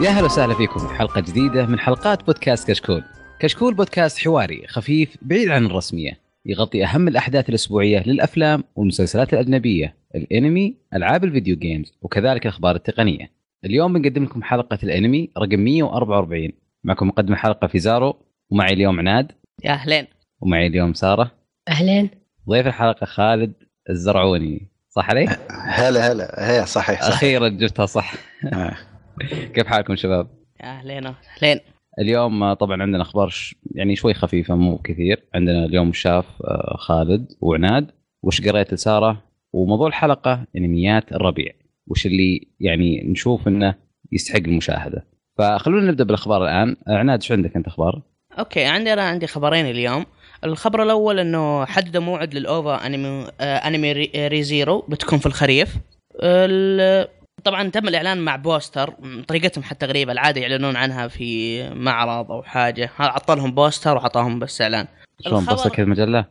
يا هلا وسهلا فيكم في حلقة جديدة من حلقات بودكاست كشكول. كشكول بودكاست حواري خفيف بعيد عن الرسمية، يغطي أهم الأحداث الأسبوعية للأفلام والمسلسلات الأجنبية، الأنمي، ألعاب الفيديو جيمز، وكذلك الأخبار التقنية. اليوم بنقدم لكم حلقة الأنمي رقم 144 معكم مقدم الحلقة في زارو ومعي اليوم عناد يا اهلين ومعي اليوم سارة اهلين ضيف الحلقة خالد الزرعوني صح علي؟ هلا هلا هي صحيح صح أخيرا جبتها صح آه. كيف حالكم شباب؟ يا اهلين اهلين اليوم آه، طبعا عندنا اخبار ش... يعني شوي خفيفه مو كثير عندنا اليوم شاف آه، خالد وعناد وش قريت لساره وموضوع الحلقه انميات الربيع وش اللي يعني نشوف انه يستحق المشاهده فخلونا نبدا بالاخبار الان آه، عناد شو عندك انت اخبار؟ اوكي عندي انا عندي خبرين اليوم الخبر الاول انه حددوا موعد للاوفا انمي آه انمي ري- ري زيرو بتكون في الخريف ال- طبعا تم الاعلان مع بوستر م- طريقتهم حتى غريبه العاده يعلنون عنها في معرض او حاجه عطى لهم بوستر وعطاهم بس اعلان شلون الخبر- بوصلك المجله؟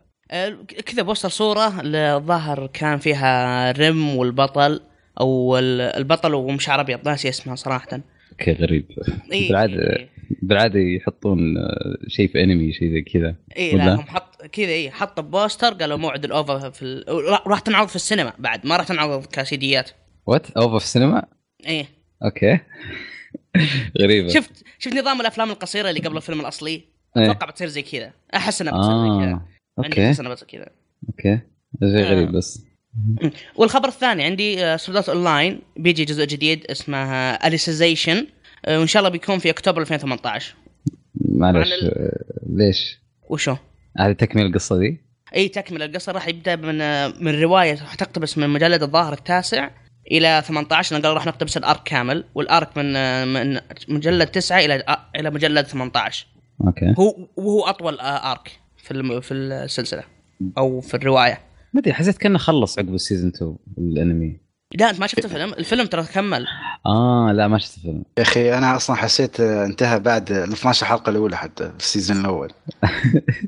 كذا بوستر صورة الظاهر كان فيها رم والبطل او ال- البطل ومشعر ابيض ناسي اسمها صراحة اوكي غريب إيه بالعادة- إيه بالعاده يحطون آه، شيء في انمي شيء زي كذا إيه ولا؟ لا هم حط كذا اي حط بوستر قالوا موعد الاوفا في ال... را- راح تنعرض في السينما بعد ما راح تنعرض كسيديات وات اوفا في السينما؟ ايه اوكي غريبه شفت شفت نظام الافلام القصيرة اللي قبل الفيلم الاصلي إيه. اتوقع بتصير زي كذا احس انها بتصير زي كذا اه عندي اوكي احس انها بتصير كذا اوكي شيء آه. غريب بس والخبر الثاني عندي آه، سولدات اونلاين بيجي جزء جديد اسمه اليسيزيشن وان شاء الله بيكون في اكتوبر 2018 معلش عن ال- آه، ليش؟ وشو؟ هذه تكمل القصه دي؟ اي تكمل القصه راح يبدا من آه، من روايه راح تقتبس من مجلد الظاهر التاسع الى 18 انا قال راح نقتبس الارك كامل والارك من آه، من مجلد 9 الى آه، الى مجلد 18 اوكي هو وهو اطول آه، ارك في الم- في السلسله او في الروايه ما ادري حسيت كانه خلص عقب السيزون 2 الانمي لا انت ما شفت الفيلم الفيلم ترى كمل اه لا ما شفت الفيلم يا اخي انا اصلا حسيت آه، انتهى بعد ال 12 حلقه الاولى حتى في السيزون الاول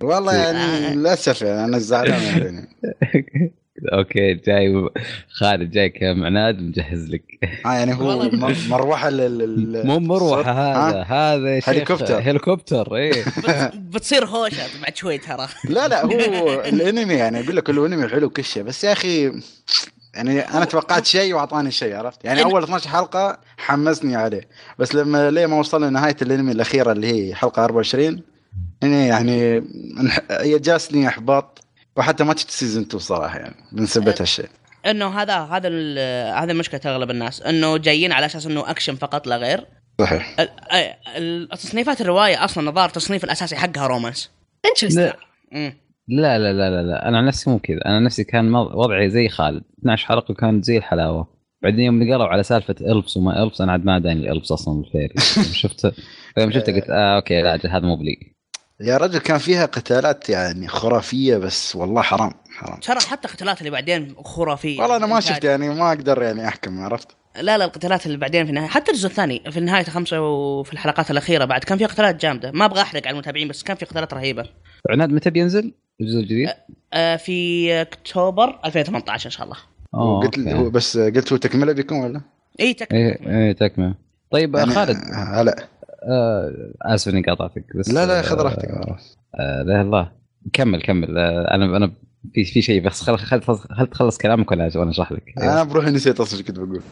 والله يعني للاسف يعني انا زعلان يعني اوكي جاي خالد جاي كمعناد مجهز لك آه يعني هو والله. مر- مروحه لل لل- مو مروحه هذا ها؟ هذا يا شيخ هليكوبتر. هليكوبتر إيه. اي بت- بتصير هوشه بعد شوي ترى لا لا هو الانمي يعني اقول لك الانمي حلو كل شيء بس يا اخي يعني انا توقعت شيء واعطاني شيء عرفت يعني اول 12 حلقه حمسني عليه بس لما ليه ما وصلنا نهايه الانمي الاخيره اللي هي حلقه 24 يعني يعني انح- جاسني احباط وحتى ما شفت سيزون 2 صراحه يعني بنسبه هالشيء انه هذا هذا ال- هذا مشكله اغلب الناس انه جايين على اساس انه اكشن فقط لا غير صحيح ال- ال- إيه، تصنيفات الروايه اصلا الظاهر التصنيف الاساسي حقها رومانس انترستنج لا مم. لا لا لا لا, لا. انا عن نفسي مو كذا انا عن نفسي كان مو- وضعي زي خالد 12 حلقه كانت زي الحلاوه بعدين يوم قروا على سالفه البس وما البس انا عاد ما داني البس اصلا بالفير شفت فيوم شفته قلت آه اوكي لا أجل هذا مو بلي يا رجل كان فيها قتالات يعني خرافيه بس والله حرام حرام ترى حتى القتالات اللي بعدين خرافيه والله انا ما إيه، إنتاج. شفت يعني ما اقدر يعني احكم عرفت لا لا القتالات اللي بعدين في النهايه حتى الجزء الثاني في نهايه خمسه وفي الحلقات الاخيره بعد كان في قتالات جامده ما ابغى احرق على المتابعين بس كان في قتالات رهيبه عناد متى بينزل الجزء الجديد؟ أه، آه، في اكتوبر 2018 ان شاء الله أوه، قلت آه، أوكي. هو بس قلت هو تكمله بيكون ولا؟ اي تك ايه ايه تكمل طيب آه، يعني- خالد آه، هلا آه اسف اني قاطعتك بس لا لا خذ آه، راحتك خلاص. آه لا الله كمل كمل آه انا انا في في شيء بس خل خل خل تخلص كلامك ولا وانا اشرح لك انا بروحي نسيت اصلا إيش كنت بقول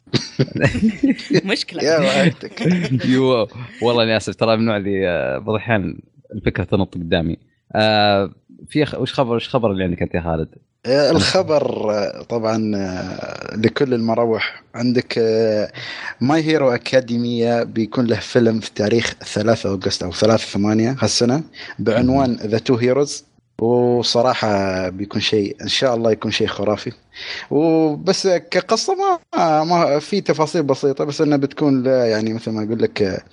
يا مشكله وقتك يو والله اني اسف ترى من النوع اللي آه، بعض الاحيان الفكره تنط قدامي آه في خ- وش خبر وش خبر اللي عندك انت يا خالد؟ آه، الخبر آه، طبعا آه، لكل المراوح عندك آه، ماي هيرو اكاديمية بيكون له فيلم في تاريخ 3 اغسطس او 3 8 هالسنة بعنوان ذا تو هيروز وصراحة بيكون شيء ان شاء الله يكون شيء خرافي وبس كقصة ما ما في تفاصيل بسيطة بس انها بتكون لا يعني مثل ما اقول لك آه،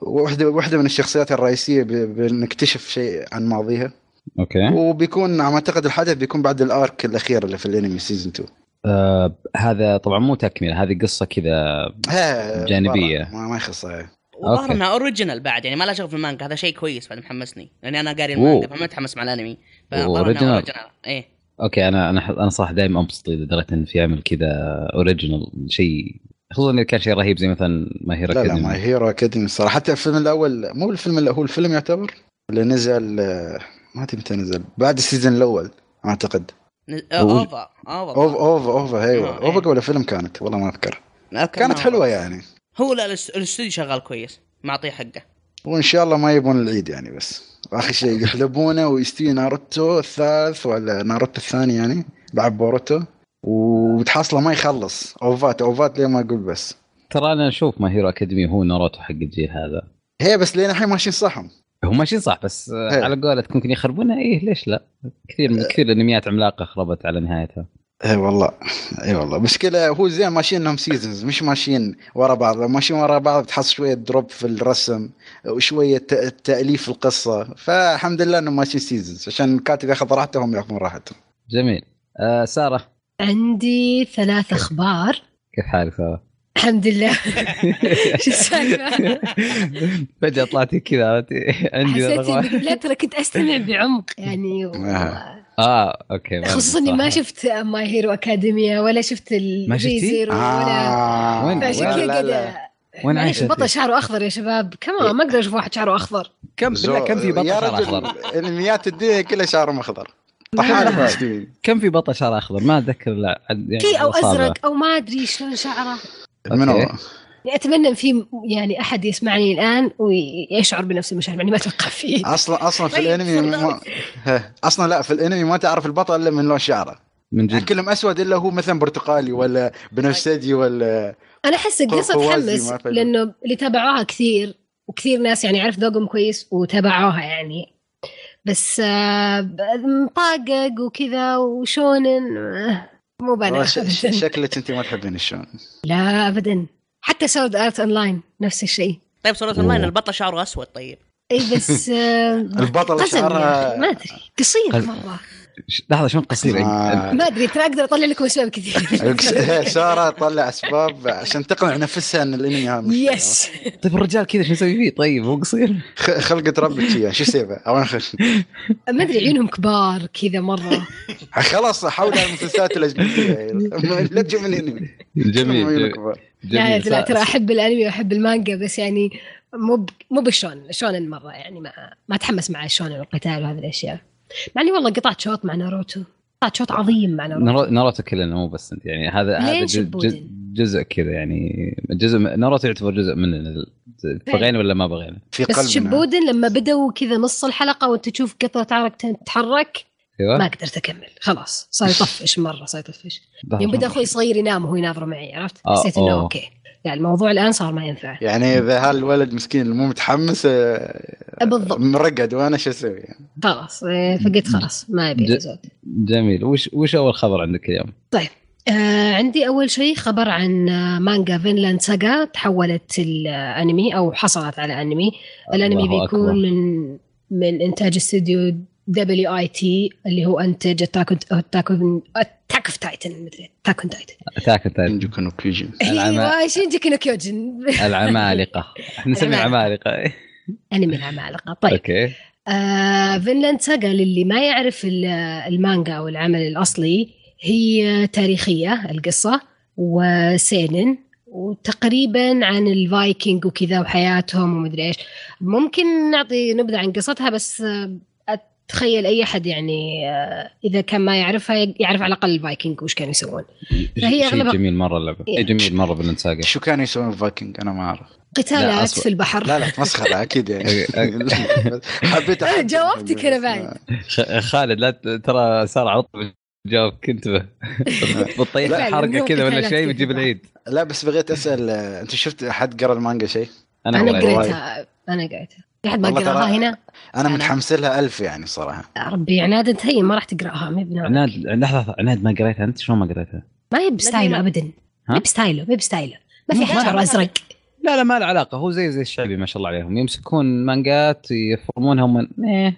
واحدة واحدة من الشخصيات الرئيسية ب- بنكتشف شيء عن ماضيها اوكي وبيكون على ما اعتقد الحدث بيكون بعد الارك الاخير اللي في الانمي سيزون 2 آه هذا طبعا مو تكمله هذه قصه كذا ها، جانبيه. برا، ما, ما يخصها وظهر أوكي. انها اوريجينال بعد يعني ما لها شغل في المانجا هذا شيء كويس بعد محمسني لاني انا قاري أوه. المانجا فما متحمس مع الانمي فظهر انها أوريجينال. اوريجينال ايه اوكي انا انا انا صراحه دائما انبسط اذا دريت ان في عمل كذا اوريجينال شيء خصوصا اذا كان شيء رهيب زي مثلا ما هيرو لا لا ماي هيرو اكاديمي الصراحه حتى الفيلم الاول مو الفيلم الاول هو الفيلم يعتبر اللي نزل آه، ما ادري متى نزل بعد السيزون الاول اعتقد ن- آه، أقول. اوفا اوفا اوفا اوفا اوفا ايوه آه، اوفا إيه. قبل الفيلم كانت والله ما اذكر أذكر كانت إنها حلوه أوفا. يعني هو لا الاس- الاستوديو شغال كويس معطيه حقه وان شاء الله ما يبون العيد يعني بس اخر شيء يحلبونه ويستوي ناروتو الثالث ولا ناروتو الثاني يعني بعد بوروتو وتحصله ما يخلص اوفات اوفات ليه ما اقول بس ترى انا اشوف ما هيرو اكاديمي هو ناروتو حق الجيل هذا هي بس لين الحين ماشيين صحهم هو ماشيين صح بس آه، إيه. على قولتك ممكن يخربونها ايه ليش لا؟ كثير من كثير انميات عملاقه خربت على نهايتها اي والله اي والله مشكله هو زين ماشيين انهم سيزونز مش ماشيين ورا بعض لو ماشيين ورا بعض بتحصل شويه دروب في الرسم وشويه ت- تاليف القصه فالحمد لله انهم ماشيين سيزونز عشان الكاتب ياخذ راحته وهم ياخذون راحتهم جميل آه ساره عندي ثلاث اخبار كيف حالك ساره؟ الحمد لله شو السالفه؟ فجاه طلعتي كذا عرفتي؟ عندي حسيت رغبة. اني لا ترى كنت استمع بعمق يعني و- آه. اه اوكي ما خصوصا اني صراحة. ما شفت ماي هيرو اكاديميا ولا شفت ال ما شفتي؟ زيرو ولا آه. وين- فعشان لا، كذا لا، لا. قاعدة- وين معليش عايشة بطل أنت؟ شعره اخضر يا شباب كمان ما اقدر اشوف واحد شعره اخضر كم بالله زو- كم في بطل يا شعر رجل اخضر؟ انميات الدنيا كلها شعرهم اخضر طحالهم مسلمين. كم في بطل شعر اخضر؟ ما اتذكر لا يعني تي او صار له. ازرق او ما ادري شلون شعره من هو؟ أوكي. طيب، يعني اتمنى ان في يعني احد يسمعني الان ويشعر بنفس المشاعر يعني ما اتوقع فيه اصلا اصلا في طيب، الانمي والله. ما... ها، اصلا لا في الانمي ما تعرف البطل الا من لون شعره من يعني جد كلهم اسود الا هو مثلا برتقالي ولا بنفسجي ولا انا احس القصه قوازي تحمس ما فهمت. لانه اللي تابعوها كثير وكثير ناس يعني عرف ذوقهم كويس وتابعوها يعني بس آه، ب- مطاقق وكذا وشونن آه، مو طيب. والله بنا ش- ش- أبداً. شكلك انت ما تحبين الشون لا ابدا حتى سورد ارت لاين نفس الشيء طيب صورة أوه. اونلاين البطل شعره اسود طيب اي بس آه، البطل قزم يا أخي، شعرها ما ادري قصير قزم. مره ش- لحظه شلون قصير يعني آه. ما ادري ترى اقدر اطلع لكم اسباب كثير ساره تطلع اسباب عشان تقنع نفسها ان الانمي هذا مش- يس طيب الرجال كذا شو نسوي فيه طيب هو قصير خ- خلقت ربك فيها شو سيبه او خش ما ادري عيونهم كبار كذا مره خلاص حول على المسلسلات الاجنبيه لا تجيب الانمي جميل جميل, لا جميل. لا سا- ترى احب الانمي واحب المانجا بس يعني مو ب... مو بالشونن الشونن مره يعني ما ما اتحمس مع الشونن والقتال وهذه الاشياء مع اني والله قطعت شوط مع ناروتو قطعت شوط عظيم مع ناروتو نارو- ناروتو كلنا مو بس انت يعني هذا ليه هذا جز- شبودن؟ جز- جزء كذا يعني جزء من- ناروتو يعتبر جزء مننا ال- بغينا ولا ما بغينا في بس قلبنا شبودن لما بدوا كذا نص الحلقه وانت تشوف قطره عرق تتحرك ما ايوه قدرت اكمل خلاص صار يطفش مره صار يطفش لحظة. يوم بدا اخوي صغير ينام وهو يناظره معي عرفت آه، حسيت انه أه. أوه. اوكي لا الموضوع الان صار ما ينفع يعني اذا هالولد مسكين اللي مو متحمس آه، بالضبط مرقد وانا شو اسوي يعني خلاص إيه، فقلت خلاص ما ج- يبي زود جميل وش وش اول خبر عندك اليوم؟ آه، عندي أول شيء خبر عن آه، مانجا فينلاند ساجا تحولت الأنمي أو حصلت على أنمي الأنمي الله بيكون أكبر. من من إنتاج استوديو دبليو اي تي اللي هو أنتج أتاك أتاك أوف تايتن مدري أتاك أون تايتن اتاك أون تايتن. نجوكو كيجي العمى- أيوة شينجي كينو كيوجن العمالقه احنا نسميها عمالقه أنمي العمالقة طيب اوكي آه، فينلاند ساجا للي ما يعرف ال- المانجا او العمل الاصلي هي تاريخيه القصه وسينن وتقريبا عن الفايكنج وكذا وحياتهم ومدري ايش ممكن نعطي نبذه عن قصتها بس آه، اتخيل اي احد يعني آه، اذا كان ما يعرفها يعرف على الاقل الفايكنج وش كانوا يسوون فهي شيء أغلب- جميل مره اللعبه إيه. شيء جميل مره بالانساقه شو كانوا يسوون الفايكنج انا ما اعرف قتالات أصبر. في البحر لا لا مسخره اكيد يعني حبيت أحكي. آه، جاوبتك أنا بعد. خ- خالد لا ت- ترى صار على طول جاوبك انتبه بتطيح لا. حرقه كذا ولا شيء بتجيب العيد لا بس بغيت اسال آه، انت شفت حد قرا المانجا شيء؟ انا انا والله قريتها انا قريتها في احد ما والله ترى- قراها هنا انا أنا- متحمس لها ألف يعني صراحه يا ربي عناد انت هي ما راح تقراها ما يبي نوعك. عناد لحظه عناد ما قريتها انت شلون ما قريتها؟ ما هي بستايله لا. ابدا ها؟ ما هي بستايله ما هي بستايله ما في ما- حد شعره ازرق لا لا ما له علاقه هو زي زي الشعبي ما شاء الله عليهم يمسكون مانجات يفرمونها من ايه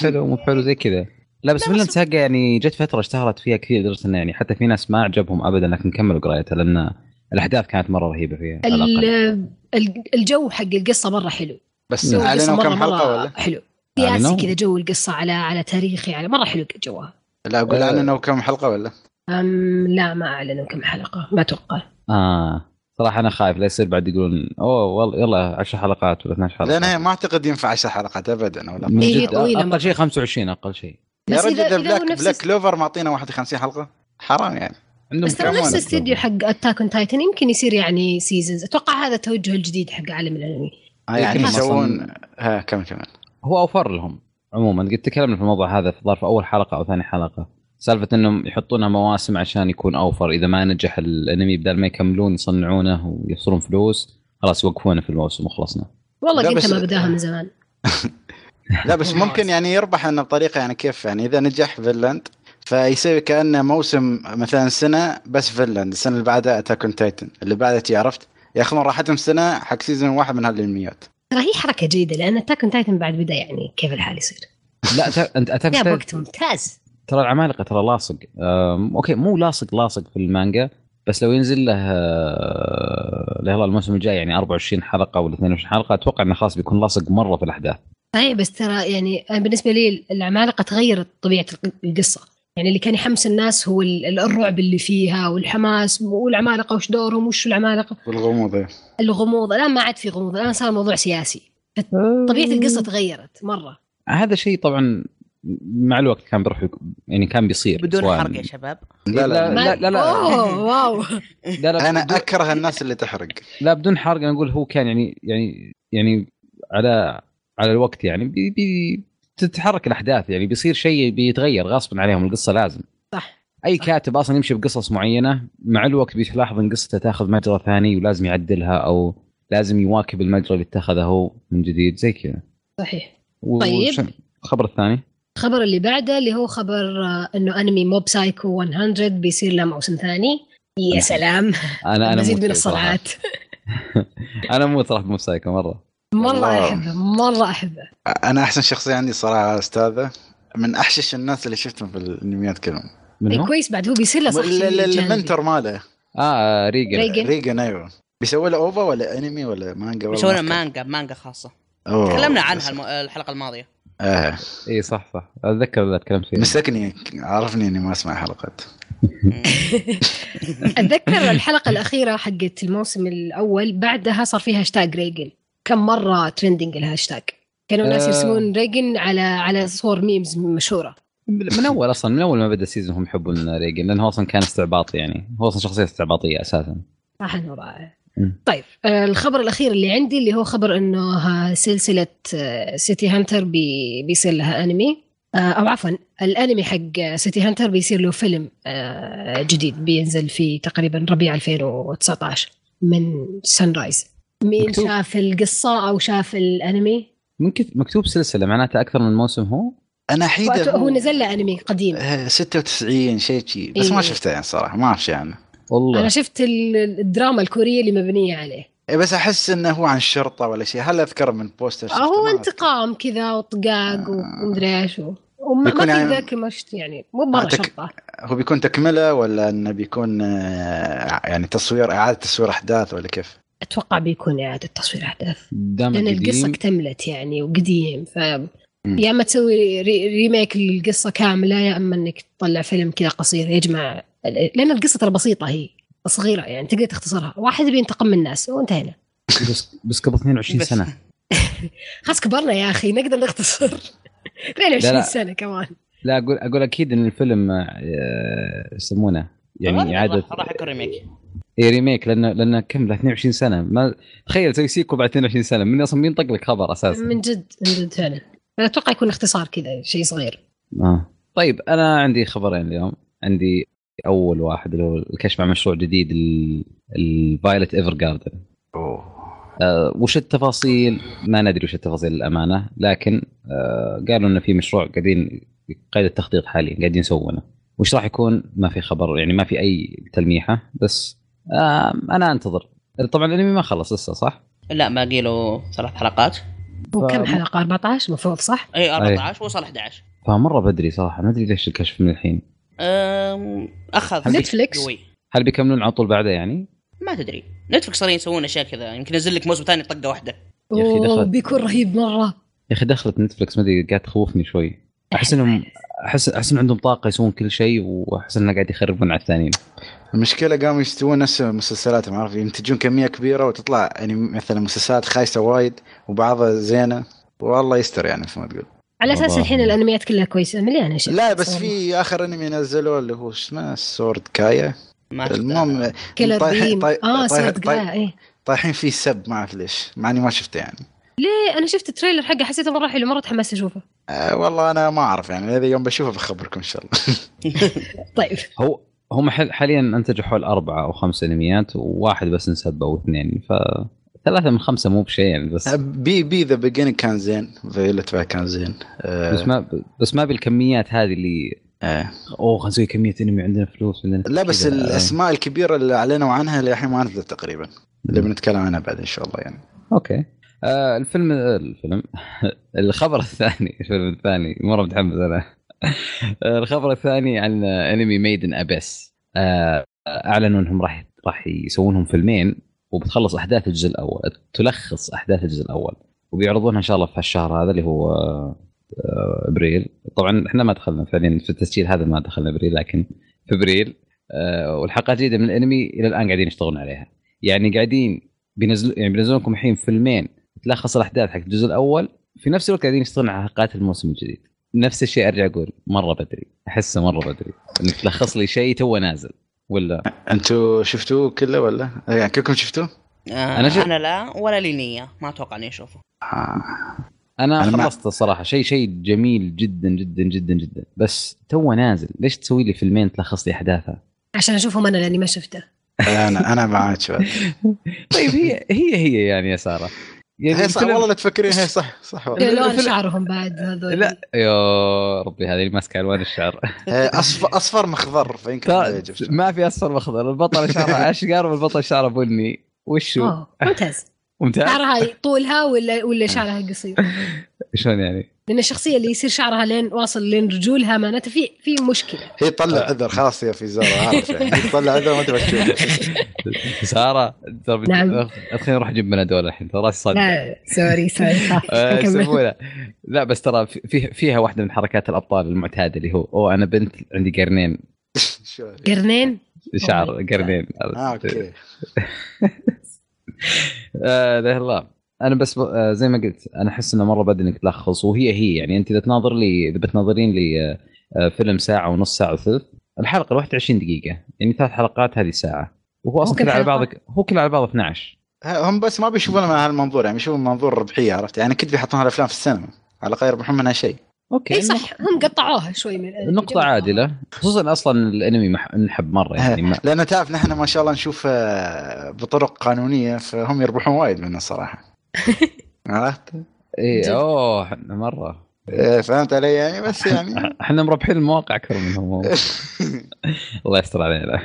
حلو مو حلو زي كذا لا بس لا، فيلاند بس- ساقا يعني جت فتره اشتهرت فيها كثير لدرجه انه يعني حتى في ناس ما عجبهم ابدا لكن كملوا قرايتها لان الاحداث كانت مره رهيبه فيها على الأقل. ال- ال- الجو حق القصه مره حلو بس لا. القصة اعلنوا كم حلقه ولا؟ حلو نعم. أعلنوا؟ سياسي كذا جو القصه على على تاريخي على مره حلو جوها لا اقول آه. اعلنوا كم حلقه ولا؟ أم لا ما اعلنوا كم حلقه ما اتوقع اه صراحه انا خايف لا يصير بعد يقولون اوه والله يلا 10 حلقات ولا 12 حلقه لان هي ما اعتقد ينفع 10 حلقات ابدا ولا من هي جد طويلة اقل مرة. شيء 25 اقل شيء يا إيه، بس رجل إذا- إذا إذا هو بلاك نفس بلاك الس- كلوفر معطينا 51 حلقه حرام يعني عندهم بس كم ترى نفس واحد الاستديو يسوون؟ حق اتاك اون تايتن يمكن يصير يعني سيزونز اتوقع هذا التوجه الجديد حق عالم الانمي آه يعني يمكن يسوون أصلاً- ها كمل كمل هو اوفر لهم عموما قد تكلمنا في الموضوع هذا في ظرف اول حلقه او ثاني حلقه سالفه انهم يحطونها مواسم عشان يكون اوفر اذا ما نجح الانمي بدل ما يكملون يصنعونه ويحصلون فلوس خلاص يوقفونه في الموسم وخلصنا والله لا قلت بس- ما بداها من زمان لا بس ممكن يعني يربح انه بطريقه يعني كيف يعني اذا نجح فينلاند فيصير كانه موسم مثلا سنه بس فينلاند السنه اللي بعدها اتاك اون تايتن اللي بعدها تي عرفت ياخذون راحتهم سنه حق سيزون واحد من هالانميات ترى هي حركه جيده لان اتاك اون تايتن بعد بدا يعني كيف الحال يصير لا ت- انت لا أتفهم- بوقت ممتاز ترى العمالقه ترى لاصق أم، اوكي مو لاصق لاصق في المانجا بس لو ينزل له آه، لا والله الموسم الجاي يعني 24 حلقه ولا 22 حلقه اتوقع انه خلاص بيكون لاصق مره في الاحداث طيب بس ترى يعني أنا بالنسبه لي العمالقه تغيرت طبيعه الق- القصه يعني اللي كان يحمس الناس هو ال- الرعب اللي فيها والحماس والعمالقه وش دورهم وش العمالقه والغموض الغموض الان ما عاد في غموض الان صار الموضوع سياسي طبيعه القصه تغيرت مره هذا شيء طبعا مع الوقت كان بيروح يك- يعني كان بيصير بدون سواء- حرق يا شباب لا لا, آه، لا. ما- لا. أوه، واو لا لا انا بدون- اكره الناس اللي تحرق لا بدون حرق انا اقول هو كان يعني يعني يعني على على الوقت يعني بي بي تتحرك الاحداث يعني بيصير شيء بيتغير غصبا عليهم القصه لازم صح اي كاتب اصلا يمشي بقصص معينه مع الوقت بيلاحظ ان قصته تاخذ مجرى ثاني ولازم يعدلها او لازم يواكب المجرى اللي اتخذه هو من جديد زي كذا صحيح و- طيب. وش- الخبر الثاني الخبر اللي بعده اللي هو خبر آه، انه انمي موب سايكو 100 بيصير له موسم ثاني يا سلام انا انا مزيد مو من صراحة. الصرعات انا مو ترى بموسايكو مره مره والله. احبه مره احبه انا احسن شخصيه عندي صراحه استاذه يعني من احشش الناس اللي شفتهم في الانميات كلهم من هو؟ كويس بعد هو بيصير له صح ال- ال- شيء جانبي. المنتور ماله اه ريجن ريجن. ريجن ايوه بيسوي له اوفا ولا انمي ولا مانجا ولا يسوون ما أذكر. مانجا مانجا خاصه أوه. تكلمنا عنها الم... الحلقه الماضيه آه. اي صح صح اتذكر اللي تكلمت يعني. فيه مسكني عرفني اني ما اسمع حلقات اتذكر الحلقه الاخيره حقت الموسم الاول بعدها صار فيها هاشتاج ريجن كم مره ترندنج الهاشتاج كانوا الناس آه. يرسمون ريجن على على صور ميمز مشهوره من اول اصلا من اول ما بدا السيزون هم يحبون ريجن لانه هو اصلا كان استعباطي يعني هو اصلا شخصيه استعباطيه اساسا صح انه رائع مم. طيب آه، الخبر الاخير اللي عندي اللي هو خبر انه آه، سلسله آه، سيتي هانتر بي بيصير لها انمي آه، او عفوا الانمي حق آه، سيتي هانتر بيصير له فيلم آه، جديد بينزل في تقريبا ربيع 2019 من سان رايز مين مكتوب. شاف القصه او شاف الانمي؟ ممكن مكتوب سلسله معناته اكثر من موسم هو انا حيده وأتو- هو نزل له انمي قديم آه، 96 شيء شي بس ما إيه. شفته يعني صراحه ما اعرف شيء عنه والله انا شفت ال- الدراما الكوريه اللي مبنيه عليه إيه، بس احس انه هو عن شرطه ولا شيء هل اذكر من بوستر شفته؟ هو ما أذكر. انتقام كذا وطقاق ومدري ايش و- وما بيكون ما في يعني- ذاك المشت يعني مو برا أعتقد- شرطه هو بيكون تكمله ولا انه بيكون آه، يعني تصوير اعاده تصوير احداث ولا كيف؟ اتوقع بيكون يعني اعاده تصوير احداث دام لان القصه قديم اكتملت يعني وقديم ف يا اما تسوي ري- ريميك للقصه كامله يا اما انك تطلع فيلم كذا قصير يجمع لان القصه ترى بسيطه هي صغيره يعني تقدر تختصرها واحد بينتقم من الناس وانتهينا بس بس قبل 22 بس. سنه خلاص كبرنا يا اخي نقدر نختصر لا. 22 سنه كمان لا اقول اقول اكيد ان الفيلم آه، يسمونه يعني اعاده راح- راح يكون ريميك إيه ريميك لانه لانه كم له 22 سنه ما تخيل تسوي سيكو بعد 22 سنه من اصلا بينطق لك خبر اساسا من جد من جد فعلا انا اتوقع يكون اختصار كذا شيء صغير آه. طيب انا عندي خبرين اليوم عندي اول واحد اللي هو الكشف عن مشروع جديد الفايلت ايفر جاردن اوه وش التفاصيل؟ ما ندري وش التفاصيل للامانه لكن آه، قالوا انه في مشروع قاعدين قيد التخطيط حاليا قاعدين يسوونه وش راح يكون ما في خبر يعني ما في اي تلميحه بس آه، انا انتظر طبعا الانمي ما خلص لسه صح؟ لا باقي له ثلاث حلقات وكم ف- حلقه 14 المفروض صح؟ اي 14 وصل 11 فمره بدري صراحه ما ادري ليش الكشف من الحين أم، اخذ نتفليكس. قوي هل بيكملون على طول بعده يعني؟ ما تدري نتفلكس صار يسوون اشياء كذا يمكن ينزل لك موسم ثاني طقه واحده يا أخي أوه، دخلت. بيكون رهيب مره يا اخي دخلت نتفلكس ما ادري قاعد تخوفني شوي احس انهم احس احس إن عندهم طاقه يسوون كل شيء واحس انهم قاعد يخربون على الثانيين المشكله قاموا يستوون نفس المسلسلات ما اعرف ينتجون كميه كبيره وتطلع يعني مثلا مسلسلات خايسه وايد وبعضها زينه والله يستر يعني مثل ما تقول على اساس والله. الحين الانميات كلها كويسه مليانه شيء لا بس صراحة. في اخر انمي نزلوه اللي هو شو اسمه سورد كايا ما المهم كيلر طايح- بيم طايح- اه طايح- صدق طايح- لا ايه طايحين فيه سب ما اعرف ليش مع اني ما شفته يعني إيه، انا شفت التريلر حقه حسيته مره حلو مره تحمست اشوفه أه والله انا ما اعرف يعني اذا يوم بشوفه بخبركم ان شاء الله طيب هو هم حل- حاليا انتجوا حول اربعه او خمس انميات وواحد بس انسب او اثنين ف ثلاثة من خمسة مو بشيء يعني بس آه، بي بي ذا بيجيننج كان زين فيولت كان زين بس أه ما بس ما بالكميات هذه اللي أه اوه خلينا نسوي كمية انمي عندنا فلوس عندنا لا بس كذا. آه. الاسماء الكبيره اللي اعلنوا عنها للحين ما نزلت تقريبا اللي بنتكلم عنها بعد ان شاء الله يعني اوكي آه الفيلم الفيلم الخبر الثاني الفيلم الثاني مره متحمس انا آه، الخبر الثاني عن انمي ميدن ابيس آه اعلنوا انهم راح راح يسوونهم فيلمين وبتخلص احداث الجزء الاول تلخص احداث الجزء الاول وبيعرضونها ان شاء الله في هالشهر هذا اللي هو آه، آه، ابريل طبعا احنا ما دخلنا فعليا في التسجيل هذا ما دخلنا ابريل لكن في ابريل آه، والحلقات الجديده من الانمي الى الان قاعدين يشتغلون عليها يعني قاعدين بينزلوا يعني بينزلون لكم الحين فيلمين تلخص الاحداث حق الجزء الاول في نفس الوقت قاعدين يشتغلون على حلقات الموسم الجديد نفس الشيء ارجع اقول مره بدري احسه مره بدري انك تلخص لي شيء توه نازل ولا انتوا شفتوه كله ولا؟ يعني كلكم شفتوه؟ انا أنا شف- انا آه، لا ولا لي نيه ما اتوقع اني اشوفه آه. انا أنا ما- خلصت الصراحه شيء شيء جميل جدا جدا جدا جدا بس توه نازل ليش تسوي لي فيلمين تلخص لي احداثها عشان اشوفهم انا لاني ما شفته انا انا معاك شباب طيب هي هي هي يعني يا ساره هي صح الفيلم- والله لا تفكرين هي صح صح والله لون الفيلم- شعرهم بعد هذول لا يا ربي هذه اللي ماسكه الوان الشعر هي اصفر اصفر آه، مخضر فيمكن هذا يعجب شباب. ما في اصفر واخضر البطل شعرها اشقر والبطل شعره بني وشو أوه، آه، ممتاز ممتاز شعرها طولها ولا ولا شعرها قصير شلون يعني لان الشخصيه اللي يصير شعرها لين واصل لين رجولها معناته في في مشكله هي تطلع عذر خلاص يا في زارة عارف يعني تطلع عذر ما تبغى تشوف ساره ترى نعم. خليني اروح اجيب بنادول الحين ترى راسي صدق لا سوري سوري طيب. آه، كمل. يسمونه لا بس ترى في- في فيها واحده من حركات الابطال المعتاده اللي هو اوه انا بنت عندي قرنين شو- قرنين شعر قرنين اه اوكي آه، لا الله انا بس ب... آه، زي ما قلت انا احس انه مره بدل انك تلخص وهي هي يعني انت اذا تناظر لي اذا بتناظرين لي آه، آه، فيلم ساعه ونص ساعه وثلث الحلقه الواحده 20 دقيقه يعني ثلاث حلقات هذه ساعه وهو اصلا وكل كله على حلقة؟ بعض هو كله على بعض 12 ها- هم بس ما بيشوفونها من هالمنظور يعني يشوفون منظور الربحيه عرفت يعني كنت بيحطون هالافلام في السينما على الاقل يربحون منها شيء اوكي اي إيه، صح هم قطعوها شوي من نقطة عادلة خصوصا اصلا الانمي مح- منحب مرة يعني ما لان تعرف نحن ما شاء الله نشوف آه، بطرق قانونيه فهم يربحون وايد منها الصراحه عرفت؟ جد. اي اوه احنا إيه، مرة آه، فهمت علي يعني بس يعني احنا مربحين المواقع اكثر منهم والله. الله يستر علينا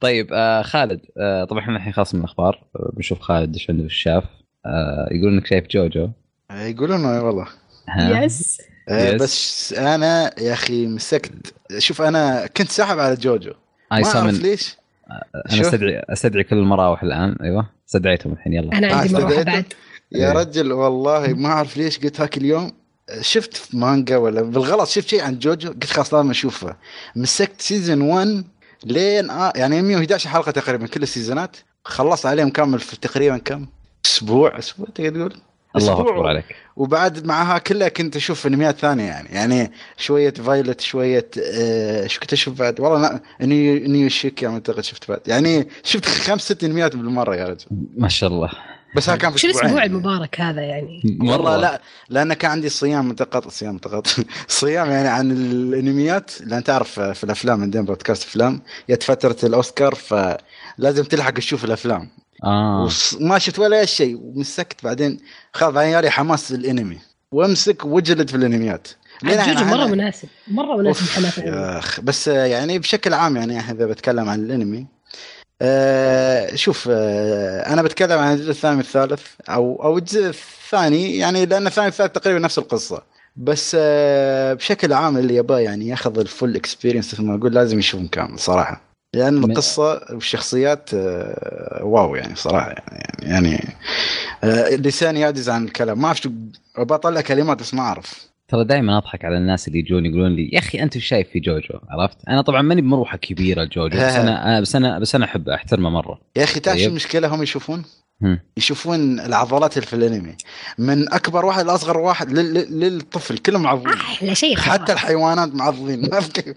طيب آه خالد آه طبعا احنا الحين خلاص من الاخبار آه، بنشوف خالد ايش عنده في الشاف آه يقولون انك شايف جوجو يقولون والله ها يس آه، Yes. بس انا يا اخي مسكت شوف انا كنت ساحب على جوجو اي ما اعرف سامن ليش انا شو؟ استدعي استدعي كل المراوح الان ايوه استدعيتهم الحين يلا انا عندي آه، مروحه استدعيته؟ بعد يا إيه. رجل والله ما اعرف ليش قلت هاك اليوم شفت في مانجا ولا بالغلط شفت شيء عن جوجو قلت خلاص لازم اشوفه مسكت سيزون 1 لين آه يعني 111 حلقه تقريبا كل السيزونات خلصت عليهم كامل في تقريبا كم؟ اسبوع اسبوع تقدر تقول الله أسبوع. اكبر عليك وبعد معها كلها كنت اشوف انميات ثانيه يعني يعني شويه فايلت شويه آه شو كنت اشوف بعد والله لا نيو نيو شيك يعني اعتقد شفت بعد يعني شفت خمس ست انميات بالمره يا رجل ما شاء الله بس هذا كان في شو أسبوعين. الاسبوع المبارك هذا يعني والله لا لان كان عندي صيام متقط صيام متقط صيام يعني عن الانميات لان تعرف في الافلام عندنا بودكاست افلام جت فتره الاوسكار فلازم تلحق تشوف الافلام اه وص- ما شفت ولا شيء ومسكت بعدين خلاص بعدين جالي حماس للانمي وامسك وجلد في الانميات لين عاد جوجو أنا- مره مناسب مره مناسب أوف، حماس يا أخ، بس آه، يعني بشكل عام يعني اذا بتكلم عن الانمي آه شوف آه انا بتكلم عن الجزء الثاني والثالث او او الجزء الثاني يعني لان الثاني والثالث تقريبا نفس القصه بس آه بشكل عام اللي يباه يعني ياخذ الفول اكسبيرينس مثل ما اقول لازم يشوفهم كامل صراحه لان م- القصه والشخصيات آه واو يعني صراحه يعني يعني آه لساني يعجز عن الكلام ما اعرف شو بطلع كلمات بس ما اعرف ترى دائما اضحك على الناس اللي يجون يقولون لي يا اخي انت وش شايف في جوجو عرفت؟ انا طبعا ماني بمروحه كبيره جوجو بس انا أنا- بس انا بس انا احبه احترمه مره يا اخي تعرف طيب. شو المشكله هم يشوفون هم. يشوفون العضلات اللي في الانمي من اكبر واحد لاصغر واحد لل- لل- للطفل كلهم معضلين احلى شيء حتى الحيوانات معضلين ما في كيف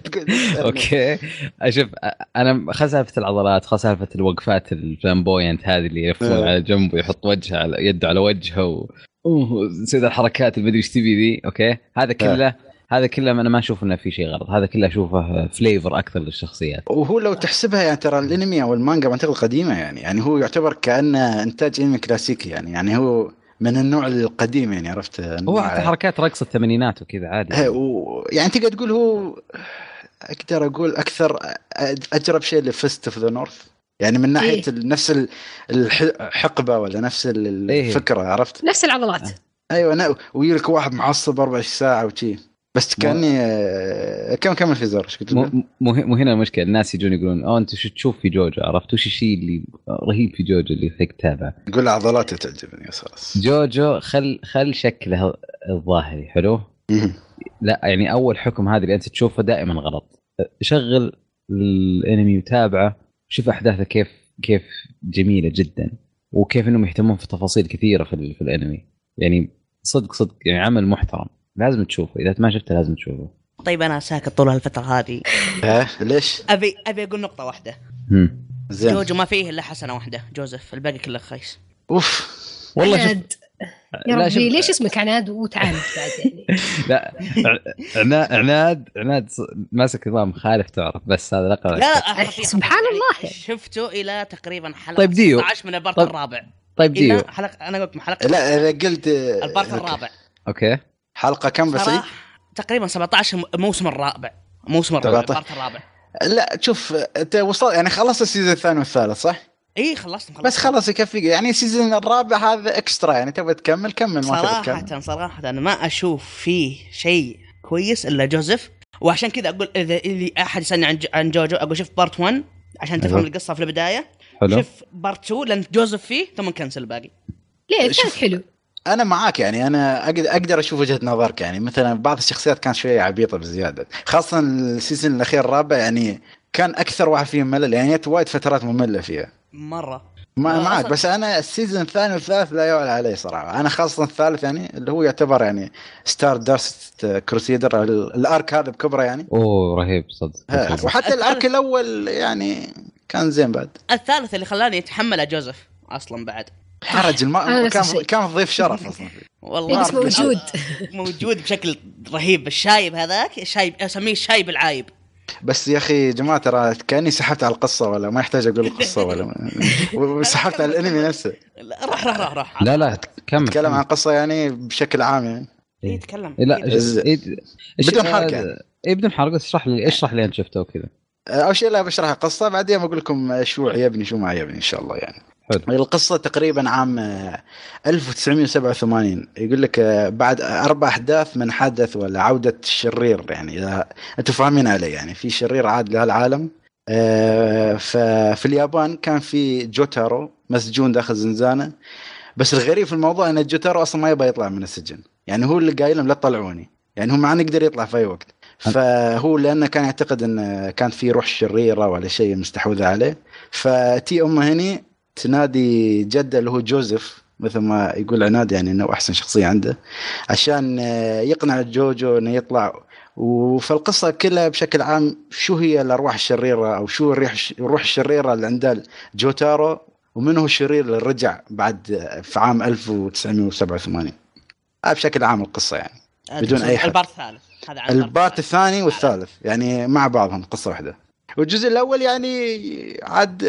تقول- اوكي اشوف أ- انا خل سالفه العضلات خل سالفه الوقفات الفلامبوينت هذه اللي يلفون إيه. على جنب ويحط وجهه على يده على وجهه و... وتصير الحركات المدري ايش تبي ذي اوكي هذا كله هذا كله انا ما اشوف انه في شيء غلط هذا كله اشوفه فليفر اكثر للشخصيات وهو لو تحسبها يعني ترى الانمي او المانجا منطقه قديمه يعني يعني هو يعتبر كانه انتاج انمي كلاسيكي يعني يعني هو من النوع القديم يعني عرفت هو النوع- حتى حركات رقص الثمانينات وكذا عادي إيه، و- يعني تقدر تقول هو اقدر اقول اكثر أ- اجرب شيء لفيست اوف ذا نورث يعني من ناحيه إيه. إيه؟ نفس ال- الح- الحقبه ولا نفس ال- إيه. الفكره عرفت نفس العضلات ايوه أنا ويلك واحد معصب 24 ساعه وشي بس كاني آه، كم كمل في زر ايش كنت مو تقول؟ مو مو هنا المشكله الناس يجون يقولون اه انت شو تشوف في جوجو عرفت وش الشيء اللي رهيب في جوجو اللي فيك تتابعه قول عضلاته تعجبني بس خلاص جوجو خل خل شكله الظاهري حلو مهم. لا يعني اول حكم هذا اللي انت تشوفه دائما غلط شغل الانمي وتابعه شوف احداثه كيف كيف جميله جدا وكيف انهم يهتمون في تفاصيل كثيره في, ال- في الانمي يعني صدق صدق يعني عمل محترم لازم تشوفه اذا ما شفته لازم تشوفه طيب انا ساكت طول هالفتره هذه ها ليش؟ ابي ابي اقول نقطه واحده هم. زين جوجو ما فيه الا حسنه واحده جوزيف الباقي كله خيس اوف والله شوف عناد يا لا ربي شوف- ليش اسمك عناد وتعال بعد يعني لا عنا- عناد عناد ص- ماسك نظام خالف تعرف بس هذا لقب طيب. لا يعني سبحان الله. شفته الى تقريبا حلقه طيب ديو. 16 من البارت طيب- الرابع طيب ديو الى حلقه انا قلت حلقه لا اذا قلت آه، البارت أوكي. الرابع اوكي حلقه كم بس إيه؟ صراحة تقريبا 17 م- الموسم الرابع موسم الرابع 17. البارت الرابع لا تشوف انت وصل يعني خلصت السيزون الثاني والثالث صح؟ اي خلصت خلصت بس خلاص يكفي يعني السيزون الرابع هذا اكسترا يعني تبغى تكمل كمل ما تبغى تكمل صراحة صراحة أنا ما أشوف فيه شيء كويس إلا جوزيف وعشان كذا أقول إذا اللي أحد يسألني عن ج- عن جوجو أقول شوف بارت 1 عشان تفهم أيوة. القصة في البداية حلو شوف بارت 2 لأن جوزيف فيه ثم كنسل الباقي ليه شوف. الثالث حلو انا معاك يعني انا اقدر اقدر اشوف وجهه نظرك يعني مثلا بعض الشخصيات كانت شويه عبيطه بزياده خاصه السيزون الاخير الرابع يعني كان اكثر واحد فيه ملل يعني جت وايد فترات ممله فيها مرة ما آه، معك أصلاً- بس انا السيزون الثاني والثالث لا يعلى عليه صراحه انا خاصه الثالث يعني اللي هو يعتبر يعني ستار داست كروسيدر الارك هذا بكبره يعني اوه رهيب صدق ها، صدق. وحتى الارك الاول يعني كان زين بعد الثالث اللي خلاني أتحمله جوزيف أصلا بعد حرج أنا الم... نفس كان الشيء. كان ضيف شرف اصلا والله إيه، بس ربي. موجود. موجود بشكل رهيب الشايب هذاك الشايب أسميه الشايب العايب بس يا اخي يا جماعه ترى كاني سحبت على القصه ولا ما يحتاج اقول القصه ولا وسحبت على الانمي نفسه لا، روح روح روح روح لا لا كمل اتكلم عن القصه يعني بشكل عام يعني إيه، تكلم لا إيه، إيش- إيه- إيش- بدون حرق آه، يعني. اي بدون حرق بس اشرح لي اشرح لي انت شفته وكذا اول شيء لا بشرح القصه بعدين بقول لكم شو عيبني شو ما عيبني ان شاء الله يعني حلو. القصه تقريبا عام آه، 1987 يقول لك آه، بعد اربع احداث من حدث ولا عوده الشرير يعني اذا انتم فاهمين علي يعني في شرير عاد لهالعالم آه، ففي اليابان كان في جوتارو مسجون داخل زنزانه بس الغريب في الموضوع ان جوتارو اصلا ما يبغى يطلع من السجن يعني هو اللي قايل لهم لا تطلعوني يعني هو مع انه يقدر يطلع في اي وقت فهو لانه كان يعتقد ان كانت في روح شريره ولا شيء مستحوذه عليه فتي امه هني تنادي جده اللي هو جوزيف مثل ما يقول عناد يعني انه احسن شخصيه عنده عشان آه، يقنع جوجو انه يطلع وفالقصه كلها بشكل عام شو هي الارواح الشريره او شو الريح الروح الشريره اللي عندها جوتارو ومن هو الشرير اللي رجع بعد آه، في عام 1987 هذا آه، بشكل عام القصه يعني بدون أي حد. البارت الثالث هذا عن البارت الثالث. الثاني والثالث يعني مع بعضهم قصه واحده والجزء الاول يعني عاد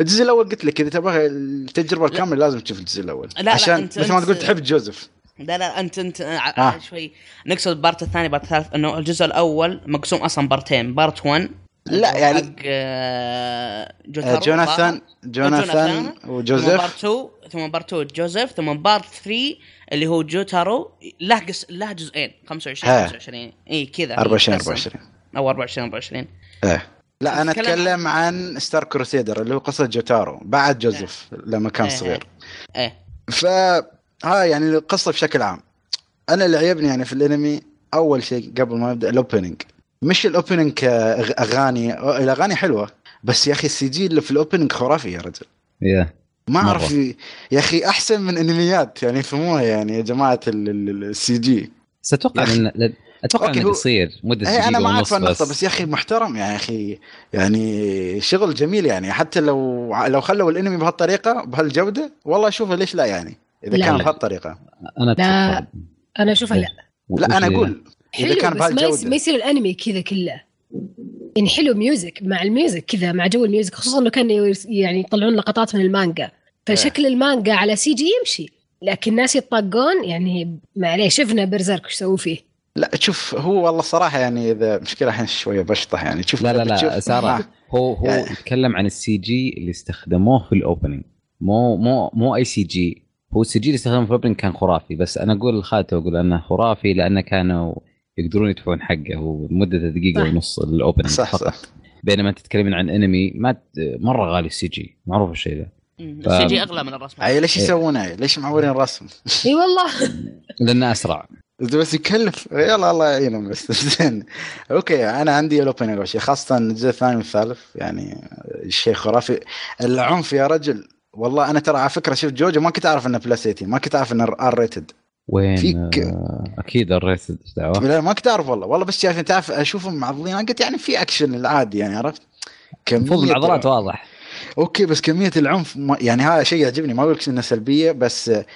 الجزء الاول قلت لك اذا تبغى التجربه لا. الكامله لازم تشوف الجزء الاول لا، لا، عشان أنت- مثل ما أنت- تقول تحب جوزيف لا لا انت انت آه. آه. شوي نقصد البارت الثاني بارت الثالث انه الجزء الاول مقسوم اصلا بارتين بارت 1 لا، يعني- حق آه، آه، جوتارو جوناثان جوناثان جوناثان ثم بارت وجوزيف 2 ثم بارت 2 جوزيف ثم بارت 3 اللي هو جوتارو له قس... له جزئين 25 ها. 25 اي كذا 24 مقسم. 24 او 24 24 ايه لا انا تتكلم اتكلم عن ستار كروسيدر اللي هو قصه جوتارو بعد جوزيف لما كان إيه. صغير ايه فها يعني القصه بشكل عام انا اللي عجبني يعني في الانمي اول شيء قبل ما يبدا الاوبننج مش الاوبننج كاغاني الاغاني حلوه بس يا اخي السي جي اللي في الاوبننج خرافي يا رجل يا ما مرة. اعرف ي- يا اخي احسن من انميات يعني فهموها يعني يا جماعه ال- ال- السي جي اتوقع يا أخي. ان لأن- اتوقع أوكي، انه هو- قصير مده اي دقيقه انا إيه، ما ونص اعرف النقطه بس, بس يا اخي محترم يعني يا اخي يعني شغل جميل يعني حتى لو لو خلوا الانمي بهالطريقه بهالجوده والله اشوفه ليش لا يعني اذا لا. كان بهالطريقه انا لا، أتفق. انا اشوفها لا لا انا وش- اقول إذا حلو كان بس ما, يس... بهالجودة. ما يصير الانمي كذا كله يعني حلو ميوزك مع الميوزك كذا مع جو الميوزك خصوصا انه كانوا يرس- يعني يطلعون لقطات من المانجا فشكل آه. المانجا على سي جي يمشي لكن ناس يطاقون يعني معليش شفنا برزيرك وش سووا فيه لا شوف هو والله صراحه يعني اذا مشكله الحين شويه بشطح يعني شوف لا لا لا بتشوف- ساره آه. هو هو يعني- يتكلم عن السي جي اللي استخدموه في الاوبننج مو مو مو اي سي جي هو السي جي اللي استخدمه في الاوبننج كان خرافي بس انا اقول الخاتم اقول انه خرافي لانه كانوا يقدرون يدفعون حقه ومدة دقيقة صح. ونص الاوبننج صح فقط. صح بينما انت تتكلمين عن انمي ما ت- مرة غالي السي جي معروف الشيء ذا السي جي اغلى من الرسم اي ليش إيه. يسوونه ليش معورين راسهم اي والله لانه اسرع بس يكلف يلا الله يعينهم بس زين اوكي انا عندي الاوبننج شيء خاصه الجزء الثاني والثالث يعني شيء خرافي العنف يا رجل والله انا ترى على فكره شفت جوجو ما كنت اعرف انه بلس 18 ما كنت اعرف انه ار ريتد وين فيك- آه، اكيد الريس إيش دعوه لا ما كنت اعرف والله والله بس شايف تعرف اشوفهم معضلين انا قلت يعني في اكشن العادي يعني عرفت المفروض كمية- العضلات واضح اوكي بس كميه العنف ما يعني هذا شيء يعجبني ما اقول انها سلبيه بس آه،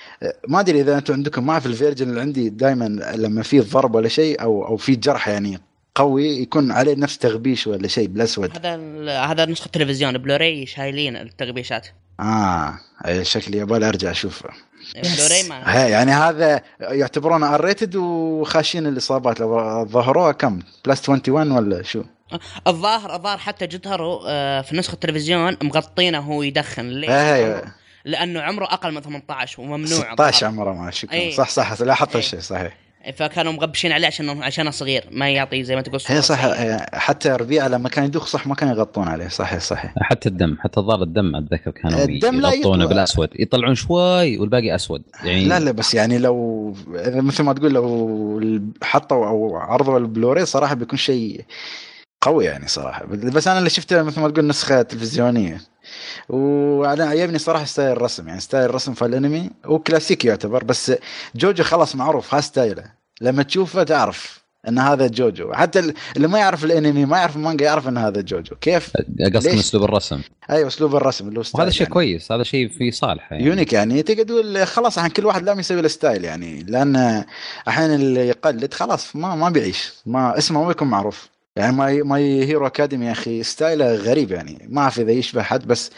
ما ادري اذا انتم عندكم ما في الفيرجن اللي عندي دائما لما في ضرب ولا شيء او او في جرح يعني قوي يكون عليه نفس تغبيش ولا شيء بالاسود هذا ال- هذا نسخه تلفزيون بلوراي شايلين التغبيشات اه أي شكلي يبغى ارجع اشوفه بلوراي ما ها، يعني هذا يعتبرونه ار ريتد وخاشين الاصابات لو ظهروها كم بلس 21 ولا شو الظاهر الظاهر حتى جدهره آه، في نسخه التلفزيون مغطينه وهو يدخن ليش؟ ايوه لانه عمره اقل من 18 وممنوع 16 الظاهر. عمره ما شكرا أي. صح صح لاحظت أي. الشيء صحيح فكانوا مغبشين عليه عشان عشانه صغير ما يعطي زي ما تقول صورة هي صح صغيرة. آه، حتى ربيع لما كان يدوخ صح ما كان يغطون عليه صحيح صحيح حتى الدم حتى ظهر الدم اتذكر كانوا الدم لا يغطونه يطلع. بالاسود يطلعون شوي والباقي اسود يعني لا لا بس يعني لو إذا مثل ما تقول لو ال- حطوا او عرضوا البلوري صراحه بيكون شيء قوي يعني صراحه بس انا اللي شفته مثل ما تقول نسخه تلفزيونيه وانا عجبني صراحه ستايل الرسم يعني ستايل الرسم في الانمي هو كلاسيكي يعتبر بس جوجو خلاص معروف ها ستايله لما تشوفه تعرف ان هذا جوجو حتى ال- اللي ما يعرف الانمي ما يعرف المانجا يعرف ان هذا جوجو كيف قصد ليش؟ اسلوب الرسم ايوه اسلوب الرسم اللي هو ستايل وهذا شيء يعني. كويس هذا شيء في صالحه يعني يونيك يعني تقدر تقول خلاص عن كل واحد لازم يسوي له ستايل يعني لان احيانا اللي يقلد خلاص ما ما بيعيش ما اسمه ما يكون معروف يعني ماي ماي هيرو اكاديمي يا اخي ستايله غريب يعني ما اعرف اذا يشبه حد بس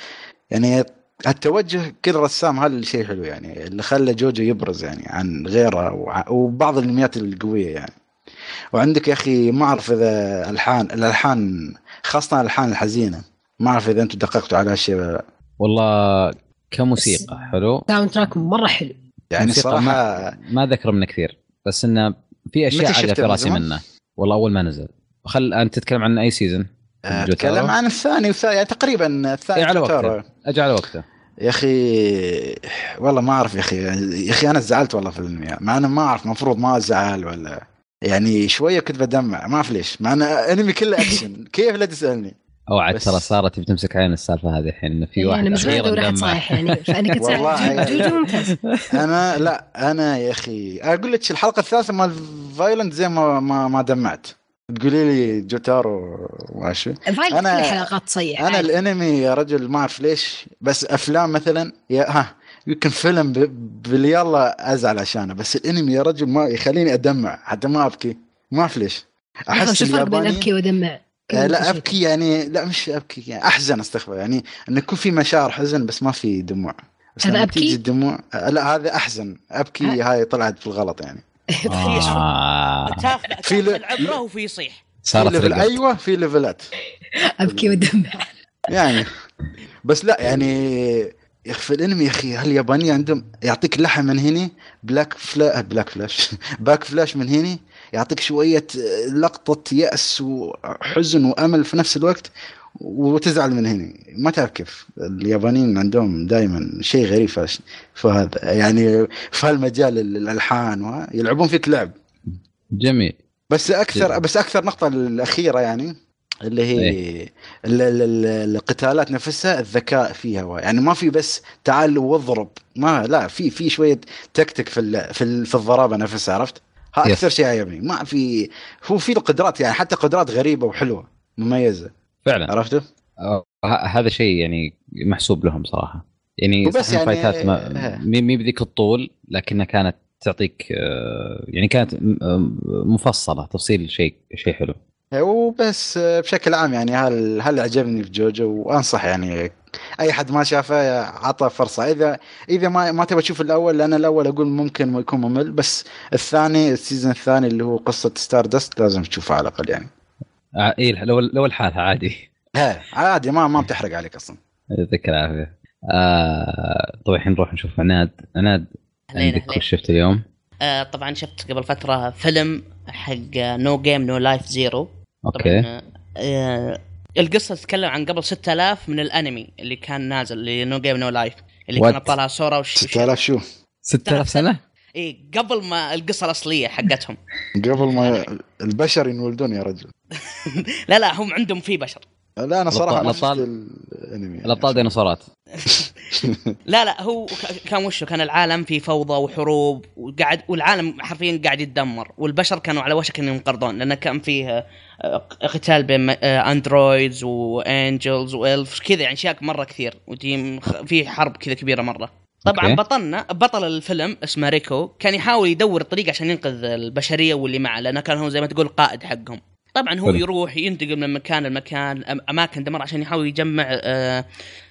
يعني التوجه كل رسام هذا الشيء حلو يعني اللي خلى جوجو يبرز يعني عن غيره وع- وبعض الانميات القويه يعني وعندك يا اخي ما اعرف اذا الحان الالحان خاصه الالحان الحزينه ما اعرف اذا انتم دققتوا على هالشيء ولا لا. والله كموسيقى حلو ساوند تراك مره حلو يعني موسيقى صراحه ما ذكر منه كثير بس انه في اشياء متى عاليه شفته في من راسي زمان؟ منه والله اول ما نزل خل انت تتكلم عن اي سيزون جوتارو؟ اتكلم عن الثاني والثاني يعني تقريبا الثاني إيه، على جوتارو. وقته. اجي على وقته يا اخي والله ما اعرف يا اخي يا اخي انا زعلت والله في الانمي مع انا ما اعرف المفروض ما ازعل ولا يعني شويه كنت بدمع ما اعرف ليش مع ان انمي كله اكشن كيف لا تسالني او عاد بس- ترى ساره تبي تمسك عين السالفه هذه الحين انه في يعني واحد انا مش اخيرا ادور احد دمع صايح يعني فانا كنت والله. يعني ساعد جوجو جوجو ممتاز انا لا انا يا اخي اقول لك الحلقه الثالثه مال فايلنت زي ما ما, ما دمعت تقولي لي جوتارو ماشي فايلت كل أنا- الحلقات تصيح انا عادي. الانمي يا رجل ما اعرف ليش بس افلام مثلا يا ها يمكن فيلم ب- باليلا ازعل عشانه بس الانمي يا رجل ما يخليني ادمع حتى ما ابكي ما اعرف ليش احس شو الفرق بين الياباني ابكي وادمع؟ آه، لا ابكي يعني لا مش ابكي يعني احزن استغفر يعني انه يكون في مشاعر حزن بس ما في دموع بس هذا لما أبكي؟ تيجي الدموع آه، لا هذا احزن ابكي هاي طلعت في الغلط يعني آه. تاخذ في ل- تاخذ العبره وفي يصيح في صارت ليفل رقت. ايوه في ليفلات ابكي وادمع يعني بس لا يعني يا أخي في الانمي يا اخي اليابانية عندهم يعطيك لحم من هنا بلاك فلا بلاك فلاش باك فلاش من هنا يعطيك شوية لقطة يأس وحزن وأمل في نفس الوقت وتزعل من هنا ما تعرف كيف اليابانيين عندهم دائما شيء غريب فش- فهذا يعني في هالمجال ال- الالحان وه- يلعبون فيك لعب جميل بس اكثر جدا. بس اكثر نقطه الاخيره يعني اللي هي ال- ال- ال- القتالات نفسها الذكاء فيها وايد. يعني ما في بس تعال واضرب ما لا في في شويه تكتك في ال- في ال- في الضرابه نفسها عرفت؟ ها يس. اكثر شيء عجبني ما في هو في القدرات يعني حتى قدرات غريبه وحلوه مميزه فعلا عرفته؟ آه، ه- هذا شيء يعني محسوب لهم صراحه يعني وبس بس يعني يعني- فايتات ما ها. مي مي بذيك الطول لكنها كانت تعطيك آه، يعني كانت م- آه، مفصله تفصيل شيء شيء حلو وبس بشكل عام يعني هل هل عجبني في جوجو وانصح يعني اي حد ما شافه عطى فرصه اذا اذا ما ما تبغى تشوف الاول لان الاول اقول ممكن ما يكون ممل بس الثاني السيزون الثاني اللي هو قصه ستار دست لازم تشوفه على الاقل يعني آه، اي لو لو الحالة عادي ها عادي ما ما بتحرق عليك اصلا يعطيك العافيه آه، طبعا الحين نروح نشوف عناد عناد علينا عندك علينا وش شفت اليوم آه طبعا شفت قبل فتره فيلم حق آه، نو جيم نو لايف زيرو اوكي آه القصه تتكلم عن قبل 6000 من الانمي اللي كان نازل اللي نو جيم نو لايف اللي What؟ كان ابطالها سورا وش 6000 شو 6000 سنه اي قبل ما القصه الاصليه حقتهم قبل ما البشر ينولدون يا رجل لا لا هم عندهم في بشر لا انا صراحه ما شفت الأبطال- الانمي يعني. الابطال ديناصورات لا لا هو ك- كان وشه كان العالم في فوضى وحروب وقاعد والعالم حرفيا قاعد يتدمر والبشر كانوا على وشك انهم ينقرضون لان كان فيه آه، قتال بين آه، اندرويدز وانجلز والفز كذا يعني اشياء مره كثير ودي في حرب كذا كبيره مره طبعا أوكي. بطلنا بطل الفيلم اسمه ريكو كان يحاول يدور طريقه عشان ينقذ البشريه واللي معه لانه كان هو زي ما تقول قائد حقهم طبعا هو حلو. يروح ينتقل من مكان لمكان أم- اماكن دمر عشان يحاول يجمع آه،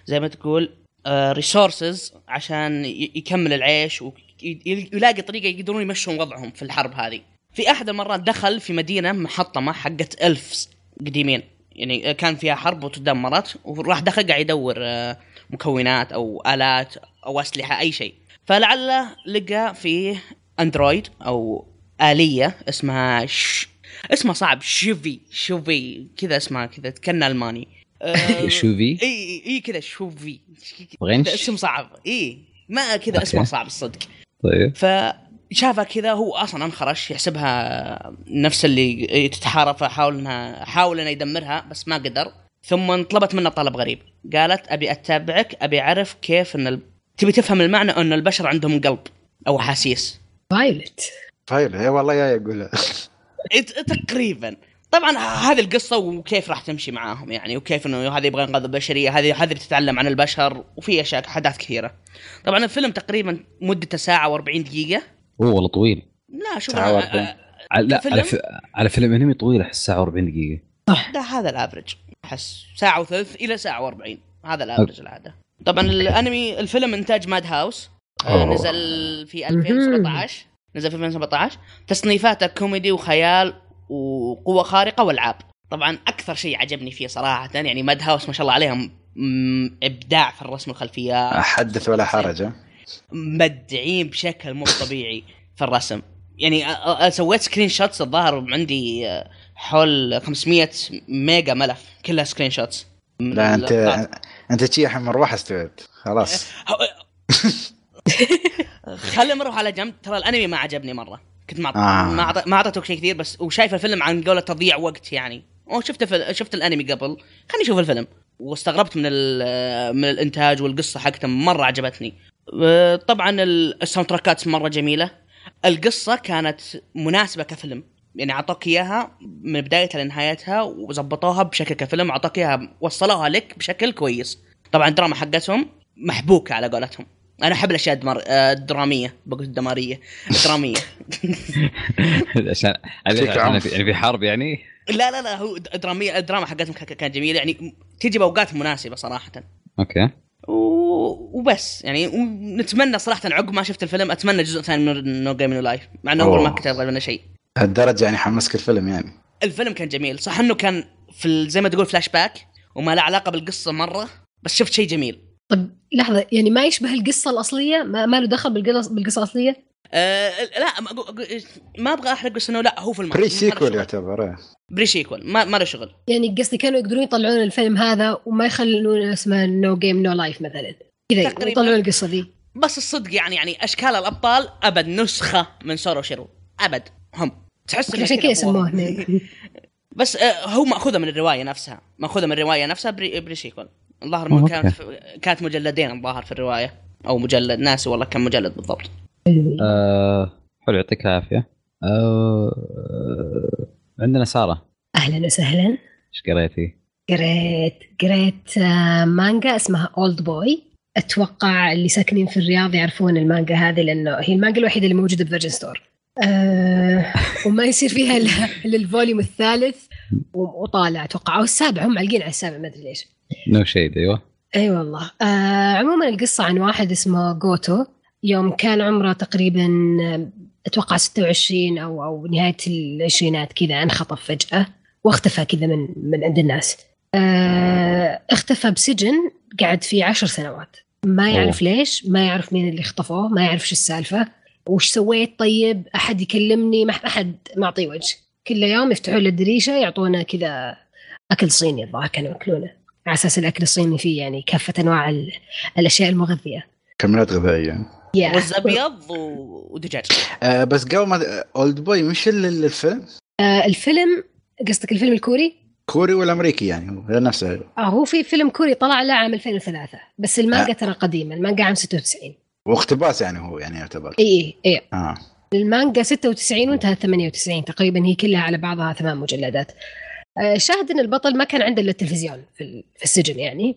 زي ما تقول ريسورسز عشان ي- يكمل العيش ويلاقي طريقه يقدرون يمشون وضعهم في الحرب هذه. في احد المرات دخل في مدينه محطمه حقت الفس قديمين يعني آه، كان فيها حرب وتدمرت وراح دخل قاعد يدور آه، مكونات او الات او اسلحه اي شيء. فلعله لقى في اندرويد او اليه اسمها ش... اسمها صعب شوفي شوفي كذا اسمها كذا كان الماني آه، شوفي اي اي كذا شوفي كذا بغينش اسم صعب اي ما كذا أوكي. اسمه صعب الصدق طيب فشافها كذا هو اصلا انخرش يحسبها نفس اللي تتحارب فحاول انها حاول انه يدمرها بس ما قدر ثم طلبت منه طلب غريب قالت ابي اتبعك ابي اعرف كيف ان ال... تبي تفهم المعنى ان البشر عندهم قلب او احاسيس فايلت فايل اي والله يا يقولها ت- تقريبا طبعا هذه القصه وكيف راح تمشي معاهم يعني وكيف انه هذا يبغى ينقذ البشريه هذه هذه بتتعلم عن البشر وفي اشياء احداث كثيره طبعا الفيلم تقريبا مدته ساعه و40 دقيقه اوه والله طويل لا شوف ساعة أنا- وأربعين. على- لا فيلم؟ على, ف... على فيلم انمي طويل احس ساعه و40 دقيقه ده هذا الافرج احس ساعه وثلث الى ساعه و40 هذا الافرج العاده طبعا الانمي الفيلم انتاج ماد هاوس آه، أوه. نزل في 2017 نزل في 2017 تصنيفاته كوميدي وخيال وقوه خارقه والعاب طبعا اكثر شيء عجبني فيه صراحه يعني ماد هاوس ما شاء الله عليهم مم، ابداع في الرسم الخلفيات حدث ولا حرج ها؟ مبدعين بشكل مو طبيعي في الرسم يعني أ- أ- سويت سكرين شوتس الظاهر عندي آه، حول 500 ميجا ملف كلها سكرين شوتس من لا إيه. انت اللقطات. انت شي الحين مروحه استوعبت خلاص خلينا نروح على جنب ترى الانمي ما عجبني مره كنت ما آه. ما أعط- ما اعطيتك شيء كثير بس وشايف الفيلم عن قولة تضيع وقت يعني او شفت في شفت الانمي قبل خليني اشوف الفيلم واستغربت من ال- من الانتاج والقصه حقته مره عجبتني آه، طبعا ال- الساوند تراكات مره جميله القصه كانت مناسبه كفيلم يعني اعطوك اياها من بدايتها لنهايتها وزبطوها بشكل كفيلم اعطوك اياها وصلوها لك بشكل كويس طبعا الدراما حقتهم محبوكه على قولتهم انا احب الاشياء الدمر... آه، الدراميه بقول الدماريه الدراميه عشان فيك عشان عنف. في- يعني في حرب يعني لا لا لا هو درامية الدراما حقتهم كا- كانت جميلة يعني تجي بأوقات مناسبة صراحة اوكي و- وبس يعني نتمنى صراحة عقب ما شفت الفيلم أتمنى جزء ثاني من نو جيم نو لايف مع أنه أول ما أوه. كتب لنا شيء هالدرجه يعني حمسك الفيلم يعني الفيلم كان جميل صح أنه كان في ال- زي ما تقول فلاش باك وما له علاقة بالقصة مرة بس شفت شيء جميل طب لحظه يعني ما يشبه القصه الاصليه ما, ما له دخل بالقص- بالقصه الاصليه آه لا ما أقو- ما ابغى احرق بس انه لا هو في الماضي بري ما له سيكول شغل. يعتبر إيه. بري سيكول ما ما له شغل يعني قصدي كانوا يقدرون يطلعون الفيلم هذا وما يخلون اسمه نو جيم نو لايف مثلا كذا تقريباً. يطلعون القصه ذي بس الصدق يعني يعني اشكال الابطال ابد نسخه من سورو شيرو ابد هم تحس إنه عشان كذا كذا سموه هو. هناك بس آه، هو ماخوذه من الروايه نفسها ماخوذه من الروايه نفسها بري, بري سيكول الظاهر أوه، ما كانت في- كانت مجلدين الظاهر في الروايه او مجلد ناسي والله كم مجلد بالضبط آه حلو يعطيك العافيه آه عندنا ساره اهلا وسهلا ايش قريتي؟ قريت قريت آه، مانجا اسمها اولد بوي اتوقع اللي ساكنين في الرياض يعرفون المانجا هذه لانه هي المانجا الوحيده اللي موجوده بفيرجن ستور أه وما يصير فيها الا إلا الفوليوم الثالث و- وطالع اتوقع او السابع هم معلقين على السابع ما ادري ليش نو شيد ايوه اي أيوة والله آه عموما القصه عن واحد اسمه جوتو يوم كان عمره تقريبا آه، اتوقع 26 او او نهايه العشرينات كذا انخطف فجاه واختفى كذا من من عند الناس آه اختفى بسجن قعد فيه عشر سنوات ما يعرف ليش ما يعرف مين اللي خطفوه ما يعرف شو السالفه وش سويت طيب احد يكلمني ما احد معطيه وجه كل يوم يفتحوا له الدريشه يعطونا كذا اكل صيني الظاهر كانوا ياكلونه على اساس الاكل الصيني فيه يعني كافه انواع ال- الاشياء المغذيه كملات غذائيه يا رز ابيض و- ودجاج آه بس قبل ما اولد بوي مش اللي اللي الفيلم آه، الفيلم قصدك الفيلم الكوري؟ كوري ولا امريكي يعني هو نفسه آه هو في فيلم كوري طلع له عام 2003 بس المانجا ترى قديمه المانجا عام إيه، 96 واقتباس يعني هو يعني يعتبر إيه. اي اي اي اه المانجا 96 وانتهت 98 تقريبا هي كلها على بعضها ثمان مجلدات آه، شاهد ان البطل ما كان عنده الا التلفزيون في ال- في السجن يعني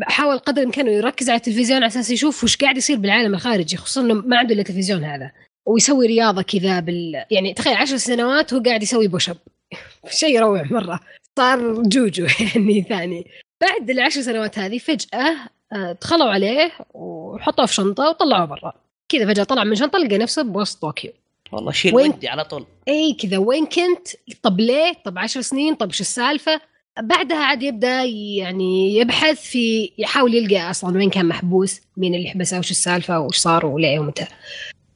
فحاول قدر الامكان انه يركز على التلفزيون على اساس يشوف وش قاعد يصير بالعالم الخارجي خصوصا انه ما عنده الا التلفزيون هذا ويسوي رياضه كذا بال يعني تخيل عشر سنوات هو قاعد يسوي بوش اب شيء روع مره صار جوجو يعني ثاني بعد العشر سنوات هذه فجاه آه، دخلوا عليه وحطوه في شنطه وطلعوه برا كذا فجاه طلع من شنطه لقى نفسه بوسط طوكيو والله شيل وين؟ ودي على طول اي إيه، كذا وين كنت طب ليه طب عشر سنين طب شو السالفه بعدها عاد يبدا يعني يبحث في يحاول يلقى اصلا وين كان محبوس مين اللي حبسه وش السالفه وش صار وليه ومتى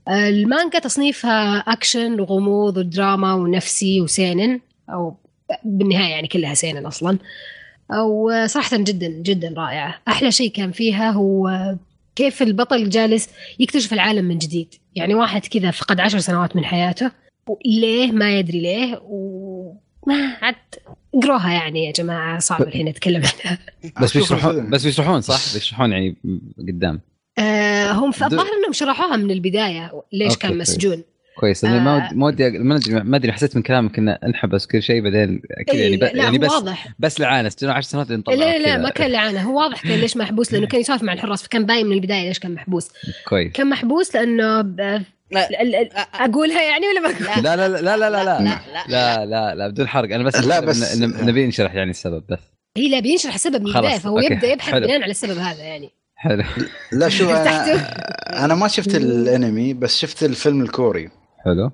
المانجا تصنيفها اكشن وغموض ودراما ونفسي وسينن او بالنهايه يعني كلها سينن اصلا او صراحه جدا جدا رائعه احلى شيء كان فيها هو كيف البطل جالس يكتشف العالم من جديد يعني واحد كذا فقد عشر سنوات من حياته ليه ما يدري ليه وما عاد اقروها يعني يا جماعه صعب الحين اتكلم عنها بس أشوف بيشرحون الفيلم. بس بيشرحون صح؟ بيشرحون يعني قدام آه هم في دو- الظاهر انهم شرحوها من البدايه ليش أوكي، كان طيب. مسجون كويس لأني ما آه. ودي- ما ودي ما ادري ما ادري حسيت من كلامك ان انحبس كل شيء بعدين كذا إيه يعني ب- لا يعني هو بس واضح بس لعانه سجنوا 10 سنوات لين طلعوا لا لا كذا. ما كان لعنه هو واضح كان ليش محبوس لانه كان يسولف مع الحراس فكان باين من البدايه ليش كان محبوس كويس كان محبوس لانه ب... لا. ال- ال- آه، اقولها يعني ولا ما اقولها لا لا لا لا لا لا لا لا, لا لا لا بدون حرق انا بس لا، بس- ن- ن- نبي نشرح يعني السبب بس هي لا بينشرح السبب من خلاص، البدايه فهو أوكي، يبدا يبحث حلو. بناء على السبب هذا يعني حلو لا شو ارتحتوا؟ انا انا ما شفت الانمي بس شفت الفيلم الكوري حلو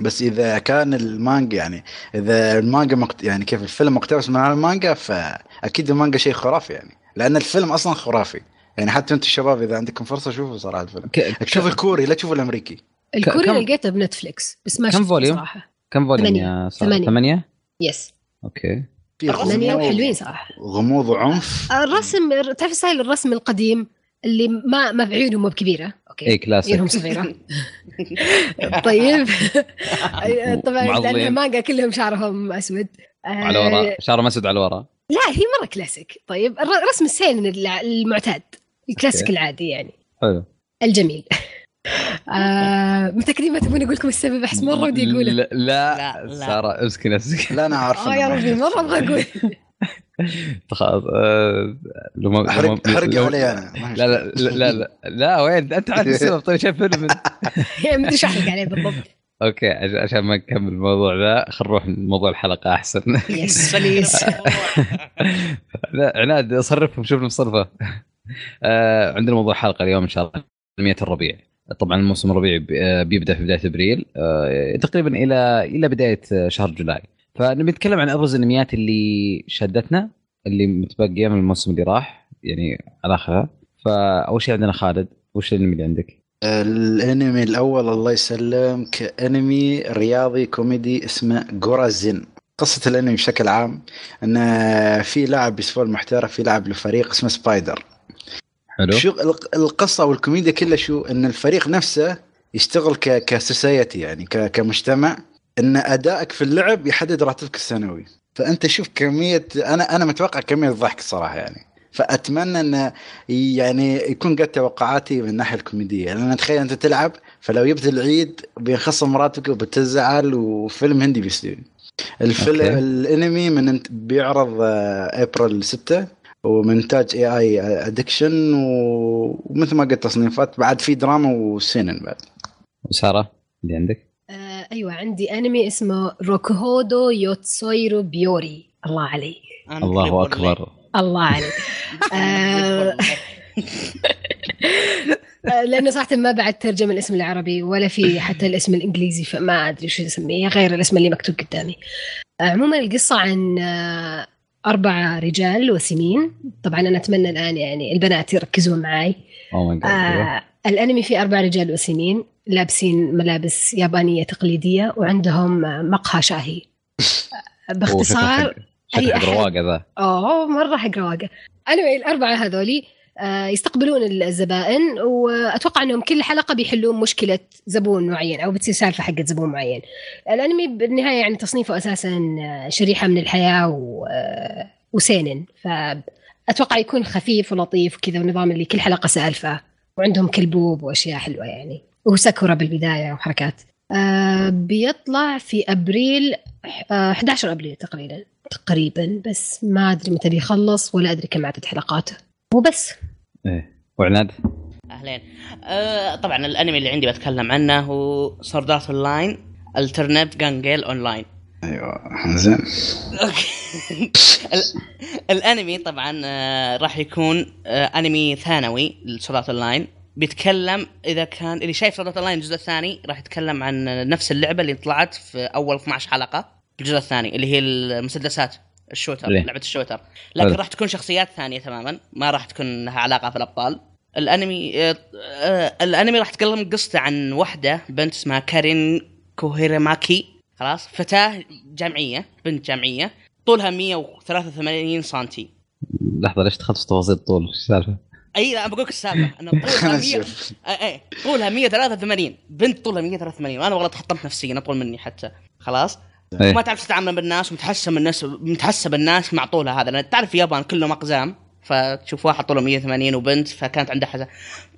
بس اذا كان المانجا يعني اذا المانجا مقت... يعني كيف الفيلم مقتبس من المانجا فاكيد المانجا شيء خرافي يعني لان الفيلم اصلا خرافي يعني حتى انتم الشباب اذا عندكم فرصه شوفوا صراحه الفيلم ك- شوف الكوري لا تشوف الامريكي الكوري كم- لقيته بنتفليكس بس ما كم شفته فوليوم؟ صراحه كم فوليوم يا ثمانية. ساره؟ ثمانية. ثمانية؟ يس اوكي في ثمانية غموض- وحلوين صراحه غموض وعنف الرسم تعرف ستايل الرسم القديم اللي ما ما بعيونهم مو بكبيره اوكي اي إيه، كلاسيك عيونهم صغيره طيب طبعا معضلين. لانها مانجا كلهم شعرهم اسود آه، على وراء شعره مسود على وراء لا هي مره كلاسيك طيب الر- رسم السين الع- المعتاد الكلاسيك أوكي. العادي يعني حلو الجميل آه متاكدين ما تبون اقول لكم السبب احس مره ودي اقوله لا, لا, لا، لا. ساره امسكي نفسك لا انا عارف اه يا ربي مره ابغى اقول خلاص آه، لو ما لو ما- احرق احرق لو- علي انا ما لا لا لا لا, لا, لا وين انت عارف السبب طيب شايف فيلم أنت. يعني ما ادري شو احرق عليه بالضبط اوكي عش- عشان ما نكمل الموضوع ذا خلينا نروح لموضوع الحلقه احسن بليز يس بليز لا عناد صرفهم شوف مصرفه آه عندنا موضوع الحلقه اليوم ان شاء الله تنميه الربيع طبعا الموسم الربيعي بي- آه، بيبدا في بدايه ابريل آه، تقريبا الى الى بدايه آه، شهر جولاي فنبي نتكلم عن ابرز الانميات اللي شدتنا اللي متبقيه من الموسم اللي راح يعني على اخرها فاول شيء عندنا خالد وش الانمي اللي عندك؟ الانمي الاول الله يسلمك انمي رياضي كوميدي اسمه جورازين قصة الانمي بشكل عام ان في لاعب بيسبول محترف في لاعب لفريق اسمه سبايدر حلو شو الق- القصة والكوميديا كلها شو ان الفريق نفسه يشتغل ك كسوسايتي يعني ك كمجتمع ان ادائك في اللعب يحدد راتبك السنوي فانت شوف كمية انا انا متوقع كمية ضحك صراحة يعني فاتمنى ان يعني يكون قد توقعاتي من يعني الناحيه الكوميديه لان تخيل انت تلعب فلو جبت العيد بينخصم راتبك وبتزعل وفيلم هندي بيصير الفيلم أوكي. الانمي من بيعرض آه، ابريل 6 ومنتاج اي اي ادكشن ومثل ما قلت تصنيفات بعد في دراما وسينن بعد ساره اللي عندك آه ايوه عندي انمي اسمه روكهودو يوتسويرو بيوري الله عليك الله اكبر الله عليك آه، آه، لانه صراحه ما بعد ترجم الاسم العربي ولا في حتى الاسم الانجليزي فما ادري شو اسميه غير الاسم اللي مكتوب قدامي آه، عموما القصه عن آه، أربعة رجال وسمين طبعا أنا أتمنى الآن يعني البنات يركزون معاي او ماي جاد آه الانمي فيه اربع رجال وسنين لابسين ملابس يابانيه تقليديه وعندهم آه، مقهى شاهي آه، باختصار أي شكلك أحد. رواقه ذا اوه مره حق رواقه anyway الاربعه هذولي آه، يستقبلون الزبائن واتوقع انهم كل حلقه بيحلون مشكله زبون معين او بتصير سالفه حقت زبون معين. الانمي بالنهايه يعني تصنيفه اساسا آه، شريحه من الحياه و... آه، وسينن فاتوقع يكون خفيف ولطيف وكذا ونظام اللي كل حلقه سالفه وعندهم كلبوب واشياء حلوه يعني وساكورا بالبدايه وحركات. آه، بيطلع في ابريل آه، 11 ابريل تقريبا. تقريبا بس ما ادري متى بيخلص ولا ادري كم عدد حلقاته وبس وعناد اهلين آه طبعا الانمي اللي عندي بتكلم عنه هو سورد ارت اون لاين الترنت جانجيل اون لاين ايوه زين الانمي طبعا آه، راح يكون آه، انمي ثانوي لسورات اللاين بيتكلم اذا كان اللي شايف سورات اللاين الجزء الثاني راح يتكلم عن نفس اللعبه اللي طلعت في اول 12 حلقه الجزء الثاني اللي هي المسدسات الشوتر ليه؟ لعبه الشوتر لكن حلو. راح تكون شخصيات ثانيه تماما ما راح تكون لها علاقه في الابطال الانمي آه، آه، الانمي راح يتكلم قصته عن وحده بنت اسمها كارين كوهيراماكي خلاص فتاه جامعيه بنت جامعيه طولها 183 سنتي لحظه ليش دخلت في تفاصيل الطول ايش السالفه؟ اي لا بقولك السالفه انا طولها خلنا 100 نشوف اي اي طولها 183 بنت طولها 183 وانا والله تحطمت نفسيا اطول مني حتى خلاص إيه. ما تعرف تتعامل بالناس ومتحسب الناس متحسب الناس مع طولها هذا لان تعرف اليابان كلهم اقزام فتشوف واحد طوله 180 وبنت فكانت عندها حزن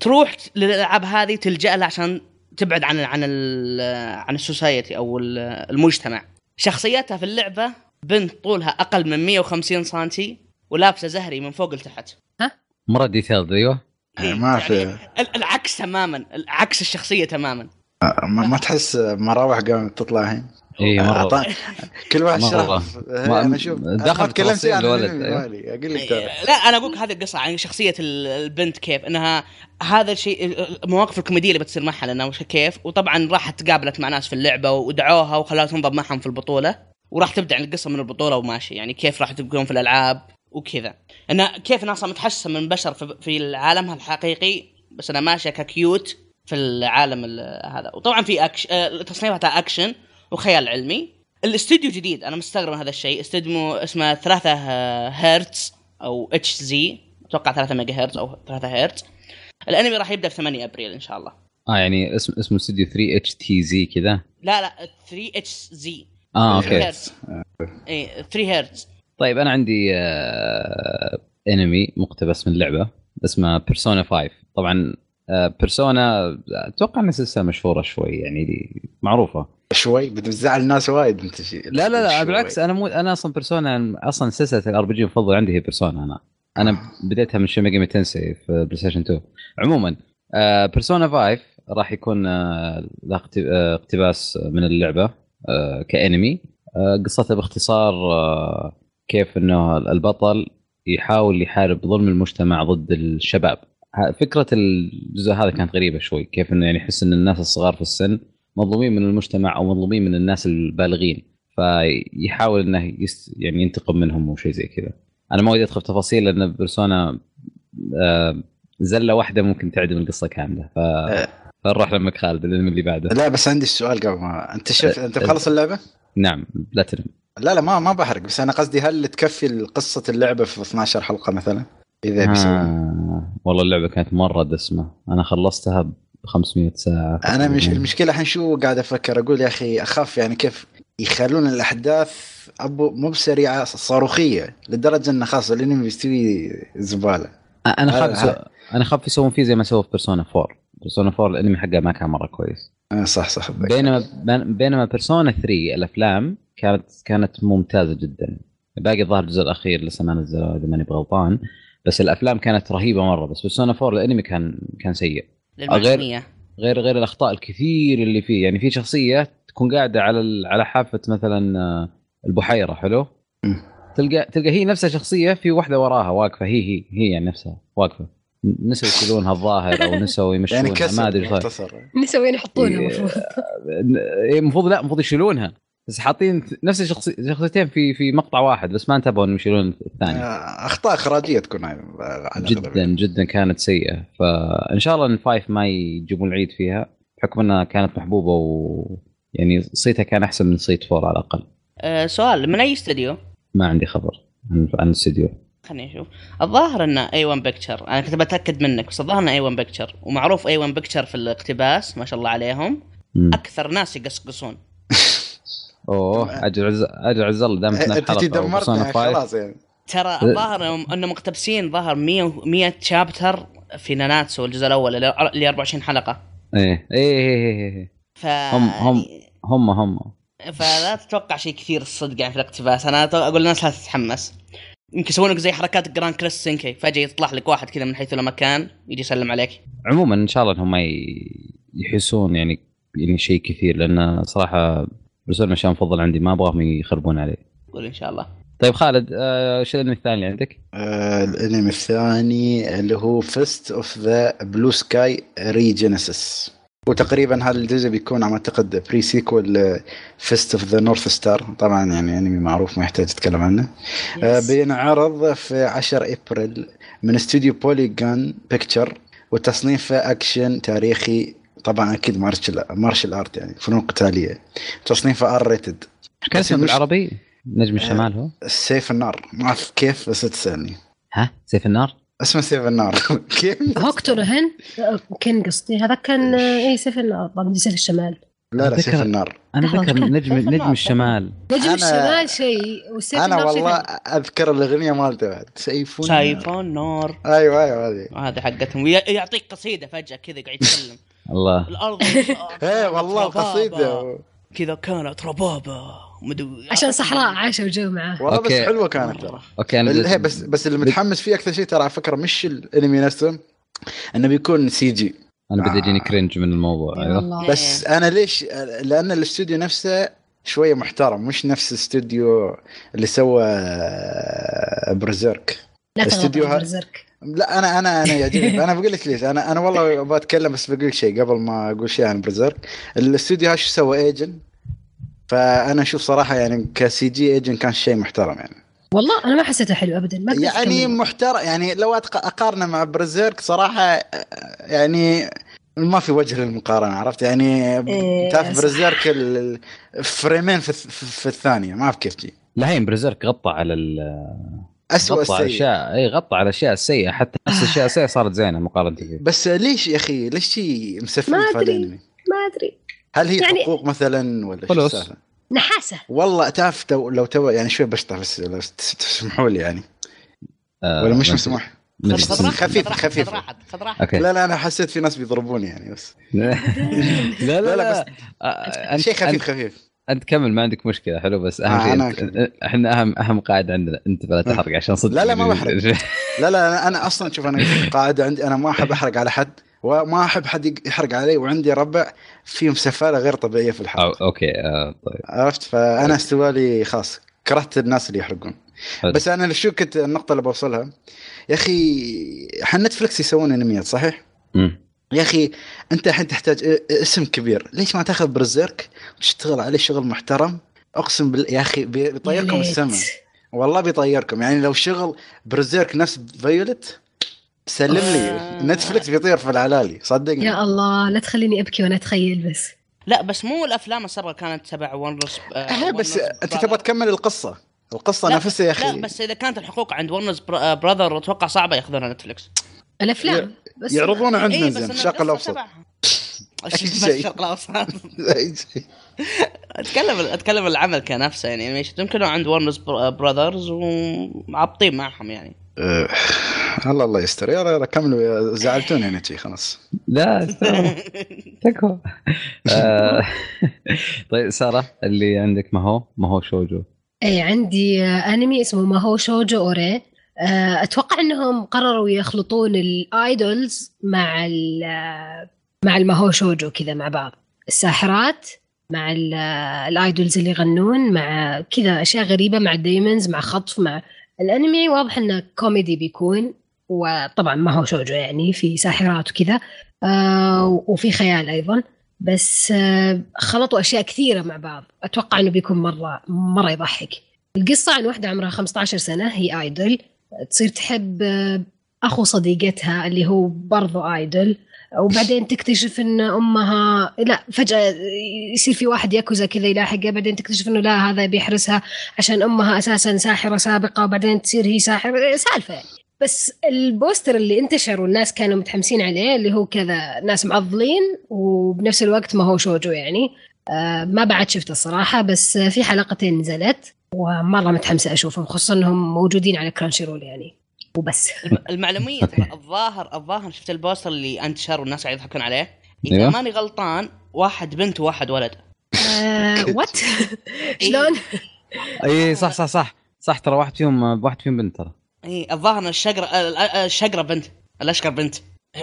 تروح للالعاب هذه تلجا لها عشان تبعد عن عن ال عن السوسايتي او ال- المجتمع شخصيتها في اللعبه بنت طولها اقل من 150 سنتي ولابسه زهري من فوق لتحت مره ديتيلد ايوه ما في يعني ال- العكس تماما العكس الشخصيه تماما ما, ما تحس مراوح قامت تطلع هين اي مره أعطى- كل واحد إيه، مرة. شرف ما- انا شوف أنا دخل ما تكلمت يعني تفاصيل عن الولد، الأنمي أيوة. مالي، اقول لك ترى. إيه، لا انا اقول لك هذه القصه عن شخصيه ال- البنت كيف انها هذا الشيء المواقف الكوميديه اللي بتصير معها لانها وش كيف وطبعا راحت تقابلت مع ناس في اللعبه ودعوها وخلاها تنضب معهم في البطوله وراح تبدا عن القصه من البطوله وماشي يعني كيف راح تكون في الالعاب وكذا انها كيف ناس متحسن من بشر في- في عالمها الحقيقي بس انا ماشيه ككيوت في العالم ال- هذا وطبعا في اكشن تصنيفاتها اكشن وخيال علمي الاستوديو جديد انا مستغرب من هذا الشيء استوديو اسمه 3 هرتز او اتش زي اتوقع 3 ميجا هرتز او 3 هرتز الانمي راح يبدا في 8 ابريل ان شاء الله اه يعني اسم اسمه استوديو 3 اتش تي زي كذا لا لا 3 اتش زي اه اوكي اي 3 إيه، هرتز طيب انا عندي آه انمي مقتبس من لعبه اسمها بيرسونا 5 طبعا آه، بيرسونا اتوقع انها سلسله مشهوره شوي يعني دي معروفه شوي بتزعل الناس وايد انت شيء لا لا لا شوي. بالعكس انا مو انا اصلا بيرسونا اصلا سلسله الار بي جي المفضل عندي هي بيرسونا انا انا بديتها من شيميجامي تنسي في بلاي ستيشن 2 عموما بيرسونا 5 آه، راح يكون آه، لها اقت- آه، اقتباس من اللعبه آه، كانمي آه، قصتها باختصار آه، كيف انه البطل يحاول يحارب ظلم المجتمع ضد الشباب ه- فكره الجزء هذا كانت غريبه شوي كيف انه يعني يحس ان الناس الصغار في السن مظلومين من المجتمع او مظلومين من الناس البالغين فيحاول انه يس يعني ينتقم منهم وشيء زي كذا انا ما ودي ادخل في تفاصيل لان بيرسونا آه، زله واحده ممكن تعدم القصه كامله ف... فنروح لمك خالد الانمي اللي بعده لا بس عندي السؤال قبل ما انت شفت أه، انت مخلص اللعبه؟ نعم بلاتينم لا لا ما ما بحرق بس انا قصدي هل تكفي قصه اللعبه في 12 حلقه مثلا؟ اذا بيسوي آه. والله اللعبه كانت مره دسمه انا خلصتها ب 500 ساعه انا مش تقريباً. المشكله الحين شو قاعد افكر اقول يا اخي اخاف يعني كيف يخلون الاحداث ابو مو بسريعه صاروخيه لدرجه انه خلاص الانمي بيستوي زباله انا خاف هذا- يسو- انا خاف يسوون فيه زي ما سووا في بيرسونا 4 بيرسونا 4 الانمي حقه ما كان مره كويس آه صح صح بينما بينما بيرسونا 3 الافلام كانت كانت ممتازه جدا باقي الظاهر الجزء الاخير لسه ما نزلوا اذا ماني بغلطان بس الافلام كانت رهيبه مره بس بيرسونا 4 الانمي كان كان سيء للمعلوميه غير غير الاخطاء الكثير اللي فيه يعني في شخصيه تكون قاعده على ال- على حافه مثلا آه، البحيره حلو م. تلقى تلقى هي نفسها شخصيه في واحده وراها واقفه هي هي هي يعني نفسها واقفه ن- نسوا يشيلونها الظاهر او نسوا يعني يمشونها ما كسر ادري صار. مختصر نسوي نحطونه إيه. المفروض إيه، المفروض لا المفروض يشيلونها بس حاطين نفس الشخصي- شخصيتين في في مقطع واحد بس ما انتبهوا انهم يشيلون الثاني آه، اخطاء اخراجيه تكون على- إيه، على يعني. جدا الأغلبية. جدا كانت سيئه فان شاء الله ان فايف ما يجيبون العيد فيها بحكم انها كانت محبوبه و يعني صيتها كان احسن من صيت فور على الاقل آه سؤال من اي استوديو؟ ما عندي خبر عن عن الاستديو خليني اشوف الظاهر ان اي 1 بكتشر انا كنت بتاكد منك بس الظاهر ان اي 1 بكتشر ومعروف اي 1 بكتشر في الاقتباس ما شاء الله عليهم مم. اكثر ناس يقصقصون اوه اجل عز اجل عز الله دامت إيه، انت حلقه دمرتنا وبرسونا فايف خلاص يعني إيه. ترى الظاهر إنهم- انه مقتبسين ظهر 100 و- 100 شابتر في ناناتسو الجزء الاول اللي اللي 24 حلقه ايه ايه ايه إيه، إيه. ف هم- هم. هم هم فلا تتوقع شيء كثير الصدق يعني في الاقتباس انا أت- اقول الناس لا تتحمس يمكن يسوون لك زي حركات جران كريس سينكي فجاه يطلع لك واحد كذا من حيث لا مكان يجي يسلم عليك عموما ان شاء الله انهم ما ي- يحسون يعني يعني شيء كثير لان صراحه برسونا شيء مفضل عندي ما ابغاهم يخربون عليه قول ان شاء الله طيب خالد آه، شو الانمي الثاني اللي عندك؟ آه، الانمي الثاني اللي هو فيست اوف ذا بلو سكاي ريجينيسيس وتقريبا هذا الجزء بيكون على ما اعتقد بري سيكول فيست اوف ذا نورث ستار طبعا يعني انمي معروف ما يحتاج اتكلم عنه آه، بينعرض في 10 ابريل من استوديو بوليجون بيكتشر وتصنيفه اكشن تاريخي طبعا اكيد مارشل مارشل ارت يعني فنون قتاليه تصنيفه ار ريتد كان اسمه بس المش- بالعربي آه. نجم الشمال هو سيف النار ما اعرف كيف بس تسالني ها سيف النار اسمه سيف النار كيف هوكتورهن آه، كان قصدي هذا كان اي سيف النار طبعاً سيف الشمال لا لا أتذكر- سيف النار انا لحظة، ذكر كان نجم سيف نجم النار. الشمال نجم أنا- الشمال شيء والسيف انا النار شيء والله ثاني. اذكر الاغنيه مالته بعد سيف النار. سايفون نار ايوه ايوه هذه هذا حقتهم وي- يعطيك قصيده فجاه كذا قاعد يتكلم الله الارض ايه والله ربابة. قصيده كذا كانت ربابه مدو... عشان صحراء عاشوا جو معاه والله بس أوكي. حلوه كانت ترى اوكي انا ال- هي بس بس اللي متحمس فيه اكثر شيء ترى على فكره مش الانمي نفسه انه بيكون سي جي انا بدي آه. يجيني كرنج من أيوه. الموضوع إي ايوه والله بس انا ليش لان الاستوديو نفسه شويه محترم مش نفس الاستوديو اللي سوى برزيرك لا استديو تغلط ها- على برزرك لا انا انا انا يعجبني انا بقول لك ليش انا انا والله بتكلم بس بقول لك شيء قبل ما اقول شيء عن برزيرك الاستوديو هاش سوى ايجن فانا اشوف صراحه يعني كسي جي ايجن كان شيء محترم يعني والله انا ما حسيته حلو ابدا ما قدرت يعني أكمله. محترم يعني لو أتق- اقارنه مع برزيرك صراحه آه، يعني ما في وجه للمقارنه عرفت يعني إيه، تعرف صح. برزيرك ال- الفريمين في, الث- في في الثانيه ما اعرف كيف جي لهين برزيرك غطى على ال- اسوء غطى على السيء اشياء اي غطى على اشياء سيئه حتى نفس الاشياء السيئه صارت زينه مقارنه فيه بس ليش يا اخي ليش شي مسفل ما في أدري. الانمي؟ ما ادري هل هي يعني- حقوق مثلا ولا شو خلاص. السالفة؟ نحاسه والله تعرف تو- لو تو يعني شوي بشطح بس لو تس- تسمحوا لي يعني آه، ولا مش ما- مسموح ما- خذ- خذ بس- راحتك، خفيف- خذ راحتك، خفيف. خذ راحتك، خذ راحتك اوكي لا لا انا حسيت في ناس بيضربوني يعني بس لا لا لا، لا، لا بس آه، أنت- شيء خفيف أنت- خفيف انت كمل ما عندك مشكله حلو بس اهم آه، أنا شيء أنت- احنا اهم اهم قاعده عندنا انت لا تحرق عشان صدق لا، لا، ما يعني- لا لا أنا- انا اصلا شوف انا قاعده عندي انا ما احب احرق على حد وما احب حد يق- يحرق علي وعندي ربع فيهم سفاله غير طبيعيه في أو- الحرق اوكي آه، طيب عرفت فانا استوالي خاص كرهت الناس اللي يحرقون حلو. بس انا شو كنت النقطه اللي بوصلها يا اخي حن نتفلكس يسوون انميات صحيح؟ مم. يا اخي انت الحين تحتاج ا- اسم كبير ليش ما تاخذ برزيرك وتشتغل عليه شغل محترم اقسم بال... يا اخي بي- بيطيركم ليت. السماء والله بيطيركم يعني لو شغل برزيرك نفس فيولت سلم لي آه. نتفلكس بيطير في العلالي صدقني يا الله لا تخليني ابكي وانا اتخيل بس لا بس مو الافلام السابقه كانت تبع ورنرز أه بس انت تبغى تكمل القصه القصه لا، نفسها يا اخي لا بس اذا كانت الحقوق عند آه، ورنرز براذر اتوقع صعبه ياخذونها نتفلكس الافلام بس يعرضونها عندنا إيه، زين إن الشرق القصة الاوسط تبعها. بس شيء. الشرق الاوسط أي شيء. اتكلم اتكلم العمل كنفسه يعني انيميشن يمكن هو عند ورنرز براذرز ومعبطين معهم يعني أه، الله الله يستر يلا يلا كملوا يا- زعلتوني انا شي خلاص لا سارة، تكفى آه، طيب ساره اللي عندك ما هو ما هو شوجو اي عندي آه، انمي اسمه ما هو شوجو اوري آه، اتوقع انهم قرروا يخلطون الايدولز مع ال آه، مع الماهو شوجو كذا مع بعض الساحرات مع ال- آه، الايدولز اللي يغنون مع كذا اشياء غريبه مع الديمونز مع خطف مع الانمي واضح انه كوميدي بيكون وطبعا ما هو شوجو يعني في ساحرات وكذا آه، وفي خيال ايضا بس آه، خلطوا اشياء كثيره مع بعض اتوقع انه بيكون مره مره يضحك القصه عن واحده عمرها 15 سنه هي ايدل تصير تحب آه، اخو صديقتها اللي هو برضو ايدل وبعدين تكتشف ان امها لا فجاه يصير في واحد ياكوزا كذا يلاحقها بعدين تكتشف انه لا هذا بيحرسها عشان امها اساسا ساحره سابقه وبعدين تصير هي ساحره سالفه يعني بس البوستر اللي انتشر والناس كانوا متحمسين عليه اللي هو كذا ناس معضلين وبنفس الوقت ما هو شوجو يعني آه، ما بعد شفته الصراحة بس آه، في حلقتين نزلت ومرة متحمسة أشوفهم خصوصا أنهم موجودين على كرانشي رول يعني وبس المعلوميه ترى الظاهر الظاهر شفت البوستر اللي انتشر والناس قاعد يضحكون عليه اذا أيوه. ماني غلطان واحد بنت وواحد ولد آه، وات إيه، شلون؟ اي صح صح صح صح ترى واحد فيهم واحد فيهم بنت ترى اي إيه، الظاهر آه، ان الشقره ال- ال- الشقره بنت الاشقر بنت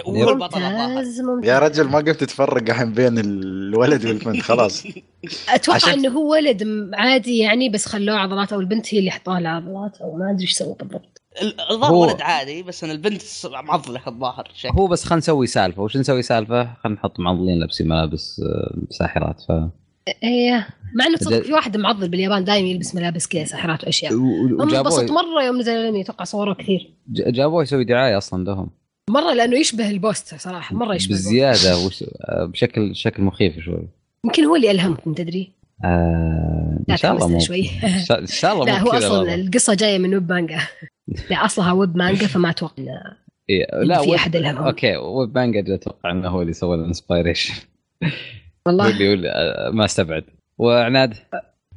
هو البطل الظاهر ممتاز ممتاز يا رجل ما قمت تفرق الحين بين الولد والبنت خلاص أتوقع عشان- أنه هو ولد م- عادي يعني بس خلوه عضلات أو البنت هي اللي حطوها لها عضلات أو ما أدري إيش سووا بالضبط ال- الظاهر هو- ولد عادي بس ان البنت ص- معضله الظاهر طيب. شيء هو بس خلينا نسوي سالفه وش نسوي سالفه خلينا نحط معضلين لابسين ملابس آه، ساحرات ف إيه مع أنه تصدق بدأ- في واحد معضل باليابان دايم يلبس ملابس كذا ساحرات وأشياء و- هم انبسط وجابوه مره يوم نزل الانمي اتوقع صوره كثير ج- جابوه يسوي دعايه اصلا لهم مره لانه يشبه البوستر صراحه مره يشبه البوستر. بزياده وش... آه، بشكل شكل مخيف شوي يمكن هو اللي الهمكم تدري آه... لا ان شاء الله تحمسنا مو شوي إن شاء- ان شاء الله لا مو هو كذا اصلا والله. القصه جايه من ويب مانجا لا اصلها ويب مانجا فما اتوقع إنه إيه، لا في ويب- أحد ألهمهم. اوكي ويب مانجا اتوقع انه هو اللي سوى الانسبيريشن هو والله اللي هو اللي آه، ما استبعد وعناد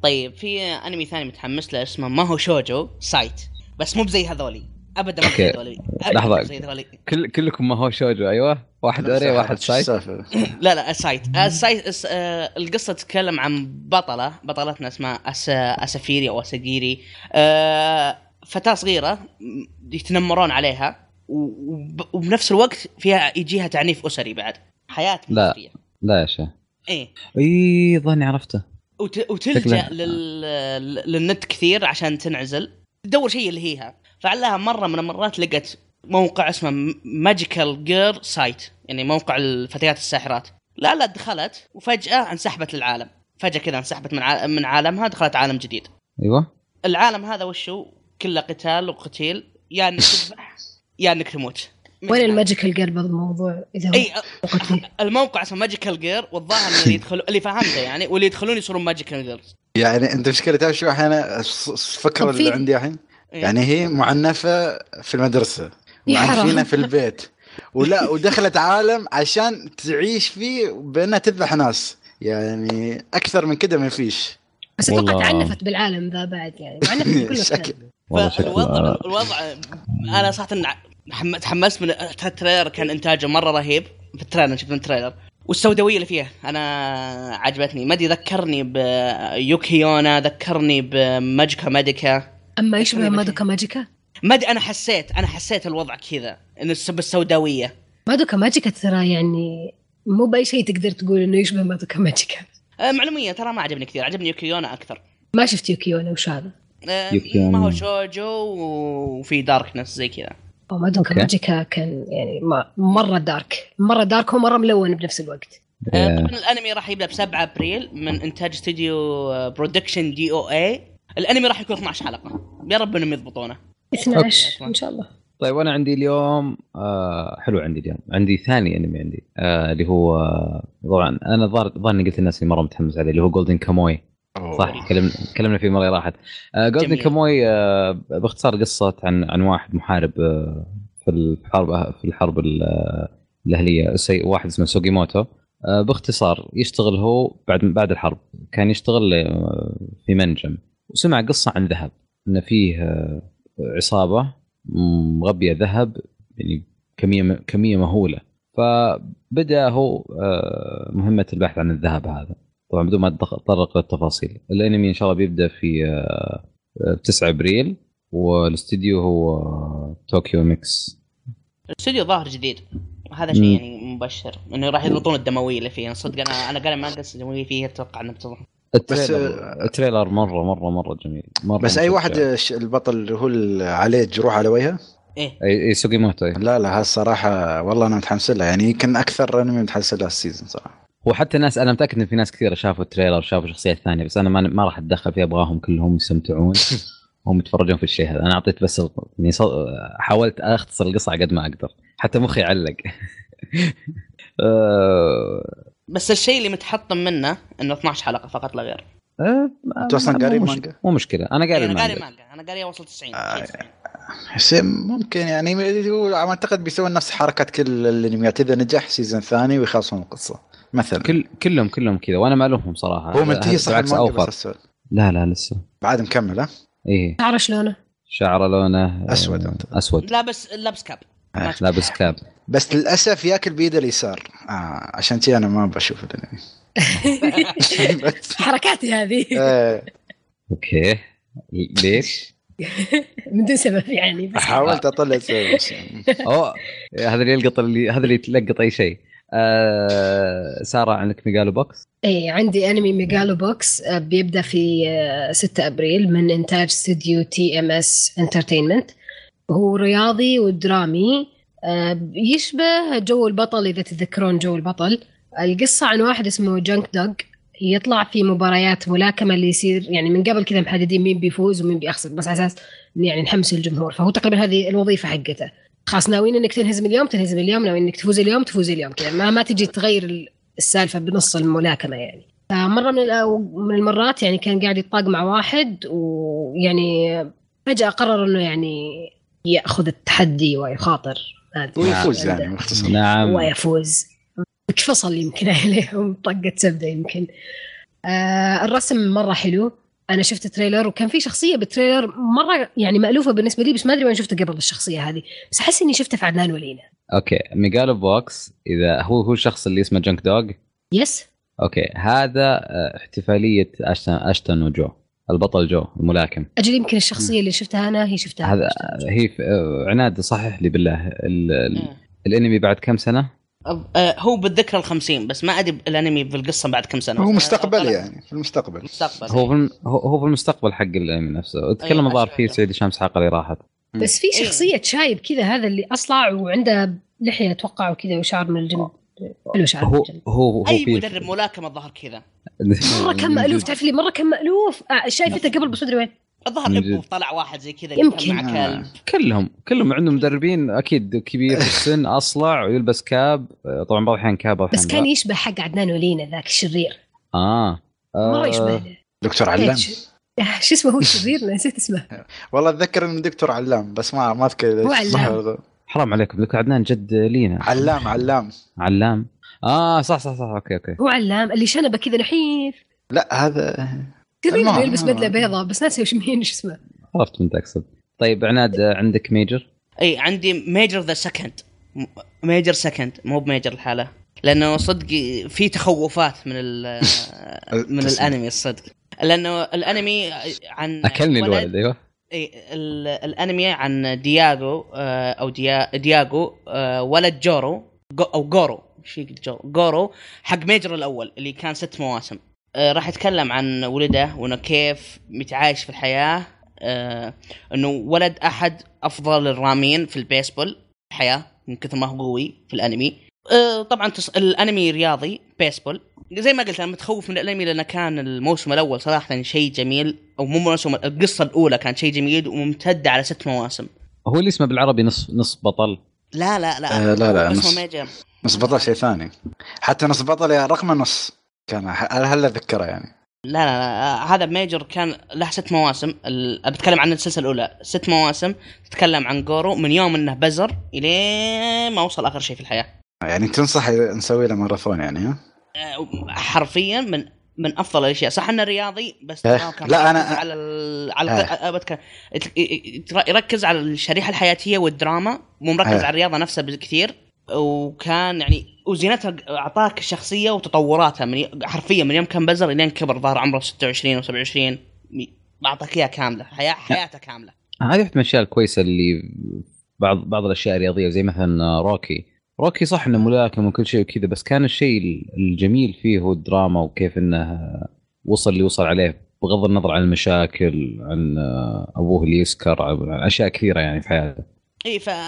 طيب في انمي ثاني متحمس له اسمه ما هو شوجو سايت بس مو بزي هذولي ابدا مو أوكي. زي هذولي أبداً لحظة. مو زي هذولي كل كلكم ما هو شوجو ايوه واحد اوري واحد شو سايت السالفة؟ لا لا السايت السايت الس- آه، القصه تتكلم عن بطله بطلتنا اسمها أس... اسافيري او اساجيري آه، فتاه صغيره م- يتنمرون عليها و- وب... وبنفس الوقت فيها يجيها تعنيف اسري بعد حياه لا. أسرية. لا يا شيخ ايه اي ظني عرفته وت... شكلها- وتلجا لل... لل- للنت كثير عشان تنعزل تدور شيء اللي هيها فعلها مره من المرات لقت موقع اسمه ماجيكال جير سايت يعني موقع الفتيات الساحرات لا لا دخلت وفجاه انسحبت للعالم فجاه كذا انسحبت من ع... من عالمها دخلت عالم جديد ايوه العالم هذا وشو كله قتال وقتيل يا انك تذبح يا انك تموت وين الماجيكال قلب الموضوع اذا هو اي الموقع اسمه ماجيكال جير والظاهر إن اللي يدخلوا اللي فهمته يعني واللي يدخلون يصيرون ماجيكال جيرز يعني انت مشكلة تعرف شو الحين الفكرة طب في- اللي عندي الحين يعني هي معنفة في المدرسة يا معنفينة حرام. في البيت ولا ودخلت عالم عشان تعيش فيه بانها تذبح ناس يعني اكثر من كده ما فيش بس اتوقع والله. تعنفت بالعالم ذا بعد يعني معنفت بكل مكان شكل والله شكله فالوضع الوضع انا صراحه حم- تحمست من التريلر كان انتاجه مره رهيب في التريلر شفت من التريلر والسوداويه اللي فيها انا عجبتني ما ادري ذكرني بيوكيونا ذكرني بماجيكا ماديكا اما يشبه مادوكا ماجيكا ما ادري انا حسيت انا حسيت الوضع كذا انه السب السوداويه مادوكا ماجيكا ترى يعني مو باي شيء تقدر تقول انه يشبه مادوكا ماجيكا آه، معلوميه ترى ما عجبني كثير عجبني يوكيونا اكثر ما شفت يوكيونا وش هذا آه، يوكيونا. ما هو شوجو وفي داركنس زي كذا او مادوكا أوكي. ماجيكا كان يعني ما مره دارك مره دارك ومره ملون بنفس الوقت آه، آه، طبعا الانمي راح يبدا ب 7 ابريل من انتاج استوديو برودكشن إيه. دي او اي الانمي راح يكون 12 حلقه يا رب انهم يضبطونه 12 أوكي. ان شاء الله طيب وانا عندي اليوم آه حلو عندي اليوم عندي ثاني انمي عندي آه اللي هو آه، طبعا انا ظهر ظهرني قلت للناس اني مره متحمس عليه اللي هو جولدن كاموي صح تكلمنا تكلمنا فيه مره راحت جولدن جميل. كاموي آه، باختصار قصه عن عن واحد محارب آه، في الحرب في الحرب ال- آه، الاهليه سي- واحد اسمه سوجيموتو آه، باختصار يشتغل هو بعد بعد الحرب كان يشتغل آه، في منجم وسمع قصه عن ذهب ان فيه آه، عصابه مغبيه ذهب يعني كميه كميه مهوله فبدا هو آه، مهمه البحث عن الذهب هذا طبعا بدون ما اتطرق للتفاصيل الانمي ان شاء الله بيبدا في آه، آه، 9 ابريل والاستديو هو آه، طوكيو ميكس الاستوديو ظاهر جديد هذا شيء مم. يعني مبشر انه راح يضبطون الدمويه اللي فيه صدق انا انا قال ما قص الدمويه فيه اتوقع انه بتضبط بس- التريلر التريلر مره مره مره جميل مره بس اي مشجع. واحد ش- البطل اللي هو اللي عليه جروح على وجهه ايه اي اي سوجيموتو إي. لا لا الصراحه والله انا متحمس لها يعني يمكن اكثر انمي متحمس لها السيزون صراحه وحتى ناس انا متاكد ان في ناس كثيره شافوا التريلر شافوا شخصيات ثانيه بس انا ما ما راح اتدخل فيها ابغاهم كلهم يستمتعون هم يتفرجون في الشيء هذا انا اعطيت بس ال- يعني صو- حاولت اختصر القصه على قد ما اقدر حتى مخي علق آه، بس الشيء اللي متحطم منه انه 12 حلقه فقط لا غير آه، أنت أصلاً مو- مو قاري مش- مانجا؟ مو مشكله انا قاري انا قاري المانجا مانجا انا قاري وصل 90 آه. 90. بس ممكن يعني م- هو اعتقد بيسوون نفس حركات كل الانميات اذا نجح سيزون ثاني ويخلصون القصه مثلا كل كلهم كلهم كذا وانا ما الومهم صراحه هو منتهي هذا صح بالعكس المانجا بس اوفر السؤال. لا لا لسه بعد مكمل ها ايه تعرف شلونه شعره لونه آه، أسود أنت. اسود لابس لابس كاب آه، ما شفت. لابس كاب بس للاسف ياكل بايده اليسار آه عشان كذا انا ما بشوف الانمي بس- حركاتي هذه آه، اوكي ليش؟ من دون سبب يعني بس حاولت اطلع سبب بس. اوه هذا اللي يلقط اللي هذا اللي يتلقط اي شيء آه ساره عندك ميجالو بوكس اي إيه، عندي انمي ميجالو بوكس آه، بيبدا في آه، 6 ابريل من انتاج استوديو تي ام اس انترتينمنت هو رياضي ودرامي آه، يشبه جو البطل اذا تتذكرون جو البطل القصه عن واحد اسمه جانك دوغ يطلع في مباريات ملاكمه اللي يصير يعني من قبل كذا محددين مين بيفوز ومين بيخسر بس على اساس إن يعني نحمس الجمهور فهو تقريبا هذه الوظيفه حقته خلاص ناويين انك تنهزم اليوم تنهزم اليوم ناويين انك تفوز اليوم تفوز اليوم كذا ما, ما تجي تغير ال- السالفه بنص الملاكمه يعني فمره من الأو- من المرات يعني كان قاعد يطاق مع واحد ويعني فجاه قرر انه يعني ياخذ التحدي ويخاطر هذا ويفوز عنده. يعني باختصار نعم ويفوز فصل يمكن عليهم طقة زبدة يمكن آه الرسم مرة حلو أنا شفت تريلر وكان في شخصية بالتريلر مرة يعني مألوفة بالنسبة لي بس ما أدري وين شفتها قبل الشخصية هذه بس أحس إني شفتها في عدنان ولينا اوكي ميجالو بوكس اذا هو هو الشخص اللي اسمه جنك دوغ يس اوكي هذا آه، احتفاليه اشتن اشتن وجو البطل جو الملاكم أجل يمكن الشخصية اللي شفتها أنا هي شفتها هذا هي في- آه، عناد صحح لي بالله ال- ال- مم. الانمي بعد كم سنه؟ إيه. أب- آه، هو بالذكرى الخمسين بس ما ادري الانمي بالقصه بعد كم سنه هو أنا- مستقبلي أنا- يعني في المستقبل مستقبل هو في الم- هو- هو في المستقبل حق الانمي نفسه تكلم أيوة، الظاهر أشوف. فيه سعيد شمس حقه اللي راحت بس في إيه. شخصية شايب كذا هذا اللي أصلع وعنده لحية أتوقع وكذا وشعر من الجنب حلو شعر من هو الجنب هو هو اي فيه- مدرب ملاكمه الظهر كذا مرة كان مألوف تعرف لي مرة كان مألوف آه نعم. شايفته قبل بس ما أدري وين الظهر من ابو جد. طلع واحد زي كذا يمكن. مع آه. كلب كلهم كلهم عندهم مدربين اكيد كبير في السن اصلع ويلبس كاب طبعا بعض الاحيان كاب بعض بس الأحيان كان لا. يشبه حق عدنان ولينا ذاك الشرير اه مره آه، يشبهنا دكتور علام إيش- شو اسمه هو الشرير نسيت اسمه والله اتذكر انه دكتور علام بس ما ما اذكر هو صح علام. ولا غلط. حرام عليكم ذكر عدنان جد لينا علام علام علام اه صح صح صح اوكي اوكي هو علام اللي شنبه كذا نحيف لا هذا كبير المهم. اللي يلبس بدله بيضاء بس ناسي وش مين وش اسمه عرفت من تقصد طيب عناد آه، عندك ميجر اي عندي ميجر ذا سكند ميجر سكند مو بميجر الحاله لانه صدق في تخوفات من ال من تسمع. الانمي الصدق لانه الانمي عن اكلني نعم. ولد- الولد ايوه اي إيه، ال- الانمي عن دياغو آه، او ديا دياغو آه، ولد جورو جو- او جورو شي جورو جورو حق ميجر الاول اللي كان ست مواسم آه، راح يتكلم عن ولده وانه كيف متعايش في الحياه آه، انه ولد احد افضل الرامين في البيسبول في الحياه من كثر ما هو قوي في الانمي آه، طبعا تص... الانمي رياضي بيسبول زي ما قلت انا متخوف من الانمي لانه كان الموسم الاول صراحه شيء جميل او مو موسم القصه الاولى كانت شيء جميل وممتده على ست مواسم هو اللي اسمه بالعربي نصف نصف بطل لا لا لا آه، لا، لا، اسمه نص. ميجر نص بطل شيء ثاني حتى نص بطل يا رقمه نص كان ح- هلا اذكره يعني لا لا, لا آه، هذا ميجر كان له ست مواسم ال... بتكلم عن السلسله الاولى ست مواسم تتكلم عن جورو من يوم انه بزر الين ما وصل اخر شيء في الحياه يعني تنصح نسوي له ماراثون يعني ها؟ حرفيا من من افضل الاشياء صح انه رياضي بس إيه. تراو كان مركز لا، أنا- إيه. على ال... على الق- بتك- يت- يركز على الشريحه الحياتيه والدراما مو مركز إيه. على الرياضه نفسها بكثير وكان يعني وزينتها اعطاك الشخصيه وتطوراتها من ي- حرفيا من يوم كان بزر الين كبر ظهر عمره 26 و27 اعطاك اياها كامله إيه. حياه حياته كامله هذه واحده من الاشياء الكويسه اللي بعض بعض الاشياء الرياضيه زي مثلا روكي روكي صح انه ملاكم وكل شيء وكذا بس كان الشيء الجميل فيه هو الدراما وكيف انه وصل اللي وصل عليه بغض النظر عن المشاكل عن ابوه اللي يسكر عن اشياء كثيره يعني في حياته اي فانا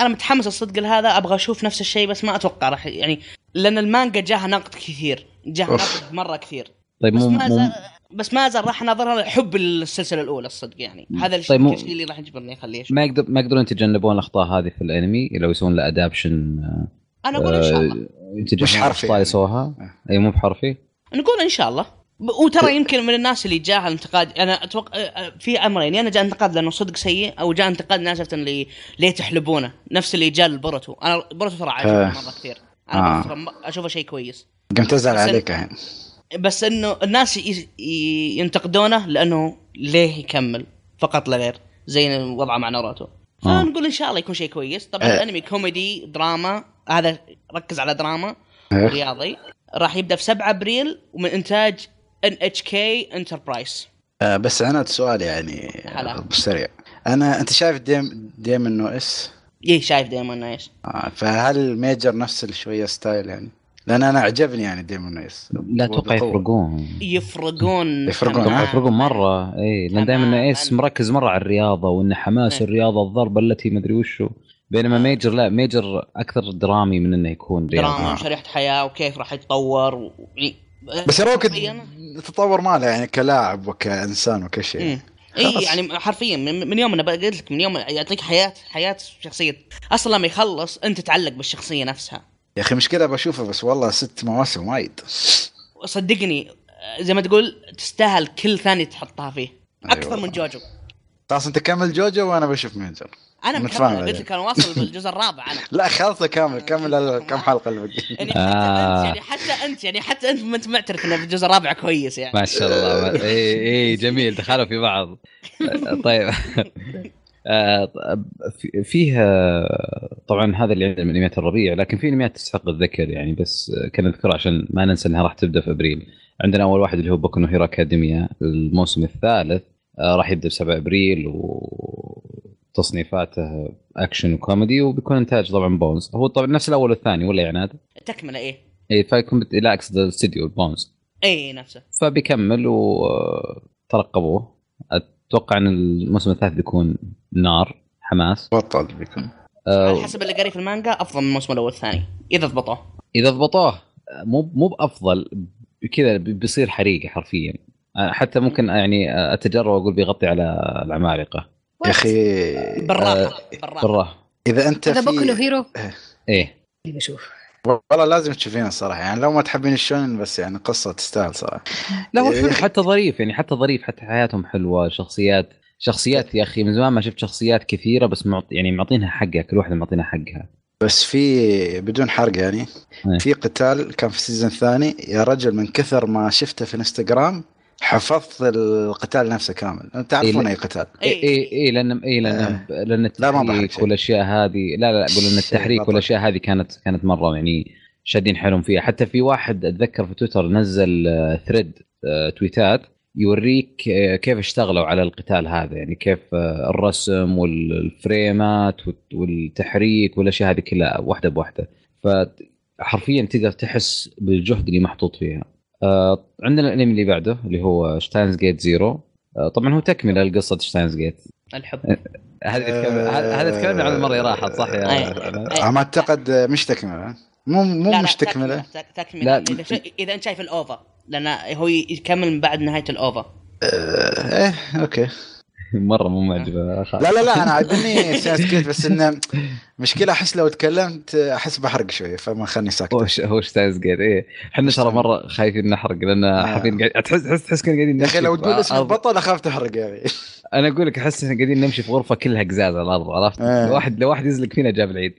إيه، متحمس الصدق لهذا ابغى اشوف نفس الشيء بس ما اتوقع راح يعني لان المانجا جاها نقد كثير جاها أوف. نقد مره كثير طيب بس مو ما مو زال بس ما زال راح نظرها حب السلسله الاولى الصدق يعني هذا الشيء طيب، مو- الشيء اللي راح يجبرني اخليه أشوف. ما يقدر ما يقدرون يتجنبون الاخطاء هذه في الانمي لو يسوون له آه، ادابشن انا اقول ان شاء الله مش حرفي يعني. يسووها اي مو بحرفي نقول ان شاء الله ب- طيب. وترى يمكن من الناس اللي جاها الانتقاد انا اتوقع أه، أه، في امرين يا انا جاء انتقاد لانه صدق سيء او جاء انتقاد ناس عرفت اللي ليه تحلبونه نفس اللي جاء لبرتو انا بروتو ترى آه. عجبني مره كثير انا آه. بروتو ترى اشوفه شيء كويس قمت ازعل بس ال- عليك الحين بس انه الناس ي- ي- ينتقدونه لانه ليه يكمل فقط لا غير زي وضعه مع ناروتو آه. فنقول ان شاء الله يكون شيء كويس طبعا آه. الانمي كوميدي دراما هذا ركز على دراما إيه. رياضي راح يبدا في 7 ابريل ومن انتاج ان اتش كي انتربرايز آه، بس عناد سؤال يعني هلا. آه، سريع انا انت شايف ديم ديم انه اس ايه شايف دايمون ايش آه، فهل ميجر نفس الشويه ستايل يعني؟ لان انا عجبني يعني ديمون ايس لا اتوقع يفرقون يفرقون يفرقون، تمام. آه. يفرقون مره اي لان تمام. دائما ايس مركز مره على الرياضه وانه حماس إيه. الرياضه الضربه التي مدري وشو بينما ميجر لا ميجر اكثر درامي من انه يكون رياضي دراما وشريحه حياه وكيف راح يتطور و... يعني بس روكت حرفياً- تطور ماله يعني كلاعب وكانسان وكل شيء مم. اي إيه. خلاص. يعني حرفيا من من يوم انا قلت لك من يوم يعطيك حياه حياه شخصيه اصلا لما يخلص انت تعلق بالشخصيه نفسها يا اخي مشكله بشوفه بس والله ست مواسم وايد صدقني زي ما تقول تستاهل كل ثانيه تحطها فيه اكثر أيوة. من جوجو خلاص انت كمل جوجو وانا بشوف ميجر انا متفاهم مكمل قلت عليك. لك انا واصل بالجزء الرابع انا لا خلاص كامل كمل ال- كم حلقه اللي بقي يعني آه. حتى انت يعني حتى انت يعني حتى انت ما انت معترف ان الجزء الرابع كويس يعني ما شاء الله اي اي جميل دخلوا في بعض طيب آه، طب- في- فيه آه، طبعا هذا اللي عندنا من انميات الربيع لكن في انميات تستحق الذكر يعني بس آه، كان اذكرها عشان ما ننسى انها راح تبدا في ابريل عندنا اول واحد اللي هو بوكو هيرو اكاديميا الموسم الثالث آه، راح يبدا ب 7 ابريل وتصنيفاته اكشن وكوميدي وبيكون انتاج طبعا بونز هو طبعا نفس الاول والثاني ولا يا عناد؟ تكمله ايه اي فيكون بت- لا اقصد الاستديو بونز اي إيه، نفسه فبيكمل آه، وترقبوه اتوقع ان الموسم الثالث بيكون نار حماس آه، بطل بيكون على حسب اللي قاري في المانجا افضل من الموسم الاول والثاني اذا ضبطوه اذا ضبطوه مو مو بافضل كذا بيصير حريقه حرفيا حتى ممكن يعني اتجرأ واقول بيغطي على العمالقه يا اخي إيه. آه. بالراحه بالراحه براه اذا انت هذا بوكو نو في هيرو ايه اللي بشوف والله لازم تشوفينه الصراحه يعني لو ما تحبين الشونن بس يعني قصه تستاهل صراحه لا هو حلو إيه، حتى ظريف يعني حتى ظريف حتى حياتهم حلوه شخصيات شخصيات يا اخي من زمان ما شفت شخصيات كثيره بس معط يعني معطينها حقها كل واحده معطينها حقها بس في بدون حرق يعني إيه. في قتال كان في السيزون الثاني يا رجل من كثر ما شفته في انستغرام حفظت القتال نفسه كامل انت تعرفون إيه. اي قتال اي اي اي لان اي لان لان آه. لا، ما بحرق التحريك شيء. والاشياء هذه لا لا اقول ان شيء التحريك بطل. والاشياء هذه كانت كانت مره يعني شادين حيلهم فيها حتى في واحد اتذكر في تويتر نزل آه، ثريد آه، تويتات يوريك آه، كيف اشتغلوا على القتال هذا يعني كيف آه، الرسم والفريمات والت- والتحريك والاشياء هذه كلها واحده بواحده فحرفيا تقدر تحس بالجهد اللي محطوط فيها آه، عندنا الانمي اللي بعده اللي هو شتاينز جيت زيرو آه، طبعا هو تكمله لقصه شتاينز جيت الحب هذا تكلم- هذا آه، هذا تكلمنا عن المره اللي راحت صح يا إيه. أي. على ما اعتقد مش تكمله مو مو لا لا، مش تكمله تك- تكمله لا. إذا, شا- اذا انت شايف الاوفا لان هو يكمل من بعد نهايه الاوفا آه، ايه اوكي مره مو معجبه أخاف. لا لا لا انا عاجبني سكيت بس انه مشكله احس لو تكلمت احس بحرق شويه فما خلني ساكت هو ش- هو ستايلز قاعد ايه احنا ترى مره خايفين نحرق لان حرفيا قاعد تحس تحس تحس كنا قاعدين آه. يا اخي نمشي لو في تقول اسم أرض- البطل يعني. اخاف تحرق يا اخي انا اقول لك احس احنا قاعدين نمشي في غرفه كلها قزاز على الارض عرفت؟ إيه. لو واحد لو واحد يزلق فينا جاب العيد.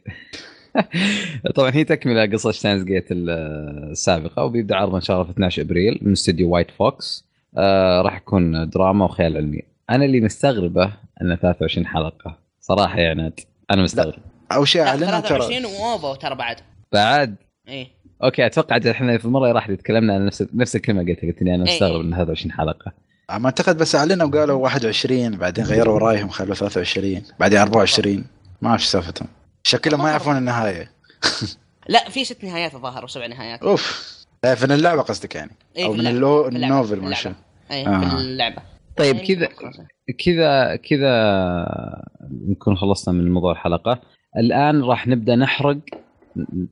طبعا هي تكمله قصه شتاينز جيت السابقه وبيبدا عرضه ان شاء الله في 12 ابريل من استديو وايت فوكس آه راح يكون دراما وخيال علمي. انا اللي مستغربه انه 23 حلقه صراحه يا عناد انا يعني مستغرب او شيء اعلنها 23 ترى واوفا ترى بعد إيه. بعد اي اوكي اتوقع عاد احنا في المره اللي راحت تكلمنا عن نفس نفس الكلمه قلتها قلت اني انا إيه. مستغرب ان 23 حلقه ما اعتقد بس اعلنوا وقالوا 21 بعدين غيروا رايهم خلوا 23 بعدين 24 ما اعرف إيش سالفتهم شكلهم ما يعرفون النهايه لا في ست نهايات الظاهر وسبع نهايات اوف لا، من اللعبه قصدك يعني إيه، او في من اللعبة. اللو... في اللعبة. النوفل في ما شاء اللعبة. اي آه. في اللعبه طيب يعني كذا خلاص. كذا كذا نكون خلصنا من موضوع الحلقه الان راح نبدا نحرق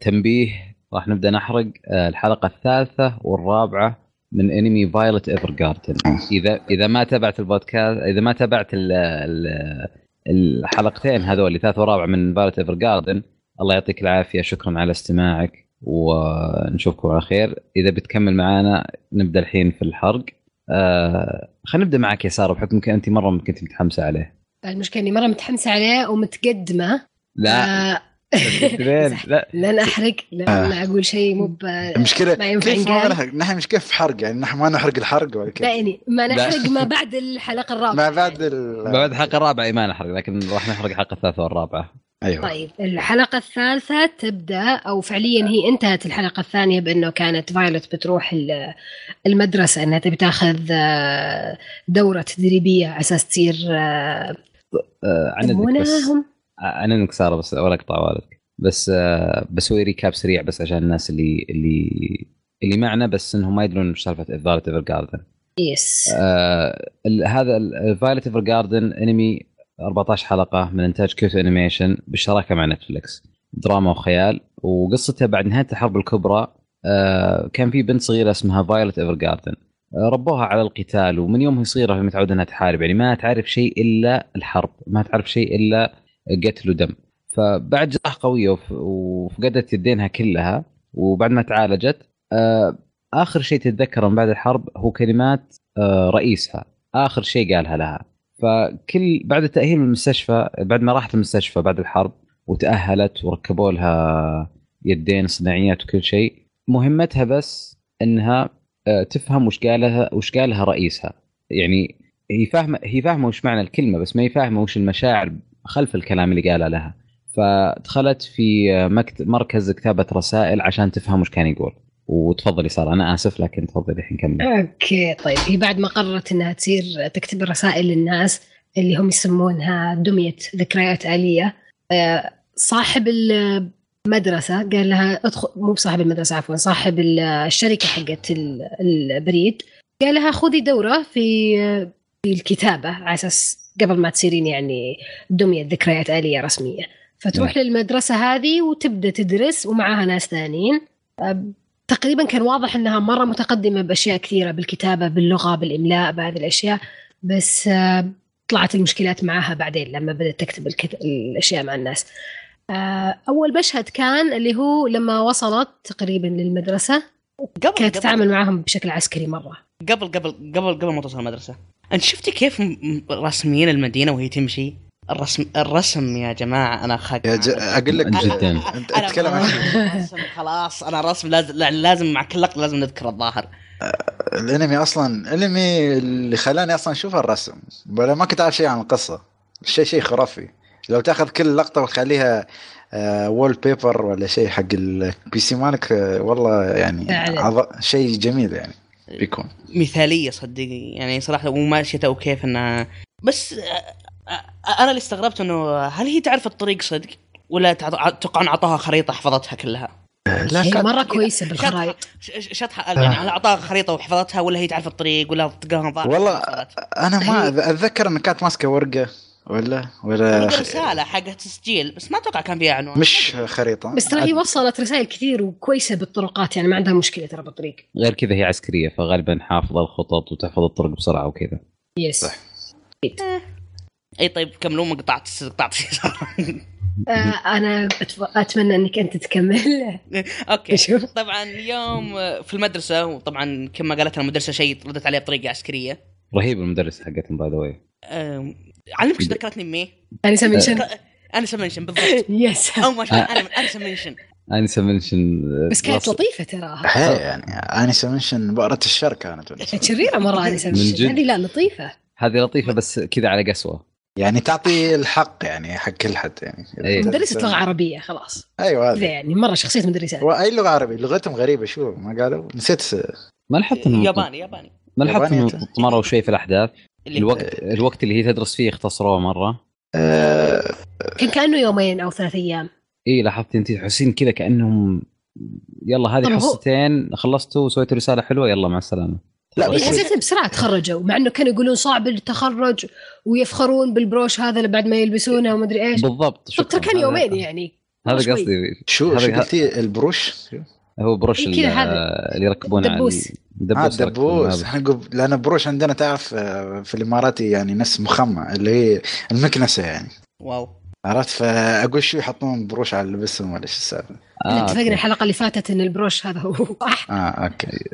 تنبيه راح نبدا نحرق آه، الحلقه الثالثه والرابعه من انمي فايلت ايفر جاردن اذا اذا ما تابعت البودكاست اذا ما تابعت ال- ال- الحلقتين هذول ثالث ورابع من فايلت ايفر جاردن الله يعطيك العافيه شكرا على استماعك ونشوفكم على خير اذا بتكمل معنا نبدا الحين في الحرق آه خلينا نبدا معك يا ساره بحكم يمكن انت مره كنت متحمسه عليه المشكله اني مره متحمسه عليه ومتقدمه لا آه زين، لا لن احرق لان اقول شيء مو ب... المشكله ما ينفع كيف ما نقال. نحرق نحن مش كيف حرق يعني نحن ما نحرق الحرق ولا لا كيف يعني ما لا. نحرق ما بعد الحلقه الرابعه ما بعد ال... بعد الحلقه الرابعه إي ما نحرق لكن راح نحرق الحلقه الثالثه والرابعه ايوه طيب الحلقة الثالثة تبدأ أو فعليا هي انتهت الحلقة الثانية بأنه كانت فايلوت بتروح ال- المدرسة أنها تبي تاخذ آه، دورة تدريبية على أساس تصير آه، آه طيب، عندك بس مناهم عندك ساره بس ولا اقطع والدك بس آه بسوي ريكاب سريع بس عشان الناس اللي اللي اللي معنا بس انهم ما يدرون ايش سالفه فايلت ايفر جاردن يس آه ال- هذا فايلت ايفر جاردن انمي 14 حلقه من انتاج كيوتو انيميشن بالشراكه مع نتفلكس دراما وخيال وقصته بعد نهايه الحرب الكبرى آه كان في بنت صغيره اسمها فايلت ايفر جاردن ربوها على القتال ومن يوم هي صغيره هي متعوده انها تحارب يعني ما تعرف شيء الا الحرب ما تعرف شيء الا قتل ودم فبعد جراحه قويه وف- وفقدت يدينها كلها وبعد ما تعالجت آه، اخر شيء تتذكره من بعد الحرب هو كلمات آه، رئيسها اخر شيء قالها لها فكل بعد التاهيل من المستشفى بعد ما راحت المستشفى بعد الحرب وتاهلت وركبوا لها يدين صناعيات وكل شيء مهمتها بس انها آه، تفهم وش قالها وش قالها رئيسها يعني هي فاهمه هي فاهمه وش معنى الكلمه بس ما هي فاهمه وش المشاعر خلف الكلام اللي قالها لها فدخلت في آه، مكت... مركز كتابه رسائل عشان تفهم وش كان يقول وتفضلي ساره انا اسف لكن تفضلي الحين كملي اوكي طيب هي بعد ما قررت انها تصير تكتب رسائل للناس اللي هم يسمونها دمية ذكريات آلية آه، صاحب المدرسة قال لها ادخل مو بصاحب المدرسة عفوا صاحب ال- الشركة حقت ال- البريد قال لها خذي دورة في في الكتابة على أساس قبل ما تصيرين يعني دمية ذكريات آلية رسمية فتروح للمدرسة هذه وتبدأ تدرس ومعاها ناس ثانيين آه، تقريبا كان واضح انها مره متقدمه باشياء كثيره بالكتابه باللغه بالاملاء بهذه الاشياء بس آه، طلعت المشكلات معها بعدين لما بدات تكتب الكت... الاشياء مع الناس آه، اول مشهد كان اللي هو لما وصلت تقريبا للمدرسه قبل كانت قبل- تتعامل معاهم بشكل عسكري مره قبل قبل قبل قبل ما توصل المدرسه انت شفتي كيف م- م- راسمين المدينه وهي تمشي الرسم الرسم يا جماعه انا خد يا ج... اقول لك جدا أنت أتكلم عن خلاص انا رسم لازم لا- لازم مع كل لقطه لازم نذكر الظاهر الانمي اصلا الانمي اللي خلاني اصلا اشوف الرسم ولا ما كنت عارف شيء عن القصه شيء شيء خرافي لو تاخذ كل لقطه وتخليها وول بيبر ولا شيء حق البي سي مالك آه، والله يعني فعلاً. عظ... شيء جميل يعني بيكون مثاليه صدقني يعني صراحه وماشيه وكيف انها بس آه، آه، انا اللي استغربت انه هل هي تعرف الطريق صدق ولا تع- توقعون اعطاها خريطه حفظتها كلها آه، لا هي كانت- مره كويسه بالخرائط ش- ش- شطحه يعني هل اعطاها خريطه وحفظتها ولا هي تعرف الطريق ولا تلقاها ضاعت والله وصلت؟ انا ما أذ- اتذكر ان كانت ماسكه ورقه ولا ولا لقى رساله حق تسجيل بس ما اتوقع كان فيها عنوان مش خريطه بس ترى هي وصلت رسائل كثير وكويسه بالطرقات يعني ما عندها مشكله ترى بالطريق غير كذا هي عسكريه فغالبا حافظه الخطط وتحفظ الطرق بسرعه وكذا يس صح. أكيد. اي طيب كملوا ما قطعت قطعت آه، انا أتف- اتمنى انك انت تكمل اوكي شوف. طبعا اليوم في المدرسه وطبعا كما قالت المدرسه شيء ردت عليه بطريقه عسكريه رهيب المدرس حقتهم باي ذا واي أم، علمك ايش ذكرتني بمي؟ انا آه. سمنشن انا منشن بالضبط يس آه، او ما شاء الله، انا انا منشن انسى منشن بس كانت لطيفه تراها هي يعني انسه منشن بؤرة الشر كانت ولا شيء. شريره مره انا من جد. سمنشن هذه لا لطيفه هذه لطيفه بس كذا على قسوه يعني تعطي الحق يعني حق كل حد يعني إيه. مدرسه لغه عربيه خلاص ايوه كذا هذا يعني مره شخصيه مدرسات واي لغه عربي لغتهم غريبه شو ما قالوا نسيت س- ما لاحظت انهم ياباني ياباني ما لاحظت ياباني انهم أنت. طمروا شوي في الاحداث اللي- الوقت الوقت اللي هي تدرس فيه اختصروه مره آه، كان كانه يومين او ثلاث ايام اي إيه، لاحظت انت تحسين كذا كانهم يلا طب هذه هو- حصتين خلصتوا وسويتوا رساله حلوه يلا مع السلامه لا إيه، بس حسيت بسرعه تخرجوا مع انه كانوا يقولون صعب التخرج ويفخرون بالبروش هذا اللي بعد ما يلبسونه وما ادري ايش بالضبط طب ترى شكراً. كان هذا- يومين يعني مرة هذا شوي. قصدي شو شو هذا- قلتي البروش؟ آه، هو بروش إيه، كذا ال- هذا. اللي يركبونه دبوس. اه دبوس دبوس احنا قب... لان بروش عندنا تعرف آه، في الاماراتي يعني نفس مخمه اللي هي المكنسه يعني واو عرفت فاقول شو يحطون بروش على لبسهم ولا شو السالفه؟ احنا اتفقنا اتفقنا الحلقه اللي فاتت ان البروش هذا هو صح اه اوكي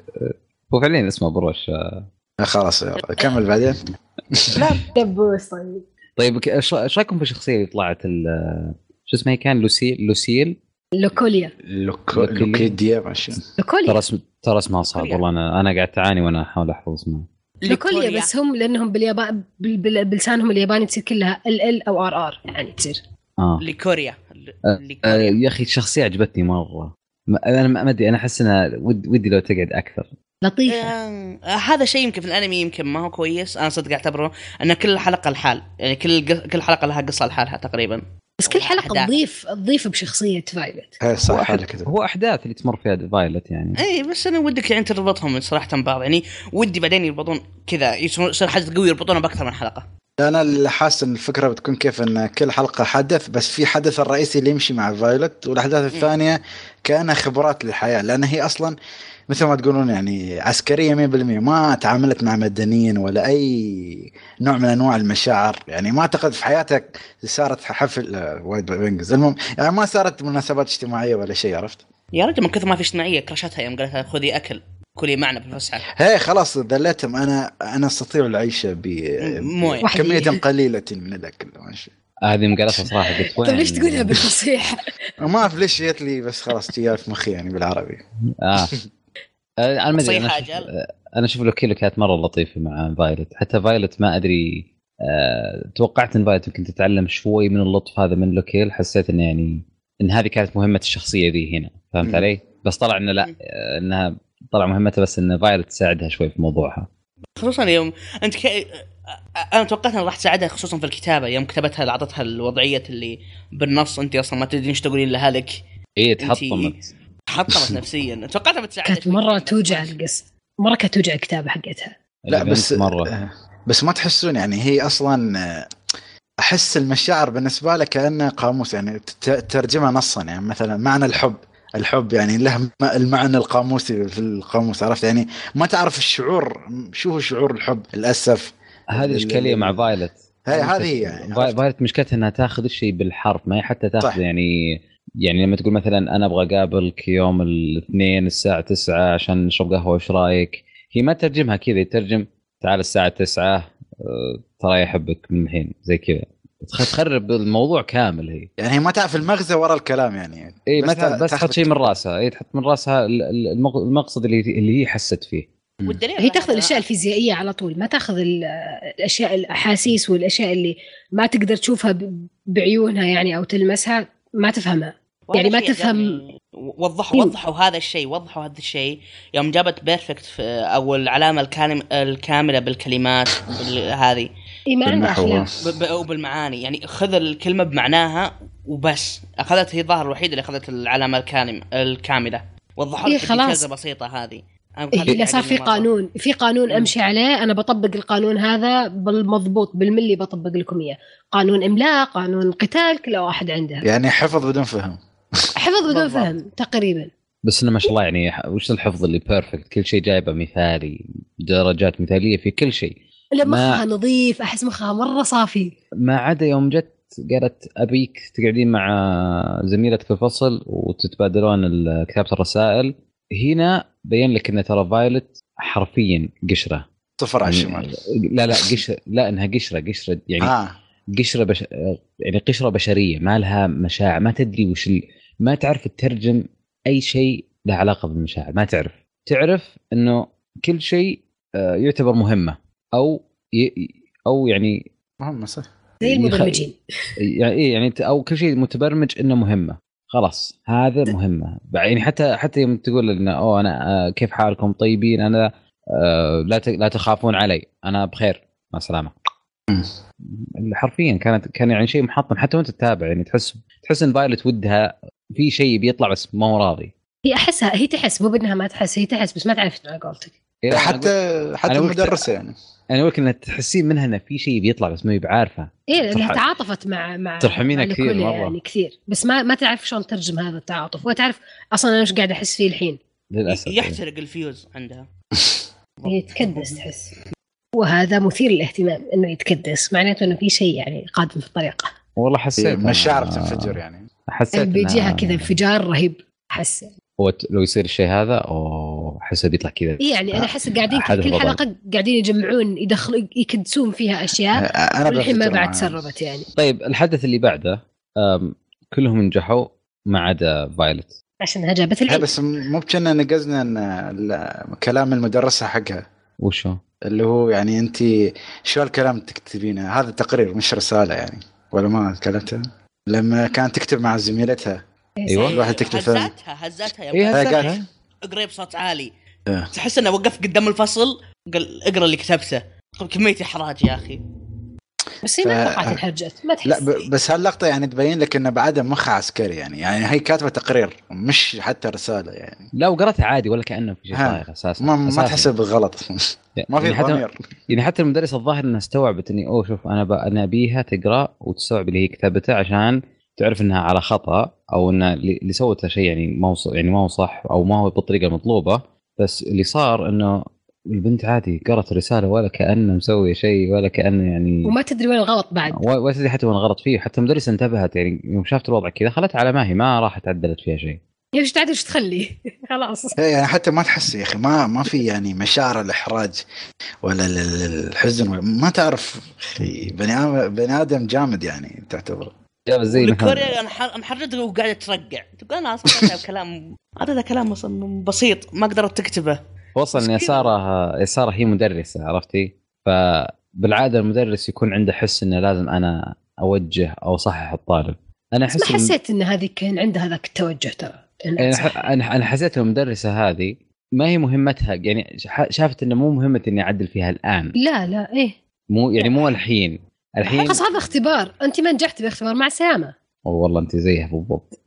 هو فعليا اسمه بروش آه، آه، خلاص يلا كمل بعدين لا دبوس طيب طيب ك- ايش ايش رايكم في الشخصيه اللي طلعت ال- شو اسمها هي كان لوسيل لوسيل لوكوليا لوك... لوكي- لوكيديا ما شو ترى لوكوليا اسم ترى اسمها صعب والله انا انا قاعد اعاني وانا احاول احفظ اسمها لوكوليا بس هم لانهم باليابان بال- بال- بلسانهم الياباني تصير كلها ال ال او ار ار يعني تصير اه لكوريا ل- آه، آه، لكوريا. يا اخي الشخصيه عجبتني مره ما- انا ما ما ادري انا احس انها ود- ودي لو تقعد اكثر لطيفه آه، آه، هذا شيء يمكن في الانمي يمكن ما هو كويس انا صدق اعتبره ان كل حلقه لحال يعني كل ق- كل حلقه لها قصه لحالها تقريبا بس كل حلقه أحداث. تضيف تضيف بشخصيه فايلت هي هو صح أحد- هذا كذا هو احداث اللي تمر فيها فايلت يعني إيه؟ اي بس انا ودك يعني تربطهم صراحه ببعض يعني ودي بعدين يربطون كذا يصير يصير حاجه قويه يربطونها باكثر من حلقه انا اللي حاسس ان الفكره بتكون كيف ان كل حلقه حدث بس في حدث الرئيسي اللي يمشي مع فايلوت والاحداث الثانيه كانها خبرات للحياه لان هي اصلا مثل ما تقولون يعني عسكريه 100% ما تعاملت مع مدنيين ولا اي نوع من انواع المشاعر يعني ما اعتقد في حياتك صارت حفل آه، وايد بنجز المهم يعني ما صارت مناسبات اجتماعيه ولا شيء عرفت يا رجل من كثر ما في اجتماعيه كرشتها يوم قالت لها خذي اكل كلي معنا بالفسحه هي خلاص ذلتهم انا انا استطيع العيش ب آه. مويه. كميه قليله من الاكل ماشي هذه مقالتها صراحه قلت طيب ليش تقولها بالفصيح؟ ما اعرف ليش جت لي بس خلاص جاء في مخي يعني بالعربي اه آه، انا ما ادري صيح انا أشوف- أجل. آه، انا اشوف لوكيلو كانت مره لطيفه مع فايلت حتى فايلت ما ادري آه، توقعت ان فايلت يمكن تتعلم شوي من اللطف هذا من لوكيل حسيت انه يعني ان هذه كانت مهمه الشخصيه ذي هنا فهمت مم. علي؟ بس طلع انه لا مم. آه، انها طلع مهمتها بس ان فايلت تساعدها شوي في موضوعها خصوصا يوم انت ك... انا توقعت انها راح تساعدها خصوصا في الكتابه يوم كتبتها اللي اعطتها الوضعيه اللي بالنص انت اصلا ما تدري ايش تقولين لها لك اي تحطمت حطمت نفسيا توقعتها بتساعدها كانت شوي. مره توجع القصه مره كانت توجع الكتابه حقتها لا بس مره آه، بس ما تحسون يعني هي اصلا آه، احس المشاعر بالنسبه لها كانه قاموس يعني ت- ترجمها نصا يعني مثلا معنى الحب الحب يعني له م- المعنى القاموسي في القاموس عرفت يعني ما تعرف الشعور م- شو هو شعور الحب للاسف هذه ال- اشكاليه ال- مع فايلت هي هذه هي يعني فاي- عرفت؟ فايلت مشكلتها انها تاخذ الشيء بالحرف ما هي حتى تاخذ صح. يعني يعني لما تقول مثلا انا ابغى اقابلك يوم الاثنين الساعه 9 عشان نشرب قهوه وش رايك؟ هي ما تترجمها كذا تترجم تعال الساعه 9 آه، ترى يحبك من الحين زي كذا تخ- تخرب الموضوع كامل هي يعني هي ما تعرف المغزى ورا الكلام يعني اي ما بس تعرف- بس تاخذ- تحط شيء من راسها اي تحط من راسها ال- ال- المغ- المقصد اللي اللي هي حست فيه والدليل هي تاخذ الاشياء الفيزيائيه على طول ما تاخذ ال- الاشياء الاحاسيس والاشياء اللي ما تقدر تشوفها ب- بعيونها يعني او تلمسها ما تفهمها وهذا يعني ما شيء تفهم- عجبني. وضحوا وضحوا هذا الشيء وضحوا هذا الشيء يوم جابت بيرفكت في- او العلامه الكالم... الكامله بالكلمات بال- هذه اي ما عندها بالنحو. احلام ب- ب- او بالمعاني يعني خذ الكلمه بمعناها وبس اخذت هي الظاهر الوحيد اللي اخذت العلامه الكامله الكامله وضحوا إيه لك خلاص. الديتيلز البسيطه هذه أنا هذا إيه. اذا اللي صار في عجبني مرة. قانون في قانون مم. امشي عليه انا بطبق القانون هذا بالمضبوط بالملي بطبق لكم اياه قانون املاء قانون قتال كل واحد عنده يعني حفظ بدون فهم حفظ بدون بالضبط. فهم تقريبا بس انه ما شاء الله يعني ح- وش الحفظ اللي بيرفكت كل شيء جايبه مثالي درجات مثاليه في كل شيء لا ما- مخها نظيف احس مخها مره صافي ما عدا يوم جت قالت ابيك تقعدين مع زميلتك في الفصل وتتبادلون ال- كتابه الرسائل هنا بين لك ان ترى فايلت حرفيا قشره صفر على يعني- الشمال لا لا قشره لا انها قشره قشره يعني اه قشره بش... يعني قشره بشريه ما لها مشاعر ما تدري وش ال... ما تعرف تترجم اي شيء له علاقه بالمشاعر ما تعرف تعرف انه كل شيء آه، يعتبر مهمه او ي... او يعني مهم صح زي يخ- المبرمجين يعني إيه يعني أنت- او كل شيء متبرمج انه مهمه خلاص هذا مهمه يعني حتى حتى يوم تقول انه اوه انا آه، كيف حالكم طيبين انا آه، لا ت- لا تخافون علي انا بخير مع السلامه حرفيا كانت كان يعني شيء محطم حتى وانت تتابع يعني تحس تحس ان فايلت ودها في شيء بيطلع بس ما هو راضي هي احسها هي تحس مو بانها ما تحس هي تحس بس ما تعرف على قولتك إيه، أنا أقول- حتى حتى أنا وقت- المدرسه يعني انا اقول لك ان تحسين منها انه في شيء بيطلع بس ما هي بعارفه ايه لانها ترحم- تعاطفت مع مع ترحمينها مع كثير الكل مرة. يعني كثير بس ما ما تعرف شلون ترجم هذا التعاطف ولا تعرف اصلا انا ايش قاعد احس فيه الحين للاسف يحترق الفيوز عندها إيه، هي إيه، تكدس تحس وهذا مثير للاهتمام انه يتكدس معناته انه في شيء يعني قادم في الطريقه والله حسيت مشاعر أنا- تنفجر يعني حسيت اللي بيجيها إنها- كذا انفجار رهيب احس هو ت- لو يصير الشيء هذا اوه احسه بيطلع كذا آه، يعني انا احس قاعدين أحد كل الوضع. حلقه قاعدين يجمعون يدخلوا يكدسون فيها اشياء أه، انا والحين أه، ما بفترة بعد معها. تسربت يعني طيب الحدث اللي بعده أم، كلهم نجحوا ما عدا فايلت عشانها جابت لا العيد أه، بس م- مو بكنا نقزنا ان ال- كلام المدرسه حقها وشو؟ اللي هو يعني انت شو الكلام اللي تكتبينه هذا تقرير مش رساله يعني ولا ما كلمتها لما كانت تكتب مع زميلتها أيوة. الواحد تكتب فيلم. هزتها هزتها يا إيه، ولد. هزتها. قالت- اقرا بصوت عالي إيه. تحس انه وقف قدام الفصل قال اقرا اللي كتبته طب كميه احراج يا اخي بس هي ما آه، ف- توقعت انحرجت ما تحس لا ب- بس هاللقطه يعني تبين لك انه بعدها مخها عسكري يعني يعني هي كاتبه تقرير مش حتى رساله يعني لا وقرأتها عادي ولا كانه في شيء ها. صاير اساسا ما ما أساساً. تحسب بالغلط ما في يعني حتى ضمير يعني حتى المدرس الظاهر انها استوعبت اني اوه شوف انا ب... انا ابيها تقرا وتستوعب اللي هي كتبته عشان تعرف انها على خطا او ان اللي اللي سوته شيء يعني ما هو ص- يعني ما هو صح او ما هو بالطريقه المطلوبه بس اللي صار انه البنت عادي قرأت الرساله ولا كانه مسوي شيء ولا كانه يعني وما تدري وين الغلط بعد و- ولا تدري حتى وين غلط فيه حتى المدرسه انتبهت يعني يوم شافت الوضع كذا خلت على ما هي ما راحت عدلت فيها شيء ايش تعدل ايش تخلي خلاص إيه يعني حتى ما تحس يا اخي ما ما في يعني مشاعر الاحراج ولا ال- ال- الحزن ولا ما تعرف اخي بني ادم بني ادم جامد يعني تعتبر جاب زي مثلا الكوريا انحر- انحرجت وقاعده ترقع تقول انا اصلا كاتبة كلام هذا كلام اصلا بسيط ما قدرت تكتبه وصل ان مسكينة. ساره ساره هي مدرسه عرفتي فبالعاده المدرس يكون عنده حس انه لازم انا اوجه او اصحح الطالب انا بس ما احس الم- حسيت ان هذه كان عندها ذاك التوجه ترى إنها أنا صح. ح- انا انا حسيت المدرسه هذه ما هي مهمتها يعني ش- شافت انه مو مهمه اني اعدل فيها الان لا لا ايه مو يعني مو الحين الحين خلاص هذا اختبار انت ما نجحت باختبار مع السلامه أوه والله انت زيها بالضبط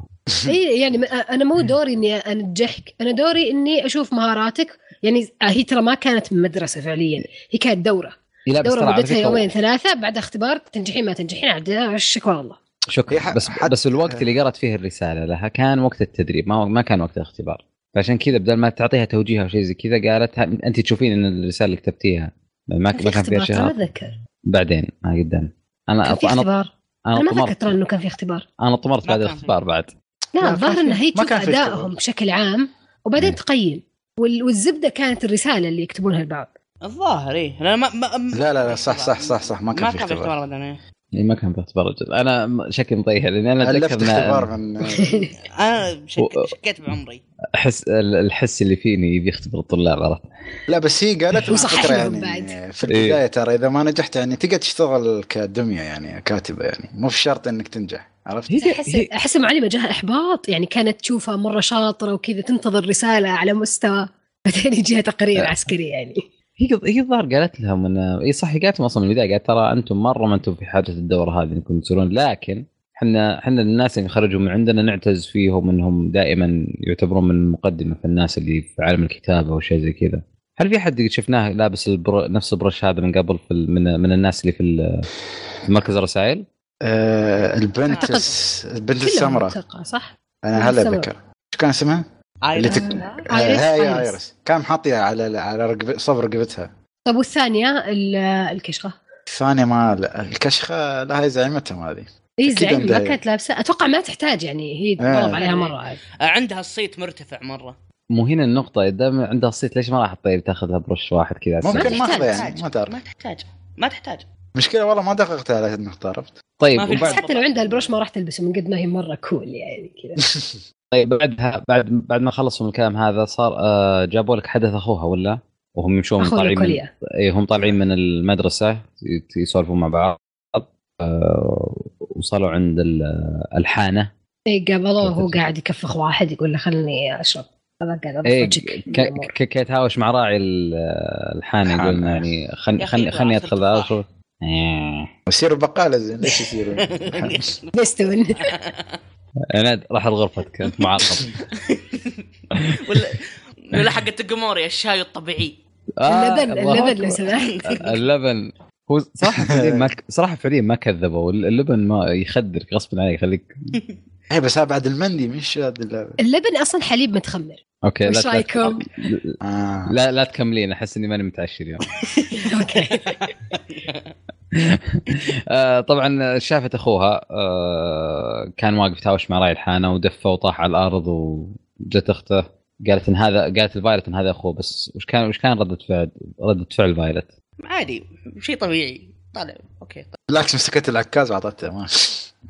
اي يعني ما- انا مو دوري اني انجحك انا دوري اني اشوف مهاراتك يعني هي ترى ما كانت من مدرسه فعليا هي كانت دوره إيه، لا بس دوره ترى على مدتها فكرة- يومين ثلاثه بعد اختبار تنجحين ما تنجحين عاد وشك والله هي شكرا ح- بس حت- بس الوقت اللي قرأت فيه الرساله لها كان وقت التدريب ما ما كان وقت الاختبار فعشان كذا بدل ما تعطيها توجيه او شيء زي كذا قالت ها- انت تشوفين ان الرساله اللي كتبتيها ما ما كان في كان فيها اختبار شيء ترى ما غلط. اتذكر بعدين ما قدام انا كان في أط- انا اختبار انا انا ما اتذكر طمرت ترى انه كان في اختبار انا طمرت ما بعد كان الاختبار بعد لا، لا كان الظاهر في- انها هي ما تشوف كان في اختبار. ادائهم بشكل عام مم. وبعدين تقيم وال- والزبده كانت الرساله اللي يكتبونها البعض الظاهر ايه لا ما, ما ما- لا لا لا صح صح صح صح ما ما كان في كان في اختبار اختبار مدني يعني ما كان في اختبار رجل انا م- شكلي مطيح لاني انا الفت أتذكر إن اختبار من انا و- شك... شكيت بعمري احس ال- الحس اللي فيني يبي يختبر الطلاب عرفت لا بس هي قالت على وصحح فكره لهم يعني بعد. في إيه. البدايه ترى اذا ما نجحت يعني تقدر تشتغل كدميه يعني كاتبه يعني مو بشرط انك تنجح عرفت؟ هي احس هي- احس المعلمه جاها احباط يعني كانت تشوفها مره شاطره وكذا تنتظر رساله على مستوى بعدين يجيها تقرير آه. عسكري يعني هي هي الظاهر قالت لهم انه اي صح هي قالت لهم اصلا من البدايه قالت ترى انتم مره ما انتم في حاجه الدوره هذه انكم تصيرون لكن احنا احنا الناس اللي خرجوا من عندنا نعتز فيهم انهم دائما يعتبرون من المقدمه في الناس اللي في عالم الكتابه وشيء زي كذا. هل في حد شفناه لابس البر... نفس البرش هذا من قبل في ال- من, من الناس اللي في ال- في مركز الرسائل؟ آه البنت أعتقد. الس- البنت كلهم السمراء متوقع صح؟ انا هلا السمراء. اتذكر شو كان اسمها؟ عائلة اللي تك- آه، آه، هاي آيريس. ايرس كان حاطيها على على رقب... صف رقبتها طب والثانيه ال- الكشخه الثانية ما لا الكشخة لها زعيمتهم هذه اي أكيد زعيم ما عندها- كانت لابسه اتوقع ما تحتاج يعني هي آه. طلب عليها مره عندها الصيت مرتفع مره مو هنا النقطة إذا عندها الصيت ليش ما راح طيب تاخذها برش واحد كذا ممكن ما ماخذة تحتاج. يعني ما تعرف ما تحتاج ما تحتاج مشكلة والله ما دققت على النقطة عرفت طيب ما في وبعد بس حتى لو عندها البروش ما راح تلبسه من قد ما هي مره كول يعني كذا طيب بعدها بعد بعد ما خلصوا من الكلام هذا صار آه جابوا لك حدث اخوها ولا؟ وهم يمشون اخوي طالعين من الكليه إيه هم طالعين من المدرسه يت- يسولفون مع بعض آه وصلوا عند ال- الحانه إيه، قابلوه وهو قاعد يكفخ واحد يقول له خلني اشرب هذا قاعد إيه افرجك ك- ك- ك- يتهاوش مع راعي ال- الحانه الحانة. يقول إنه يعني يا خلني أخي خلني إذا خلني عصرت ادخل تفاح. أشوف. إيه. يصيروا بقالة زين ليش يصيروا بيستون انا رحت غرفتك انت معاقب ولا ولا حقة تقموري الشاي الطبيعي اللبن آه، الله اللبن أكبر. لو سمحت اللبن هو صراحه فعليا ما صراحه فعليا ما كذبوا اللبن ما يخدرك غصبا عليك خليك اي بس هذا بعد المندي مش هذا اللعبة. اللبن اصلا حليب متخمر اوكي لا وش لا- رايكم؟ آه. لا لا تكملين احس اني ماني متعشي اليوم اوكي آه طبعا شافت اخوها آه كان واقف تهاوش مع راعي الحانه ودفه وطاح على الارض وجت اخته قالت ان هذا قالت الفايلت ان هذا اخوه بس وش كان وش كان رده فعل رده فعل فايلت؟ عادي شيء طبيعي طالع اوكي طالع. بالعكس مسكت العكاز وعطتها ما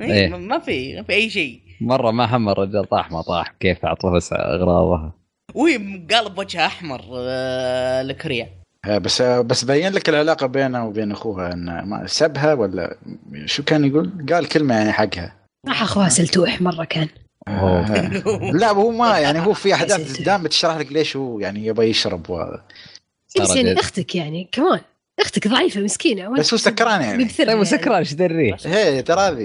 إيه، إيه. ما- ما في ما في اي شيء مره ما هم الرجال طاح ما طاح كيف اعطوه بس اغراضها وهي مقالب وجهها احمر آه، لكريا آه، بس آه، بس بين لك العلاقة بينه وبين اخوها انه ما سبها ولا شو كان يقول؟ قال كلمة يعني حقها راح اخوها سلتوح مره كان أوه. لا هو ما يعني هو في احداث دام تشرح لك ليش هو يعني يبغى يشرب وهذا بس يعني جد. اختك يعني كمان اختك ضعيفه مسكينه بس هو سكران يعني ببثر طيب يعني. وسكران ايش دريه؟ هي ترى هذه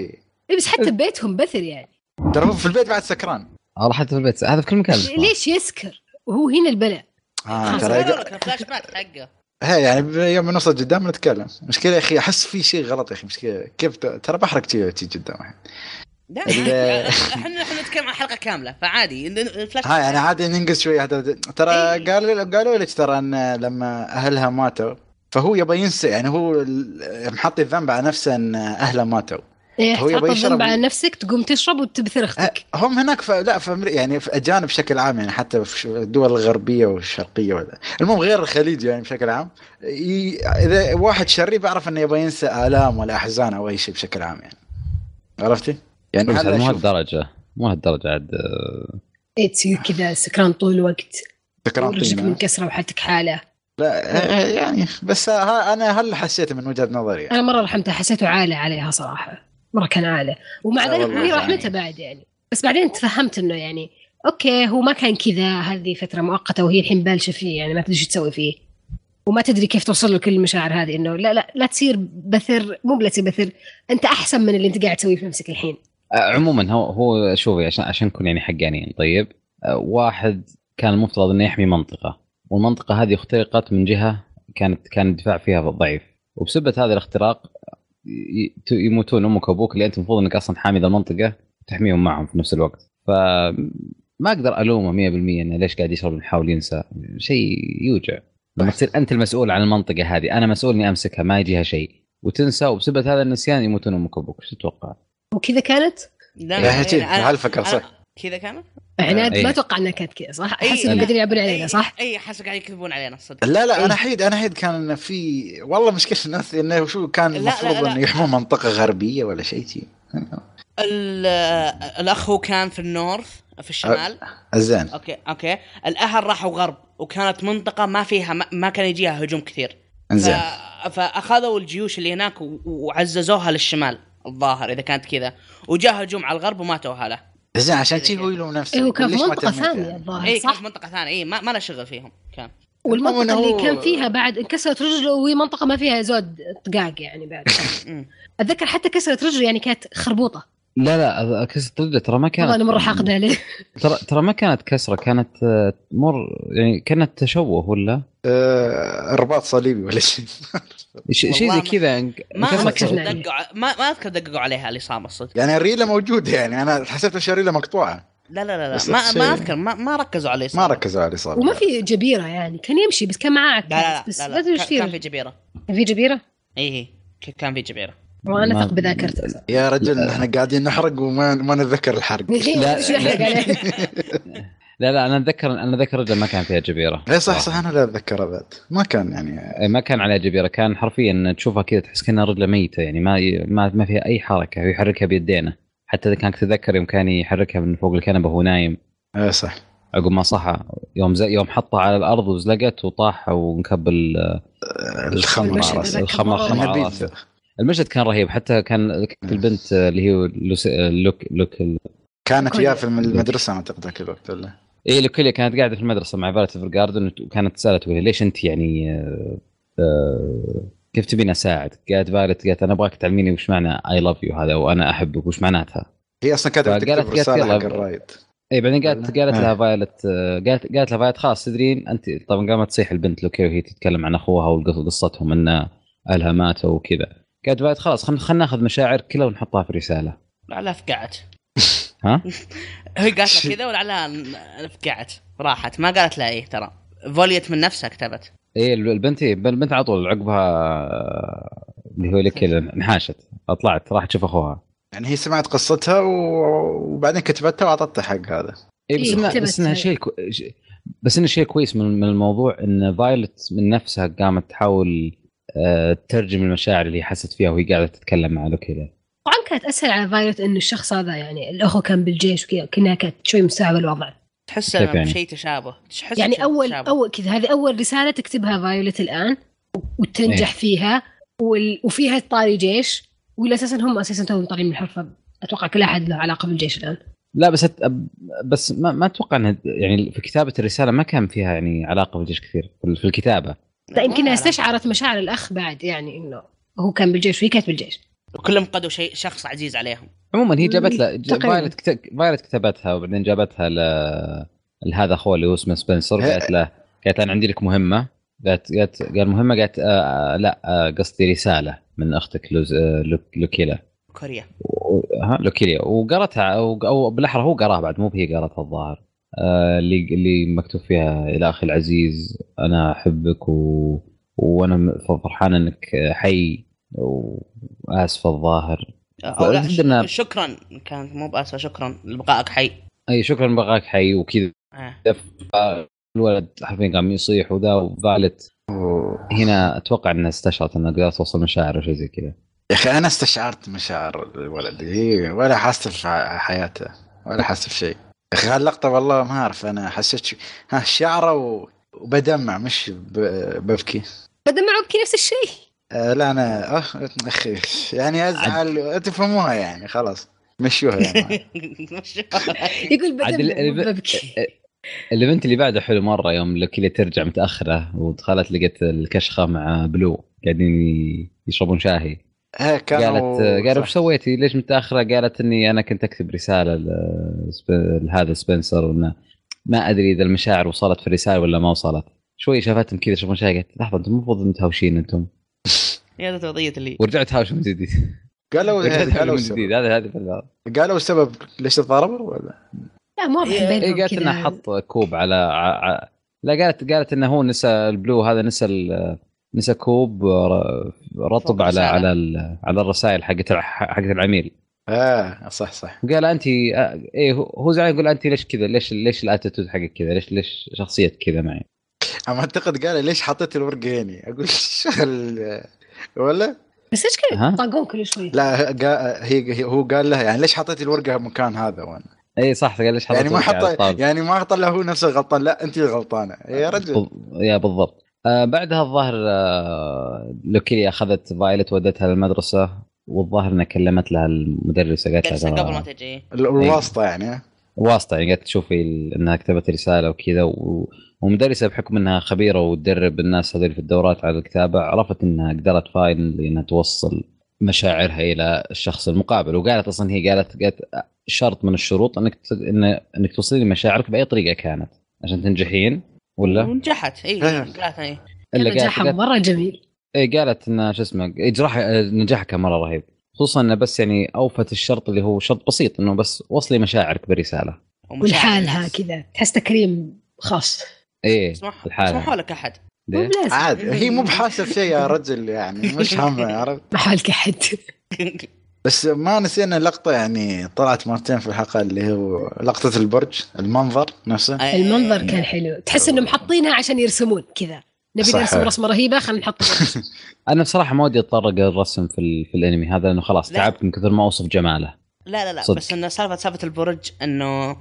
إيه، بس حتى ببيتهم بثر يعني ترى هو في البيت بعد سكران والله حتى في آه، البيت هذا في كل مكان ليش يسكر وهو هنا البلاء اه خلاص. ترى أقول يق- لك الفلاش باك حقه هي يعني يوم نوصل قدام نتكلم مشكله يا اخي احس في شيء غلط يا اخي مشكله كيف ت- ترى بحرق تي تي قدام الحين. لا ال- احنا احنا نتكلم عن حلقه كامله فعادي إن- إن الفلاش هاي انا يعني عادي ننقز شوي هذا- ترى إيه. قالوا قالوا لك ترى ان لما اهلها ماتوا فهو يبغى ينسى يعني هو ال- محط الذنب على نفسه ان اهله ماتوا إيه، هو يبغى تحط يشرب. الذنب على نفسك تقوم تشرب وتبثر اختك أه، هم هناك ف... لا في أمريكا يعني في اجانب بشكل عام يعني حتى في شو- الدول الغربيه والشرقيه ولا المهم غير الخليج يعني بشكل عام ي... اذا واحد شرير بعرف انه يبغى ينسى الام ولا احزان او اي شيء بشكل عام يعني عرفتي؟ يعني بس مو هذا أشوف هالدرجه مو هالدرجه عاد آه، إيه، تصير كذا سكران طول الوقت ورجلك تكرانطين منكسره وحالتك حاله لا آه، يعني بس ها انا هل حسيت من وجهه نظري يعني انا مره رحمتها حسيته عاله عليها صراحه مره كان عاله ومع لا ذلك والله هي يعني. رحمتها بعد يعني بس بعدين تفهمت انه يعني اوكي هو ما كان كذا هذه فتره مؤقته وهي الحين بالشه فيه يعني ما تدري شو تسوي فيه وما تدري كيف توصل له كل المشاعر هذه انه لا لا لا تصير بثر مو بلا تصير بثر انت احسن من اللي انت قاعد تسويه في نفسك الحين آه، عموما هو هو شوفي عشان عشان نكون يعني حقانيين طيب آه، واحد كان المفترض انه يحمي منطقه والمنطقه هذه اخترقت من جهه كانت كان الدفاع فيها ضعيف وبسبه هذا الاختراق ي- ت- يموتون امك وابوك اللي انت المفروض انك اصلا حامي ذا المنطقه وتحميهم معهم في نفس الوقت ف ما اقدر الومه 100% انه ليش قاعد يشرب ويحاول ينسى شيء يوجع لما تصير انت المسؤول عن المنطقه هذه انا مسؤول اني امسكها ما يجيها شيء وتنسى وبسبه هذا النسيان يموتون امك وابوك شو تتوقع؟ وكذا كانت لا يا يعني هجين أنا- هالفكر أنا- صح كذا كانت؟ آه، عناد إيه. ما اتوقع انها كانت كذا صح؟ إيه، احس انهم لا. قاعدين يلعبون علينا صح؟ اي حاسه قاعد يكذبون علينا الصدق لا لا إيه. انا حيد انا حيد كان في والله مشكله الناس انه شو كان لا، لا، المفروض لا. انه يحمون منطقه غربيه ولا شيء شي. ال- الاخ هو كان في النورث في الشمال زين اوكي اوكي الاهل راحوا غرب وكانت منطقه ما فيها ما, ما كان يجيها هجوم كثير ف... زين فاخذوا الجيوش اللي هناك و... وعززوها للشمال الظاهر اذا كانت كذا وجاء هجوم على الغرب وماتوا اهله زين عشان شي هو يلوم نفسه إيه هو كان في ليش ما منطقه تميت ثانيه يعني؟ الظاهر اي إيه، كان آه، صح؟ في منطقه ثانيه اي ما... ما له شغل فيهم كان المهم والمنطقة إنه اللي هو- كان فيها بعد انكسرت رجله وهي منطقة ما فيها زود طقاق يعني بعد أمم. اتذكر حتى كسرت رجله يعني كانت خربوطة لا لا كسرة رجله ترى ما كانت والله انا مرة حاقد عليه ترى ترى ما كانت كسره كانت آه، مر يعني كانت تشوه ولا آه، رباط صليبي ولا شيء ش- شيء والله زي ما- كذا إن- ما انكسرت أذكر رجله. نعم. دقوا ع- ما ما اذكر دققوا عليها الاصابه الصدق يعني الريله موجوده يعني انا حسبت إن الريله مقطوعه لا لا لا, بس لا. ما, نفس ما الشيء. اذكر ما, ما ركزوا عليه ما صراحة. ركزوا عليه صراحه وما في جبيره يعني كان يمشي بس كان معاه عكاز لا لا بس لا, ما لا, ادري لا. ايش كان, كان في في جبيره في جبيره؟ اي ك- كان في جبيره وانا ما- اثق بذاكرتي يا رجل احنا قاعدين نحرق وما ما نتذكر الحرق لا، شو نحرق لا. عليه؟ لا لا انا اتذكر انا اتذكر لما كان فيها جبيره اي إيه، صح صح انا لا اتذكره بعد ما كان يعني إيه، ما كان عليها جبيره كان حرفيا تشوفها كذا تحس كانها رجله ميته يعني ما ما ما فيها اي حركه ويحركها بيدينه حتى اذا كانك تتذكر يوم كان يحركها من فوق الكنبه وهو نايم اي إيه، صح عقب ما صحى يوم زي يوم حطها على الارض وزلقت وطاح ونكب ال- آه، الخمر المشهد على راسه هذاك الخمر مرة الخمر على النبيذ. راسه المشهد كان رهيب حتى كان ذكرت البنت اللي هي لوس- لوك لوك كانت كل- وياه في المدرسه اعتقد ذاك الوقت ولا اي إيه، لوكيليا كانت قاعده في المدرسه مع فيرت جاردن وكانت تساله تقول ليش انت يعني آه، آه، كيف تبين اساعد؟ قالت فايلت قالت انا ابغاك تعلميني وش معنى اي لاف يو هذا وانا احبك وش معناتها؟ هي اصلا كانت فقالت- تكتب قالت رساله يلا. حق الرايد اي بعدين قالت قالت لها آه. فايلت آه، قالت قالت لها فايلت خلاص تدرين انت طبعا قامت تصيح البنت لوكيليا وهي تتكلم عن اخوها وقصتهم ان اهلها ماتوا وكذا قالت فايلت خلاص خلينا ناخذ مشاعر كلها ونحطها في رساله لعلها فقعت ها؟ هي قالت لها كذا ولعلها ن- فقعت راحت ما قالت لها ايه ترى فوليت من نفسها كتبت اي البنت إيه، البنت على طول عقبها آه، اللي هو لوكيليا انحاشت طلعت راحت تشوف اخوها يعني هي سمعت قصتها و- وبعدين كتبتها واعطتها حق هذا اي بس إيه، إنها- كتبت بس انها هاي. شيء كو... ش- بس انه شيء كويس من, من الموضوع ان فايلت من نفسها قامت تحاول آه، تترجم المشاعر اللي حست فيها وهي قاعده تتكلم مع لوكيلا طبعا كانت اسهل على فايلوت انه الشخص هذا يعني الاخو كان بالجيش وكذا كانها كانت شوي مستوعبه الوضع تحس كيف يعني؟ شيء تشابه تحس يعني بشيء اول تشابه. اول كذا هذه اول رساله تكتبها فايولت الان وتنجح إيه. فيها وال... وفيها طاري جيش ولا اساسا هم اساسا توهم طالعين من الحرفه اتوقع كل احد له علاقه بالجيش الان لا بس أت... بس ما, ما اتوقع انها يعني في كتابه الرساله ما كان فيها يعني علاقه بالجيش كثير في في الكتابه لا طيب، يمكن ما انها أعرف. استشعرت مشاعر الاخ بعد يعني انه هو كان بالجيش وهي كانت بالجيش وكلهم قدوا شيء شخص عزيز عليهم عموما هي جابت لها ج- تقريباً. فايلت كت... فايلت كتبتها وبعدين جابتها ل لهذا اخوه اللي هو اسمه سبنسر هي- قالت له قالت انا عندي لك مهمه قالت قالت قال مهمه قالت آه لا آه قصدي رساله من اختك لوز آه لوك- لوكيلا كوريا و- ها لوكيليا وقرتها او, أو بالاحرى هو قراها بعد مو هي قرتها الظاهر آه، اللي اللي مكتوب فيها الى اخي العزيز انا احبك و... وانا م- فرحان انك حي واسفه الظاهر او لا عندنا- ش- شكرا كانت مو باسفه شكرا لبقائك حي اي شكرا بقاك حي وكذا آه. الولد حرفيا قام يصيح وذا وفالت أوه. هنا اتوقع انها استشعرت انها قدرت توصل مشاعر وشي زي كذا يا اخي انا استشعرت مشاعر الولد هي ولا حاسه في ح- حياته ولا حاسه بشيء يا اخي هاللقطه والله ما اعرف انا حسيت شو- ها شعره و... وبدمع مش ب... ببكي بدل معه بكي نفس الشيء آه لا انا اه اخي يعني ازعل تفهموها يعني خلاص مشوها يعني يقول عاد ال- بدل ال- معه ببكي الايفنت اللي بعده حلو مره يوم لوكيليا ترجع متاخره ودخلت لقت الكشخه مع بلو قاعدين ي- يشربون شاهي آه قالت كانوا قالوا وش سويتي ليش متاخره قالت اني انا كنت اكتب رساله ل- سب- لهذا سبنسر انه ما ادري اذا المشاعر وصلت في الرساله ولا ما وصلت شوي شافتهم كذا يشربون شاي قالت لحظه انتم المفروض متهاوشين انتم يا توضيه اللي ورجعت هاوش من جديد قالوا رجعت هاوش قالوا من جديد هذا هذا في الأرض. قالوا السبب ليش تضاربوا ولا؟ لا مو إيه، اي بينهم قالت انه كذا حط كوب على ع... ع... لا قالت قالت انه هو نسى البلو هذا نسى ال... نسى كوب ر- رطب فوق على الرسالة. على ال... على الرسائل حقت الع- حقت العميل اه صح صح قال انت اي هو- هو زعلان يقول انت ليش كذا ليش ليش الاتيتود حقك كذا ليش ليش شخصيتك كذا معي اما اعتقد قال ليش حطيت الورقه هنا؟ اقول شو هال- ولا؟ بس ايش كذا ها؟ يطاقون كل شوي لا قا- هي هي- هو قال لها يعني ليش حطيت الورقه مكان هذا وانا؟ اي إيه، صح قال ليش يعني ما وجهي على حط الطاولة؟ يعني ما طلع هو نفسه غلطان لا انت اللي غلطانه يا رجل بال- يا بالضبط آه بعدها الظاهر آه لوكيليا اخذت فايلت ودتها للمدرسه والظاهر انها كلمت لها المدرسه قالت لها جلسة ترى- قبل ما تجي ال- الواسطه يعني واسطه يعني قاعد تشوفي ال- انها كتبت رساله وكذا و... ومدرسه بحكم انها خبيره وتدرب الناس هذول في الدورات على الكتابه عرفت انها قدرت فاينلي انها توصل مشاعرها الى الشخص المقابل وقالت اصلا هي قالت قالت شرط من الشروط انك ت... إن... انك توصلين مشاعرك باي طريقه كانت عشان تنجحين ولا ونجحت اي إيه. قالت اي الا قالت نجاحهم قالت, مره جميل إيه قالت ان شو اسمه جراح نجاحها كان مره رهيب خصوصا انه بس يعني اوفت الشرط اللي هو شرط بسيط انه بس وصلي مشاعرك برساله ولحالها كذا تحس تكريم خاص ايه اسمح الحالة اسمحوا لك احد مو ليه؟ آه. بلازم عاد هي مو بحاسب شيء يا رجل يعني مش همه عرفت محالك احد بس ما نسينا لقطه يعني طلعت مرتين في الحلقه اللي هو لقطه البرج المنظر نفسه إيه. المنظر كان حلو تحس انهم حاطينها عشان يرسمون كذا نبي صح. نرسم رسمه رهيبه خلينا نحط انا بصراحه ما ودي اتطرق للرسم في, ال... في الانمي هذا لانه خلاص لا. تعبت من كثر ما اوصف جماله لا لا لا صدق. بس انه سالفه سالفه البرج انه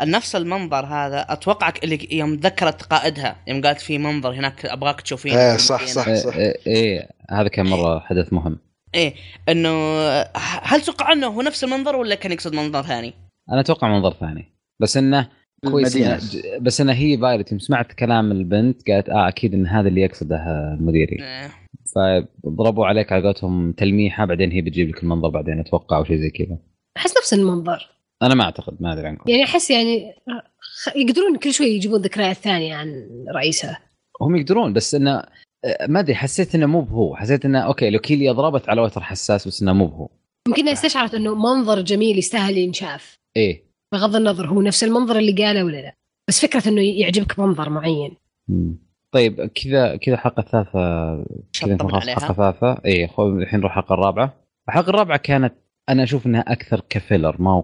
نفس المنظر هذا اتوقعك اللي يوم ذكرت قائدها يوم قالت في منظر هناك ابغاك تشوفينه ايه صح صح إيه, صح إيه, ايه هذا كان مره حدث مهم انه هل توقع انه هو نفس المنظر ولا كان يقصد منظر ثاني؟ انا اتوقع منظر ثاني بس انه كويس المدينة. إنه- ج- بس انه هي فايلت يوم سمعت كلام البنت قالت اه اكيد ان هذا اللي يقصده مديري إيه. فضربوا عليك على قولتهم تلميحه بعدين هي بتجيب لك المنظر بعدين اتوقع او شيء زي كذا احس نفس المنظر انا ما اعتقد ما ادري عنكم يعني احس يعني خ- يقدرون كل شوي يجيبون ذكريات ثانيه عن رئيسها هم يقدرون بس انه آه، ما ادري حسيت انه مو بهو حسيت انه اوكي لو كيليا ضربت على وتر حساس بس انه مو بهو يمكن انها استشعرت انه منظر جميل يستاهل ينشاف ايه بغض النظر هو نفس المنظر اللي قاله ولا لا بس فكره انه يعجبك منظر معين مم. طيب كذا كذا الحلقه الثالثه كذا نكون شطبنا خلاص عليها. الحلقه الثالثه اي إيه، خو- الحين نروح الحلقه الرابعه الحلقه الرابعه كانت انا اشوف انها اكثر كفيلر ما هو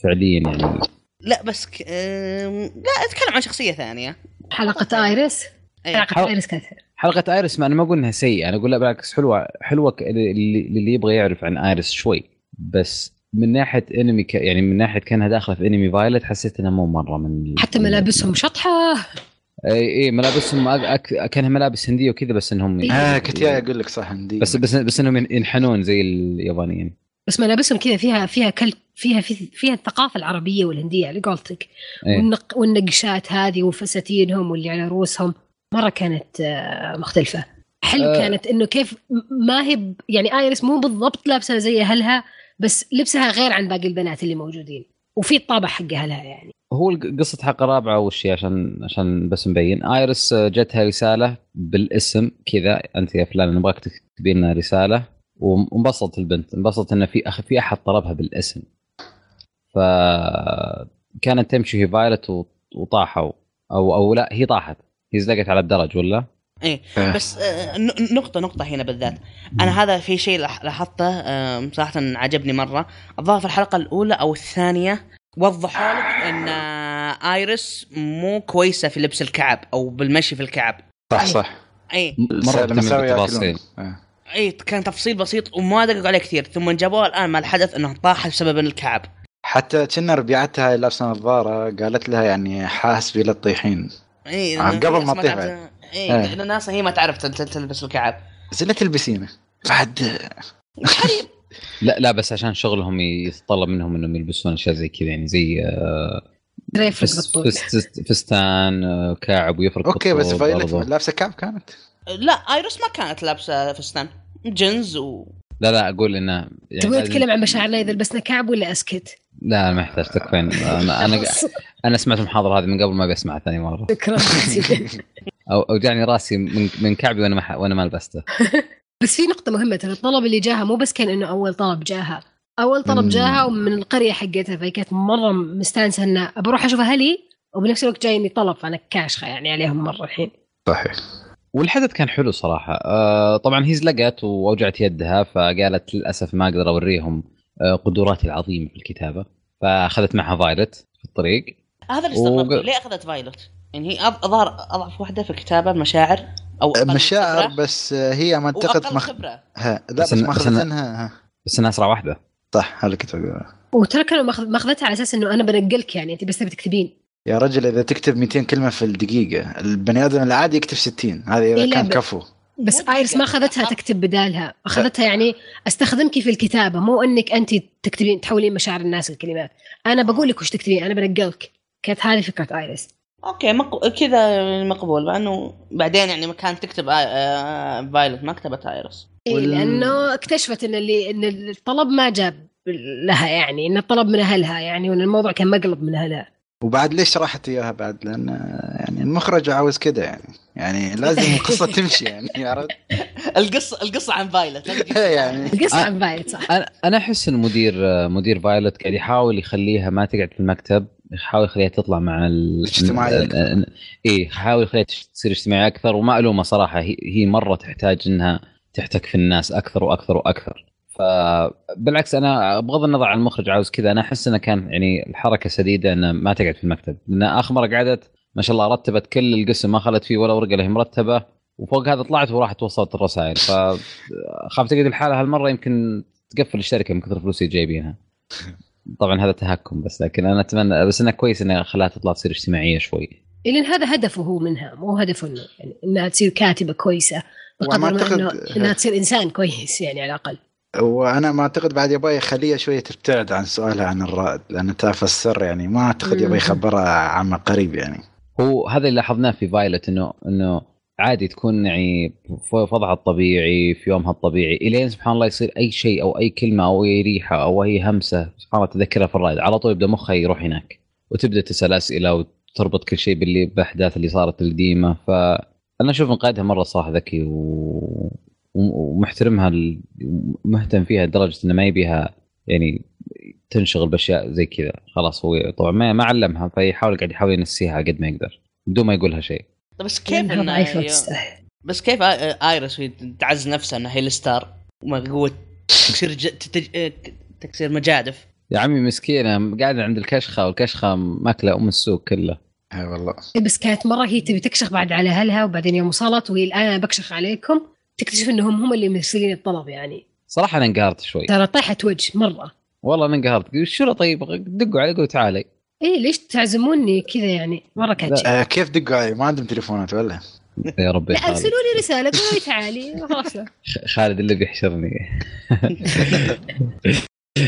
كفعليا يعني لا بس ك... آم، لا اتكلم عن شخصيه ثانيه حلقه ايريس إيه. حلقة- حلقه ايريس كانت حلقه ايرس ما انا ما اقول انها سيئه انا اقول لا بالعكس حلوه حلوه ك- للي للي يبغى يعرف عن ايرس شوي بس من ناحيه انمي ك... يعني من ناحيه كانها داخله في انمي فايلت حسيت انها مو مره من حتى ملابسهم شطحه اي اي ملابسهم أك... أك... كانها ملابس هنديه وكذا بس انهم آه كنت جاي اقول لك صح عندي بس بس بس انهم ينحنون زي اليابانيين بس ملابسهم كذا فيها فيها كل فيها فيها الثقافه العربيه والهنديه على قولتك إيه. والنق والنقشات هذه وفساتينهم واللي على رؤوسهم مره كانت آه، مختلفه حلو آه. أه كانت انه كيف م- ما هي ب- يعني ايرس مو بالضبط لابسه زي اهلها بس لبسها غير عن باقي البنات اللي موجودين وفي الطابع حق اهلها يعني هو الق- قصة حلقة رابعة وش هي عشان عشان بس مبين ايرس جتها رسالة بالاسم كذا انت يا فلان نبغاك تكتبي لنا رسالة وانبسطت البنت انبسطت انه في أخ في احد طلبها بالاسم ف كانت تمشي هي فايلت و- وطاحوا او او لا هي طاحت هي زلقت على الدرج ولا؟ آه. بس آه، ن- نقطة نقطة هنا بالذات أنا هذا في شيء لح- لاحظته آه، صراحة عجبني مرة الظاهر في الحلقة الأولى أو الثانية وضحوا لك أن آه، آيرس مو كويسة في لبس الكعب أو بالمشي في الكعب صح صح أي إيه. مرة لما تمشي سوي ياكلون. بالتفاصيل آه. أي كان تفصيل بسيط وما دققوا عليه كثير ثم جابوها الآن مع الحدث أنه طاح بسبب الكعب حتى كنا ربيعتها لابسه نظاره قالت لها يعني حاسبي لا تطيحين أي آه، لأن قبل الناس ما تطيح تعرف- بعد. أي آه. لأن الناس هي ما تعرف تل- تل- تلبس الكعب زين لا تلبسينه بعد لا لا بس عشان شغلهم يتطلب منهم انهم يلبسون اشياء زي كذا يعني زي آه، ريفرك فس- بالطول فس- فستان آه، كعب ويفرق اوكي بس بالطول فايلت برضه. لابسه كاب كانت لا آيرس ما كانت لابسة فستان جنز و لا لا اقول انه يعني تبغى لازم- نتكلم عن مشاعرنا اذا لبسنا كعب ولا اسكت؟ لا ما يحتاج تكفين انا انا انا سمعت المحاضره هذه من قبل ما بسمعها ثاني مره شكرا او اوجعني راسي من من كعبي وانا ما ح- وانا ما لبسته بس في نقطة مهمة ترى الطلب اللي جاها مو بس كان انه اول طلب جاها، اول طلب مم. جاها ومن القرية حقتها فهي كانت مرة مستانسة انه بروح اشوف اهلي وبنفس الوقت جايني طلب فانا كاشخة يعني عليهم مرة الحين. صحيح والحدث كان حلو صراحه آه طبعا هي زلقت واوجعت يدها فقالت للاسف ما اقدر اوريهم آه، قدراتي العظيمه في الكتابه فاخذت معها فايلت في الطريق هذا اللي استغربته وق- ليه اخذت فايلوت؟ يعني هي أض- أظهر اضعف واحده في الكتابه مشاعر او أقل مشاعر خبرة بس آه، هي ما وأقل اعتقد مخ... خبره ها. لا بس بس إن- ما بس إن- اخذتنها ها. بس انها اسرع واحده صح هذا كنت بقوله. وترى كانوا ماخذ- ماخذتها على اساس انه انا بنقلك يعني انت بس تبي تكتبين. يا رجل اذا تكتب 200 كلمه في الدقيقه البني ادم العادي يكتب 60 هذا إيه، اذا لا، كان ب- كفو بس ايرس ما اخذتها تكتب بدالها، اخذتها يعني استخدمك في الكتابة مو انك انت تكتبين تحولين مشاعر الناس لكلمات، انا بقول لك وش تكتبين انا بنقلك. كانت هذه فكرة ايرس. اوكي مق... كذا يعني مقبول مع انه بعدين يعني ما كانت تكتب آ... آ... فايلوت ما كتبت ايرس اي وال- لانه إيه، اكتشفت ان اللي ان الطلب ما جاب لها يعني ان الطلب من اهلها يعني وان الموضوع كان مقلب من اهلها وبعد ليش راحت اياها بعد لان آه، يعني المخرج عاوز كده يعني يعني لازم القصه تمشي يعني عرفت القصه القصه عن طيب، فايلت يعني القصه آه. عن فايلت صح انا انا احس ان مدير مدير فايلوت قاعد يحاول يخليها ما تقعد في المكتب يحاول يخليها تطلع مع ال... اجتماعية ال- ال- اي يحاول يخليها تش- تصير اجتماعيه اكثر وما الومها صراحه هي, هي مره تحتاج انها تحتك في الناس اكثر واكثر واكثر فبالعكس انا بغض النظر عن المخرج عاوز كذا انا احس انه كان يعني الحركه سديده انه ما تقعد في المكتب لان اخر مره قعدت ما شاء الله رتبت كل القسم ما خلت فيه ولا ورقه اللي هي مرتبه وفوق هذا طلعت وراحت وصلت الرسائل فخاف تقعد الحالة هالمره يمكن تقفل الشركه من كثر الفلوس اللي جايبينها طبعا هذا تهكم بس لكن انا اتمنى بس انه كويس انه خلاها تطلع تصير اجتماعيه شوي لان هذا هدفه هو منها مو هدفه انه يعني انها تصير كاتبه كويسه بقدر وما ما أعتقد- انه انها تصير انسان كويس يعني على الاقل وانا ما اعتقد بعد يبغى يخليها شويه تبتعد عن سؤالها عن الرائد لان تعرف السر يعني ما اعتقد مم. يبغى يخبرها عما قريب يعني هو هذا اللي لاحظناه في فايلت انه انه عادي تكون يعني في وضعها الطبيعي في يومها الطبيعي الين سبحان الله يصير اي شيء او اي كلمه او اي ريحه او اي همسه سبحان الله تذكرها في الرايد على طول يبدا مخها يروح هناك وتبدا تسال اسئله وتربط كل شيء باللي باحداث اللي صارت القديمه فانا اشوف ان قائدها مره صح ذكي و... و- ومحترمها ال- مهتم فيها لدرجه انه ما يبيها يعني تنشغل باشياء زي كذا خلاص هو طبعا ما ما علمها فيحاول قاعد يحاول ينسيها على قد ما يقدر بدون ما يقولها شيء بس كيف لانها إنها ضعيفه هي- وتستاهل بس كيف آه، آ- ايرس وهي تعز نفسها انها هي الستار وما قوه تكسير ج... تتج... تكسير مجادف يا عمي مسكينه قاعده عند الكشخه والكشخه ماكله ام السوق كله اي والله بس كانت مره هي تبي تكشخ بعد على اهلها وبعدين يوم وصلت وهي الان أنا بكشخ عليكم تكتشف انهم هم اللي مرسلين الطلب يعني صراحه انا انقهرت شوي ترى طيحت وجه مره والله انا انقهرت قلت شو طيب دقوا علي قولوا تعالي ايه ليش تعزموني كذا يعني مره كانت شيء. آه كيف دقوا علي ما عندهم تليفونات ولا يا ربي لا خالد, ارسلوا لي رساله قولوا لي تعالي خلاص خالد اللي بيحشرني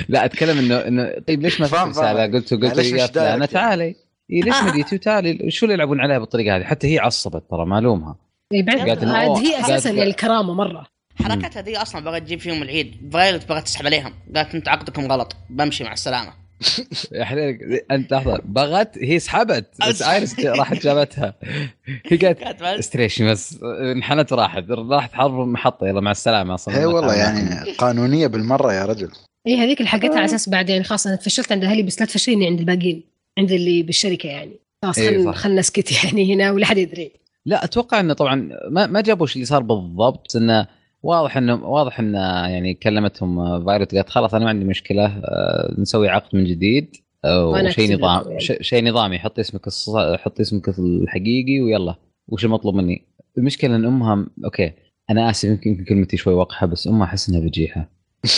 لا اتكلم انه انه طيب ليش ما في فاهم، رساله فاهم. قلت قلت معلش يا وش دايرك فلانه يعني؟ تعالي إيه ليش ما آه. جيتي وتعالي شو اللي يلعبون عليها بالطريقه هذه حتى هي عصبت ترى ما الومها إيه، قالت إنه عاد أوه، هي اساسا قالت- الكرامه مره حركتها دي اصلا بغت تجيب فيهم العيد فايلت بغت تسحب عليهم قالت انت عقدكم غلط بمشي مع السلامه يا حليلك انت لحظه بغت هي سحبت بس ايرس راحت جابتها هي قالت قالت ما- استريشن بس انحنت وراحت راحت حرب محطه يلا مع السلامه اصلا اي والله يعني قانونيه بالمره يا رجل اي إيه، هذيك اللي حقتها على اساس بعد يعني خلاص انا تفشلت عند اهلي بس لا تفشليني عند الباقيين عند اللي بالشركه يعني خلاص إيه، خل صح. خلنا نسكت يعني هنا ولا حد يدري لا اتوقع انه طبعا ما ما جابوش اللي صار بالضبط بس انه واضح انه واضح انه يعني كلمتهم فايروت قالت خلاص انا ما عندي مشكله آه، نسوي عقد من جديد آه، وأنا وشيء أكتب نظام لكم يعني. ش- شيء نظامي حط اسمك الص- حط اسمك الحقيقي ويلا وش المطلوب مني المشكله ان امها م- اوكي انا اسف يمكن يمكن كلمتي شوي وقحه بس امها احس انها بجيحه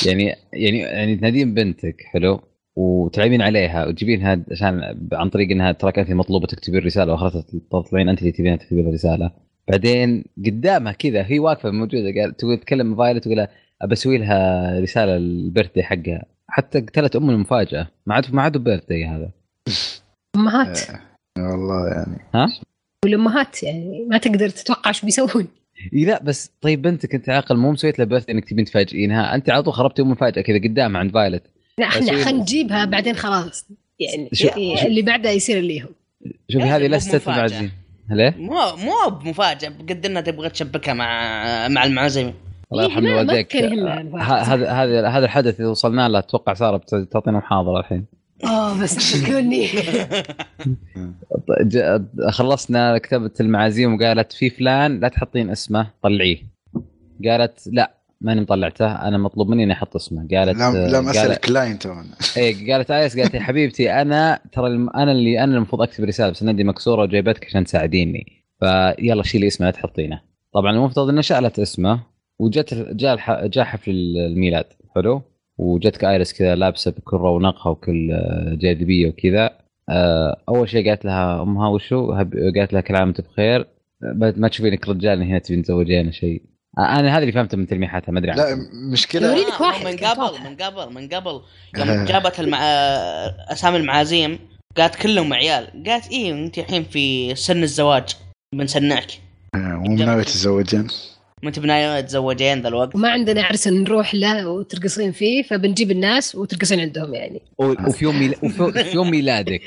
يعني يعني يعني تنادين بنتك حلو وتلعبين عليها وتجيبينها عشان عن طريق انها تراك انت مطلوبه تكتبين رساله واخرتها تطلعين انت اللي تبينها تكتبين رساله بعدين قدامها كذا هي واقفه موجوده قال تقول تكلم مع فايلت تقول لها ابى اسوي لها رساله البيرثدي حقها حتى قتلت ام المفاجاه ما عاد ما عاد بيرثدي هذا امهات إيه. إي والله يعني ها؟ والامهات يعني ما تقدر تتوقع شو بيسوون إي لا بس طيب بنتك انت عاقل مو مسويت لها بيرثدي انك تبين تفاجئينها انت على طول خربتي ام المفاجاه كذا قدامها عند فايلت لا احنا بسوي- خلينا نجيبها بعدين خلاص يعني شو- يعني شو- اللي بعدها يصير اللي هو شوفي إيه، هذه مو لست مفاجأة. معزين ليه؟ مو مو بمفاجاه قد انها تبغى تشبكها مع مع المعزمين الله إيه، يرحم ما- ما والديك كان يهمها آه، المفاجأة. هذا هذا هذا الحدث اللي وصلنا له اتوقع ساره بت- تعطينا محاضره الحين اه بس تذكرني ط- ج- خلصنا كتابه المعازيم وقالت في فلان لا تحطين اسمه طلعيه قالت لا ماني مطلعته انا مطلوب مني اني احط اسمه قالت لم آه، لم اسال قالت- كلاينت هون اي إيه، قالت ايس قالت يا حبيبتي انا ترى الم- انا اللي انا المفروض اكتب رساله بس ندي مكسوره وجايبتك عشان تساعديني فيلا شيلي اسمه لا تحطينه طبعا المفترض انها شالت اسمه وجت جاء الح- جاء حفل الميلاد حلو وجتك ايرس كذا لابسه بكل رونقها وكل آه، جاذبيه وكذا آه، اول شيء قالت لها امها وشو هب- قالت لها كل عام وانت بخير ما ما تشوفينك رجال هنا تبين تزوجين شيء انا هذا اللي فهمته من تلميحاتها ما ادري عنها. لا مشكله يوري- يريدك واحد من كان قبل واضح. من قبل من قبل يوم جابت المع... اسامي المعازيم قالت كلهم عيال قالت ايه انت الحين في سن الزواج بنسنعك مو ناوي تتزوجين ما انت بناوي تزوجين ذا الوقت وما عندنا عرس نروح له وترقصين فيه فبنجيب الناس وترقصين عندهم يعني و- وفي يوم ميلا- وفي في يوم ميلادك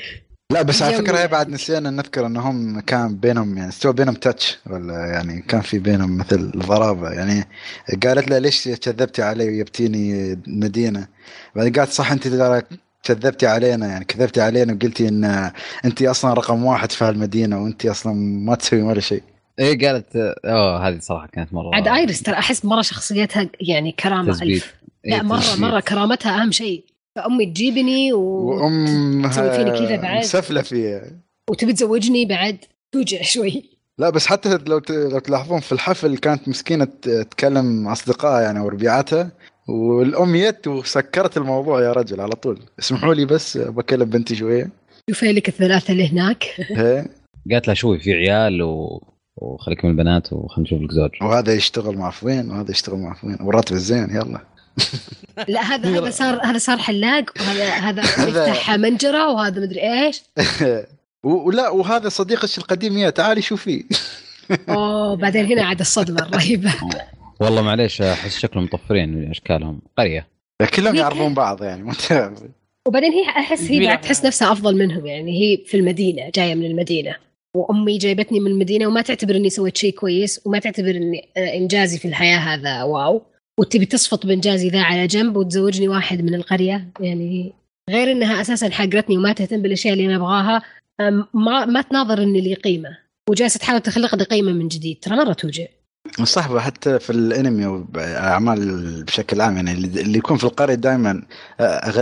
لا بس على فكره جميل. هي بعد نسينا نذكر انهم كان بينهم يعني استوى بينهم تاتش ولا يعني كان في بينهم مثل ضرابه يعني قالت له ليش كذبتي علي وجبتيني ندينا بعدين قالت صح انت ترى كذبتي علينا يعني كذبتي علينا وقلتي ان انت اصلا رقم واحد في هالمدينه وانت اصلا ما تسوي ولا شيء ايه قالت اوه هذه صراحه كانت مره عاد ايرس ترى احس مره شخصيتها يعني كرامه تثبيت. الف لا مره مره كرامتها اهم شيء فامي تجيبني و... تسوي فيني كذا وامها بعد؟ مسفله فيها وتبي تزوجني بعد توجع شوي لا بس حتى لو ت- لو تلاحظون في الحفل كانت مسكينه ت- تكلم اصدقائها يعني وربيعاتها والام يت وسكرت الموضوع يا رجل على طول اسمحوا لي بس بكلم بنتي شويه شوفي لك الثلاثه اللي هناك هي. قالت لها شوي في عيال و... وخليك من البنات وخلينا نشوف لك زوج وهذا يشتغل مع فوين وهذا يشتغل مع فوين والراتب الزين يلا لا هذا هذا صار هذا صار حلاق وهذا هذا هذا- يفتح منجره وهذا مدري ايش و- ولا وهذا صديقك القديم يا تعالي شوفي اوه بعدين هنا عاد الصدمه الرهيبه والله معليش احس شكلهم مطفرين من اشكالهم قريه كلهم يعرفون بعض يعني ما تعرف وبعدين هي احس هي بلا- بعد تحس نفسها افضل منهم يعني هي في المدينه جايه من المدينه وامي جايبتني من المدينه وما تعتبر اني سويت شيء كويس وما تعتبر اني آه، انجازي في الحياه هذا واو وتبي تصفط بانجازي ذا على جنب وتزوجني واحد من القريه يعني غير انها اساسا حقرتني وما تهتم بالاشياء اللي انا ابغاها آم، ما ما تناظر اني لي قيمه وجالسه تحاول تخلق لي قيمه من جديد ترى مره توجع صاحبه حتى في الانمي والاعمال بشكل عام يعني اللي اللي يكون في القريه دائما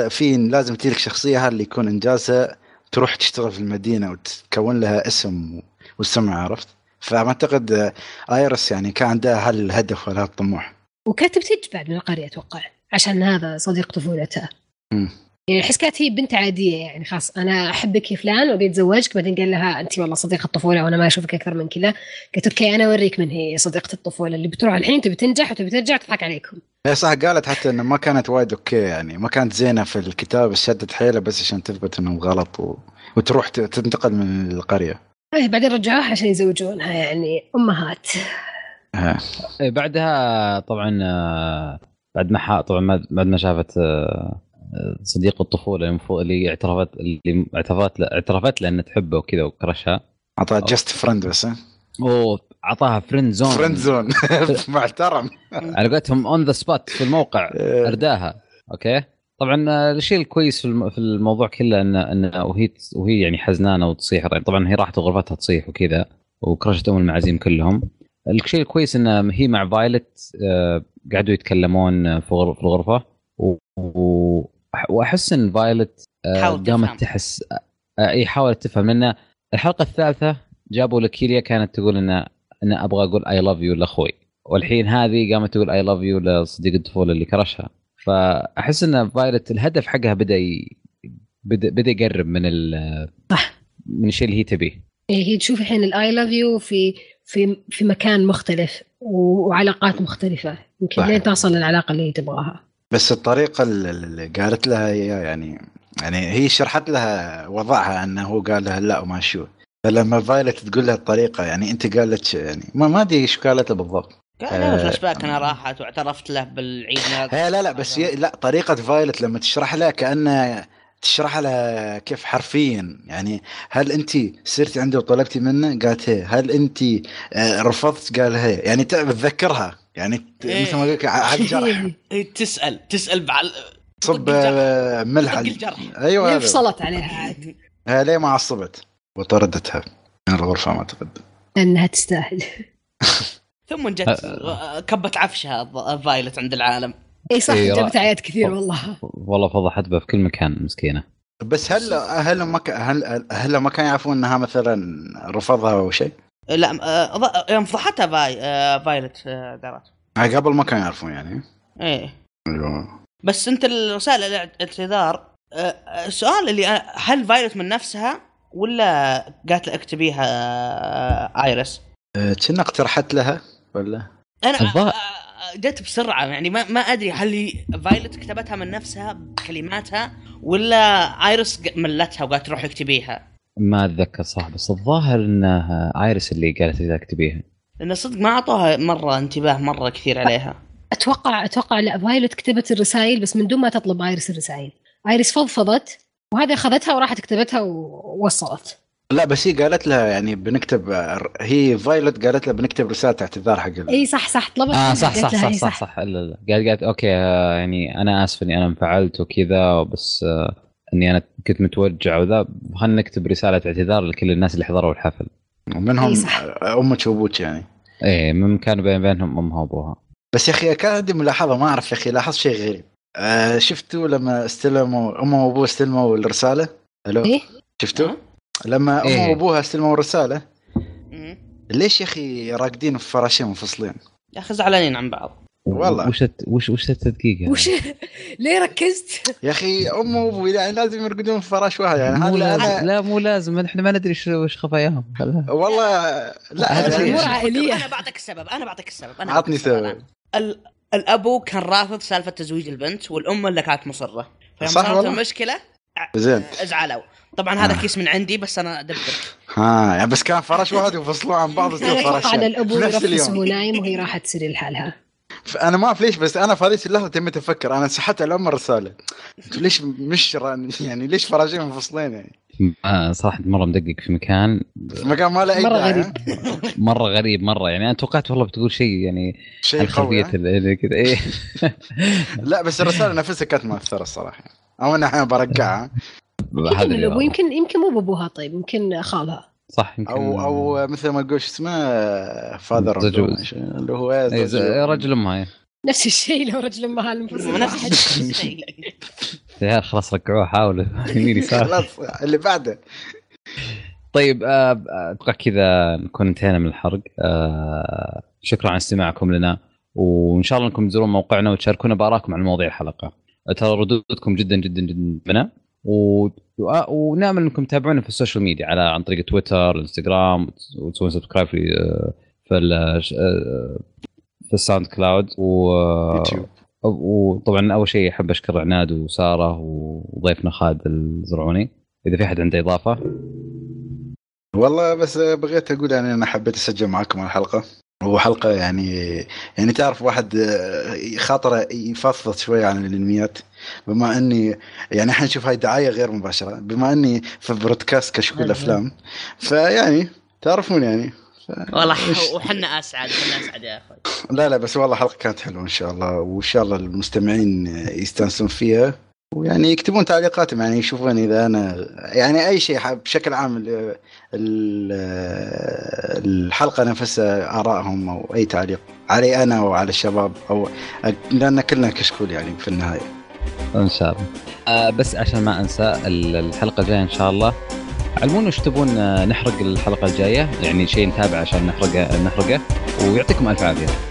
في لازم تجيلك شخصيه هذا اللي يكون انجازها تروح تشتغل في المدينه وتكون لها اسم والسمعه عرفت؟ فاعتقد آه، ايرس يعني كان عندها هالهدف ولا الطموح وكانت بتجبد من القريه اتوقع عشان هذا صديق طفولتها مم. يعني احس كانت هي بنت عاديه يعني خلاص انا احبك يا فلان وابي اتزوجك بعدين قال لها انت والله صديقه الطفوله وانا ما اشوفك اكثر من كذا قالت اوكي انا اوريك من هي صديقه الطفوله اللي بتروح الحين تبي تنجح وتبي ترجع تضحك عليكم هي صح قالت حتى انه ما كانت وايد اوكي يعني ما كانت زينه في الكتاب بس شدت حيلها بس عشان تثبت انهم غلط و... وتروح ت- تنتقل من القريه إيه، بعدين رجعوها عشان يزوجونها يعني امهات ها. إيه، بعدها طبعا آه، بعد ما ح- طبعا ما- بعد ما شافت آه، آه، صديق الطفوله المفروض اللي اعترفت اللي اعترفت له اعترفت له انها تحبه وكذا وكرشها اعطاها جاست فرند بس ها؟ واعطاها فريند زون فرند زون محترم على قولتهم اون ذا سبوت في الموقع آه. ارداها اوكي طبعا آه، الشيء الكويس في الم- في الموضوع كله ان ان وهي وهي يعني حزنانه وتصيح طبعا هي راحت غرفتها تصيح وكذا وكرشت ام المعازيم كلهم الشيء الكويس ان هي مع فايلت آه، قعدوا يتكلمون آه، في غر- في الغرفه و- و- واحس ان فايلت آه، حاولت تفهم. قامت تحس آه، اي حاولت تفهم لان الحلقه الثالثه جابوا لكيليا كانت تقول ان انا ابغى اقول اي لاف يو لاخوي والحين هذه قامت تقول اي لاف يو لصديق الطفوله اللي كرشها فاحس ان فايلت الهدف حقها بدا ي... بدا بدا يقرب من ال صح. من الشيء اللي هي تبيه يعني هي تشوف الحين الاي لاف يو في في في مكان مختلف و- وعلاقات مختلفه يمكن صح. لين توصل للعلاقه اللي هي تبغاها بس الطريقه ال- ال- اللي قالت لها اياه يعني يعني هي شرحت لها وضعها انه هو قال لها لا وما شو فلما فايلت تقول لها الطريقه يعني انت قالت ش- يعني ما ما ادري ايش قالت له بالضبط قال انا آه. فلاش باك انا راحت واعترفت له بالعيد ميلاد هي لا لا بس هي لا طريقه فايلت لما تشرح لها كانها تشرح لها كيف حرفيا يعني هل انت سرتي عنده وطلبتي منه؟ قالت هي هل انت آه، رفضت؟ قال هي يعني ت- بتذكرها يعني ت- إيه. مثل ما قلت لك ع- على الجرح إيه، تسال تسال بعل صب طق الجرح. آه، ملح طق على- الجرح ايوه هذا. انفصلت عليها عاد آه، ليه ما عصبت وطردتها من الغرفه ما اعتقد لانها تستاهل ثم جت آه. آه، كبت عفشها الض- فايلت عند العالم اي صح إيه، جابت رأ- عياد كثير والله والله فضحت به في كل مكان مسكينه بس هل هل ما ك- هل هل ما كانوا يعرفون انها مثلا رفضها او شيء؟ لا آه، ض- يوم فضحتها باي آه، فايلت آه، درات آه، قبل ما كانوا يعرفون يعني ايه أيوه. بس انت الرسائل الاعتذار آه، آه، السؤال اللي أنا- هل فايلت من نفسها ولا قالت له اكتبيها آه، ايرس؟ آه، كنا اقترحت لها ولا؟ انا الظاهر- آه، جت بسرعه يعني ما ما ادري هل هي- فايلت كتبتها من نفسها بكلماتها ولا ايرس ق- ملتها وقالت روحي اكتبيها ما اتذكر صح بس الظاهر انها ايرس اللي قالت لي تكتبيها لان صدق ما اعطوها مره انتباه مره كثير عليها اتوقع اتوقع لا فايلوت كتبت الرسائل بس من دون ما تطلب ايرس الرسائل ايرس فضفضت وهذه اخذتها وراحت كتبتها ووصلت لا بس هي قالت لها يعني بنكتب هي فايلت قالت لها بنكتب رساله اعتذار حق ال- اي صح صح طلبت اه منها، صح قالت صح لها صح إي صح صح لا لا قالت قالت اوكي آه، يعني انا اسف اني انا انفعلت وكذا بس آه، اني انا كنت متوجع وذا خلينا نكتب رساله اعتذار لكل الناس اللي حضروا الحفل ومنهم إي إيه، صح. امك وابوك يعني ايه من كان بين بينهم امها وابوها بس يا اخي كان عندي ملاحظه ما اعرف يا اخي لاحظت شيء غريب آه شفتوا لما استلموا امه وابوه استلموا الرساله الو إيه؟ شفتوا لما امه إيه. وابوها استلموا الرساله مم. ليش يا اخي راقدين في فراشين منفصلين يا اخي زعلانين عن بعض والله. وش الت- وش وش التدقيق يعني؟ هذا؟ وش ليه ركزت؟ يا اخي امه وابوه يعني لازم يرقدون في فراش واحد يعني مو هذا لازم هذا- لا مو لازم احنا ما ندري شو- وش خفاياهم خلاص. والله لا هذا يعني- أمور عائلية. انا بعطيك السبب انا بعطيك السبب انا عطني بعطيك السبب سبب. الآن. ال... الابو كان رافض سالفه تزويج البنت والام اللي كانت مصره فلما صح صارت والله. آه. المشكله زين ازعلوا طبعا هذا كيس من عندي بس انا ادبر ها يعني بس كان فراش واحد وفصلوه عن بعض انا إيه، وصار اتوقع ان فراشين الابو في نفس يرفس وهو اليوم نايم وهي راحت تسري لحالها انا ما اعرف ليش بس انا في هذه اللحظه تميت افكر انا سحبت على ام الرساله قلت ليش مش ران- يعني ليش فراشين منفصلين يعني آه، صراحه مره مدقق في مكان في مكان ما له اي مرة داعي، غريب. ها؟ مره غريب مره يعني انا توقعت والله بتقول شيء يعني عن شيء خلفيه قوي ها؟ ال- ال- كذا ايه لا بس الرساله نفسها كانت مؤثره الصراحه او انا الحين برقعها هذا يمكن اللي الابو والله. يمكن يمكن مو بابوها طيب يمكن خالها صح يمكن او او مثل ما تقول شو اسمه فاذر زجوج. اللي هو إيه، إيه، زجوج. رجل امها إيه. نفس الشيء لو رجل امها المنفصل نفس واحد الشيء. يا خلاص ركعوه حاولوا يمين يسار خلاص اللي بعده طيب آه، آه، اتوقع كذا نكون انتهينا من الحرق آه، شكرا على استماعكم لنا وان شاء الله انكم تزورون موقعنا وتشاركونا بارائكم عن مواضيع الحلقه ترى ردودكم جدا جدا جدا منا و... و- ونامل انكم تتابعونا في السوشيال ميديا على عن طريق تويتر انستغرام وتسوون سبسكرايب في آه، في, ال... آه، في الساوند كلاود و... يوتيوب وطبعا اول شيء احب اشكر عناد وساره وضيفنا خالد الزرعوني اذا في احد عنده اضافه والله بس بغيت اقول يعني انا حبيت اسجل معاكم الحلقه وحلقة يعني يعني تعرف واحد آه، خاطره يفضفض شوية عن الانميات بما اني يعني احنا نشوف هاي دعاية غير مباشرة بما اني في برودكاست كشكول افلام فيعني تعرفون يعني والله ح- وحنا اسعد حنا اسعد يا اخوي لا لا بس والله حلقة كانت حلوة ان شاء الله وان شاء الله المستمعين يستانسون فيها ويعني يكتبون تعليقاتهم يعني يشوفون اذا انا يعني اي شيء حاب- بشكل عام ال- ال- الحلقة نفسها ارائهم او اي تعليق علي انا وعلى الشباب او لان كلنا كشكول يعني في النهاية ان شاء الله آه بس عشان ما انسى ال- الحلقه الجايه ان شاء الله علمونا وش تبون آه، نحرق الحلقه الجايه يعني شيء نتابعه عشان نحرقه نحرقه ويعطيكم الف عافيه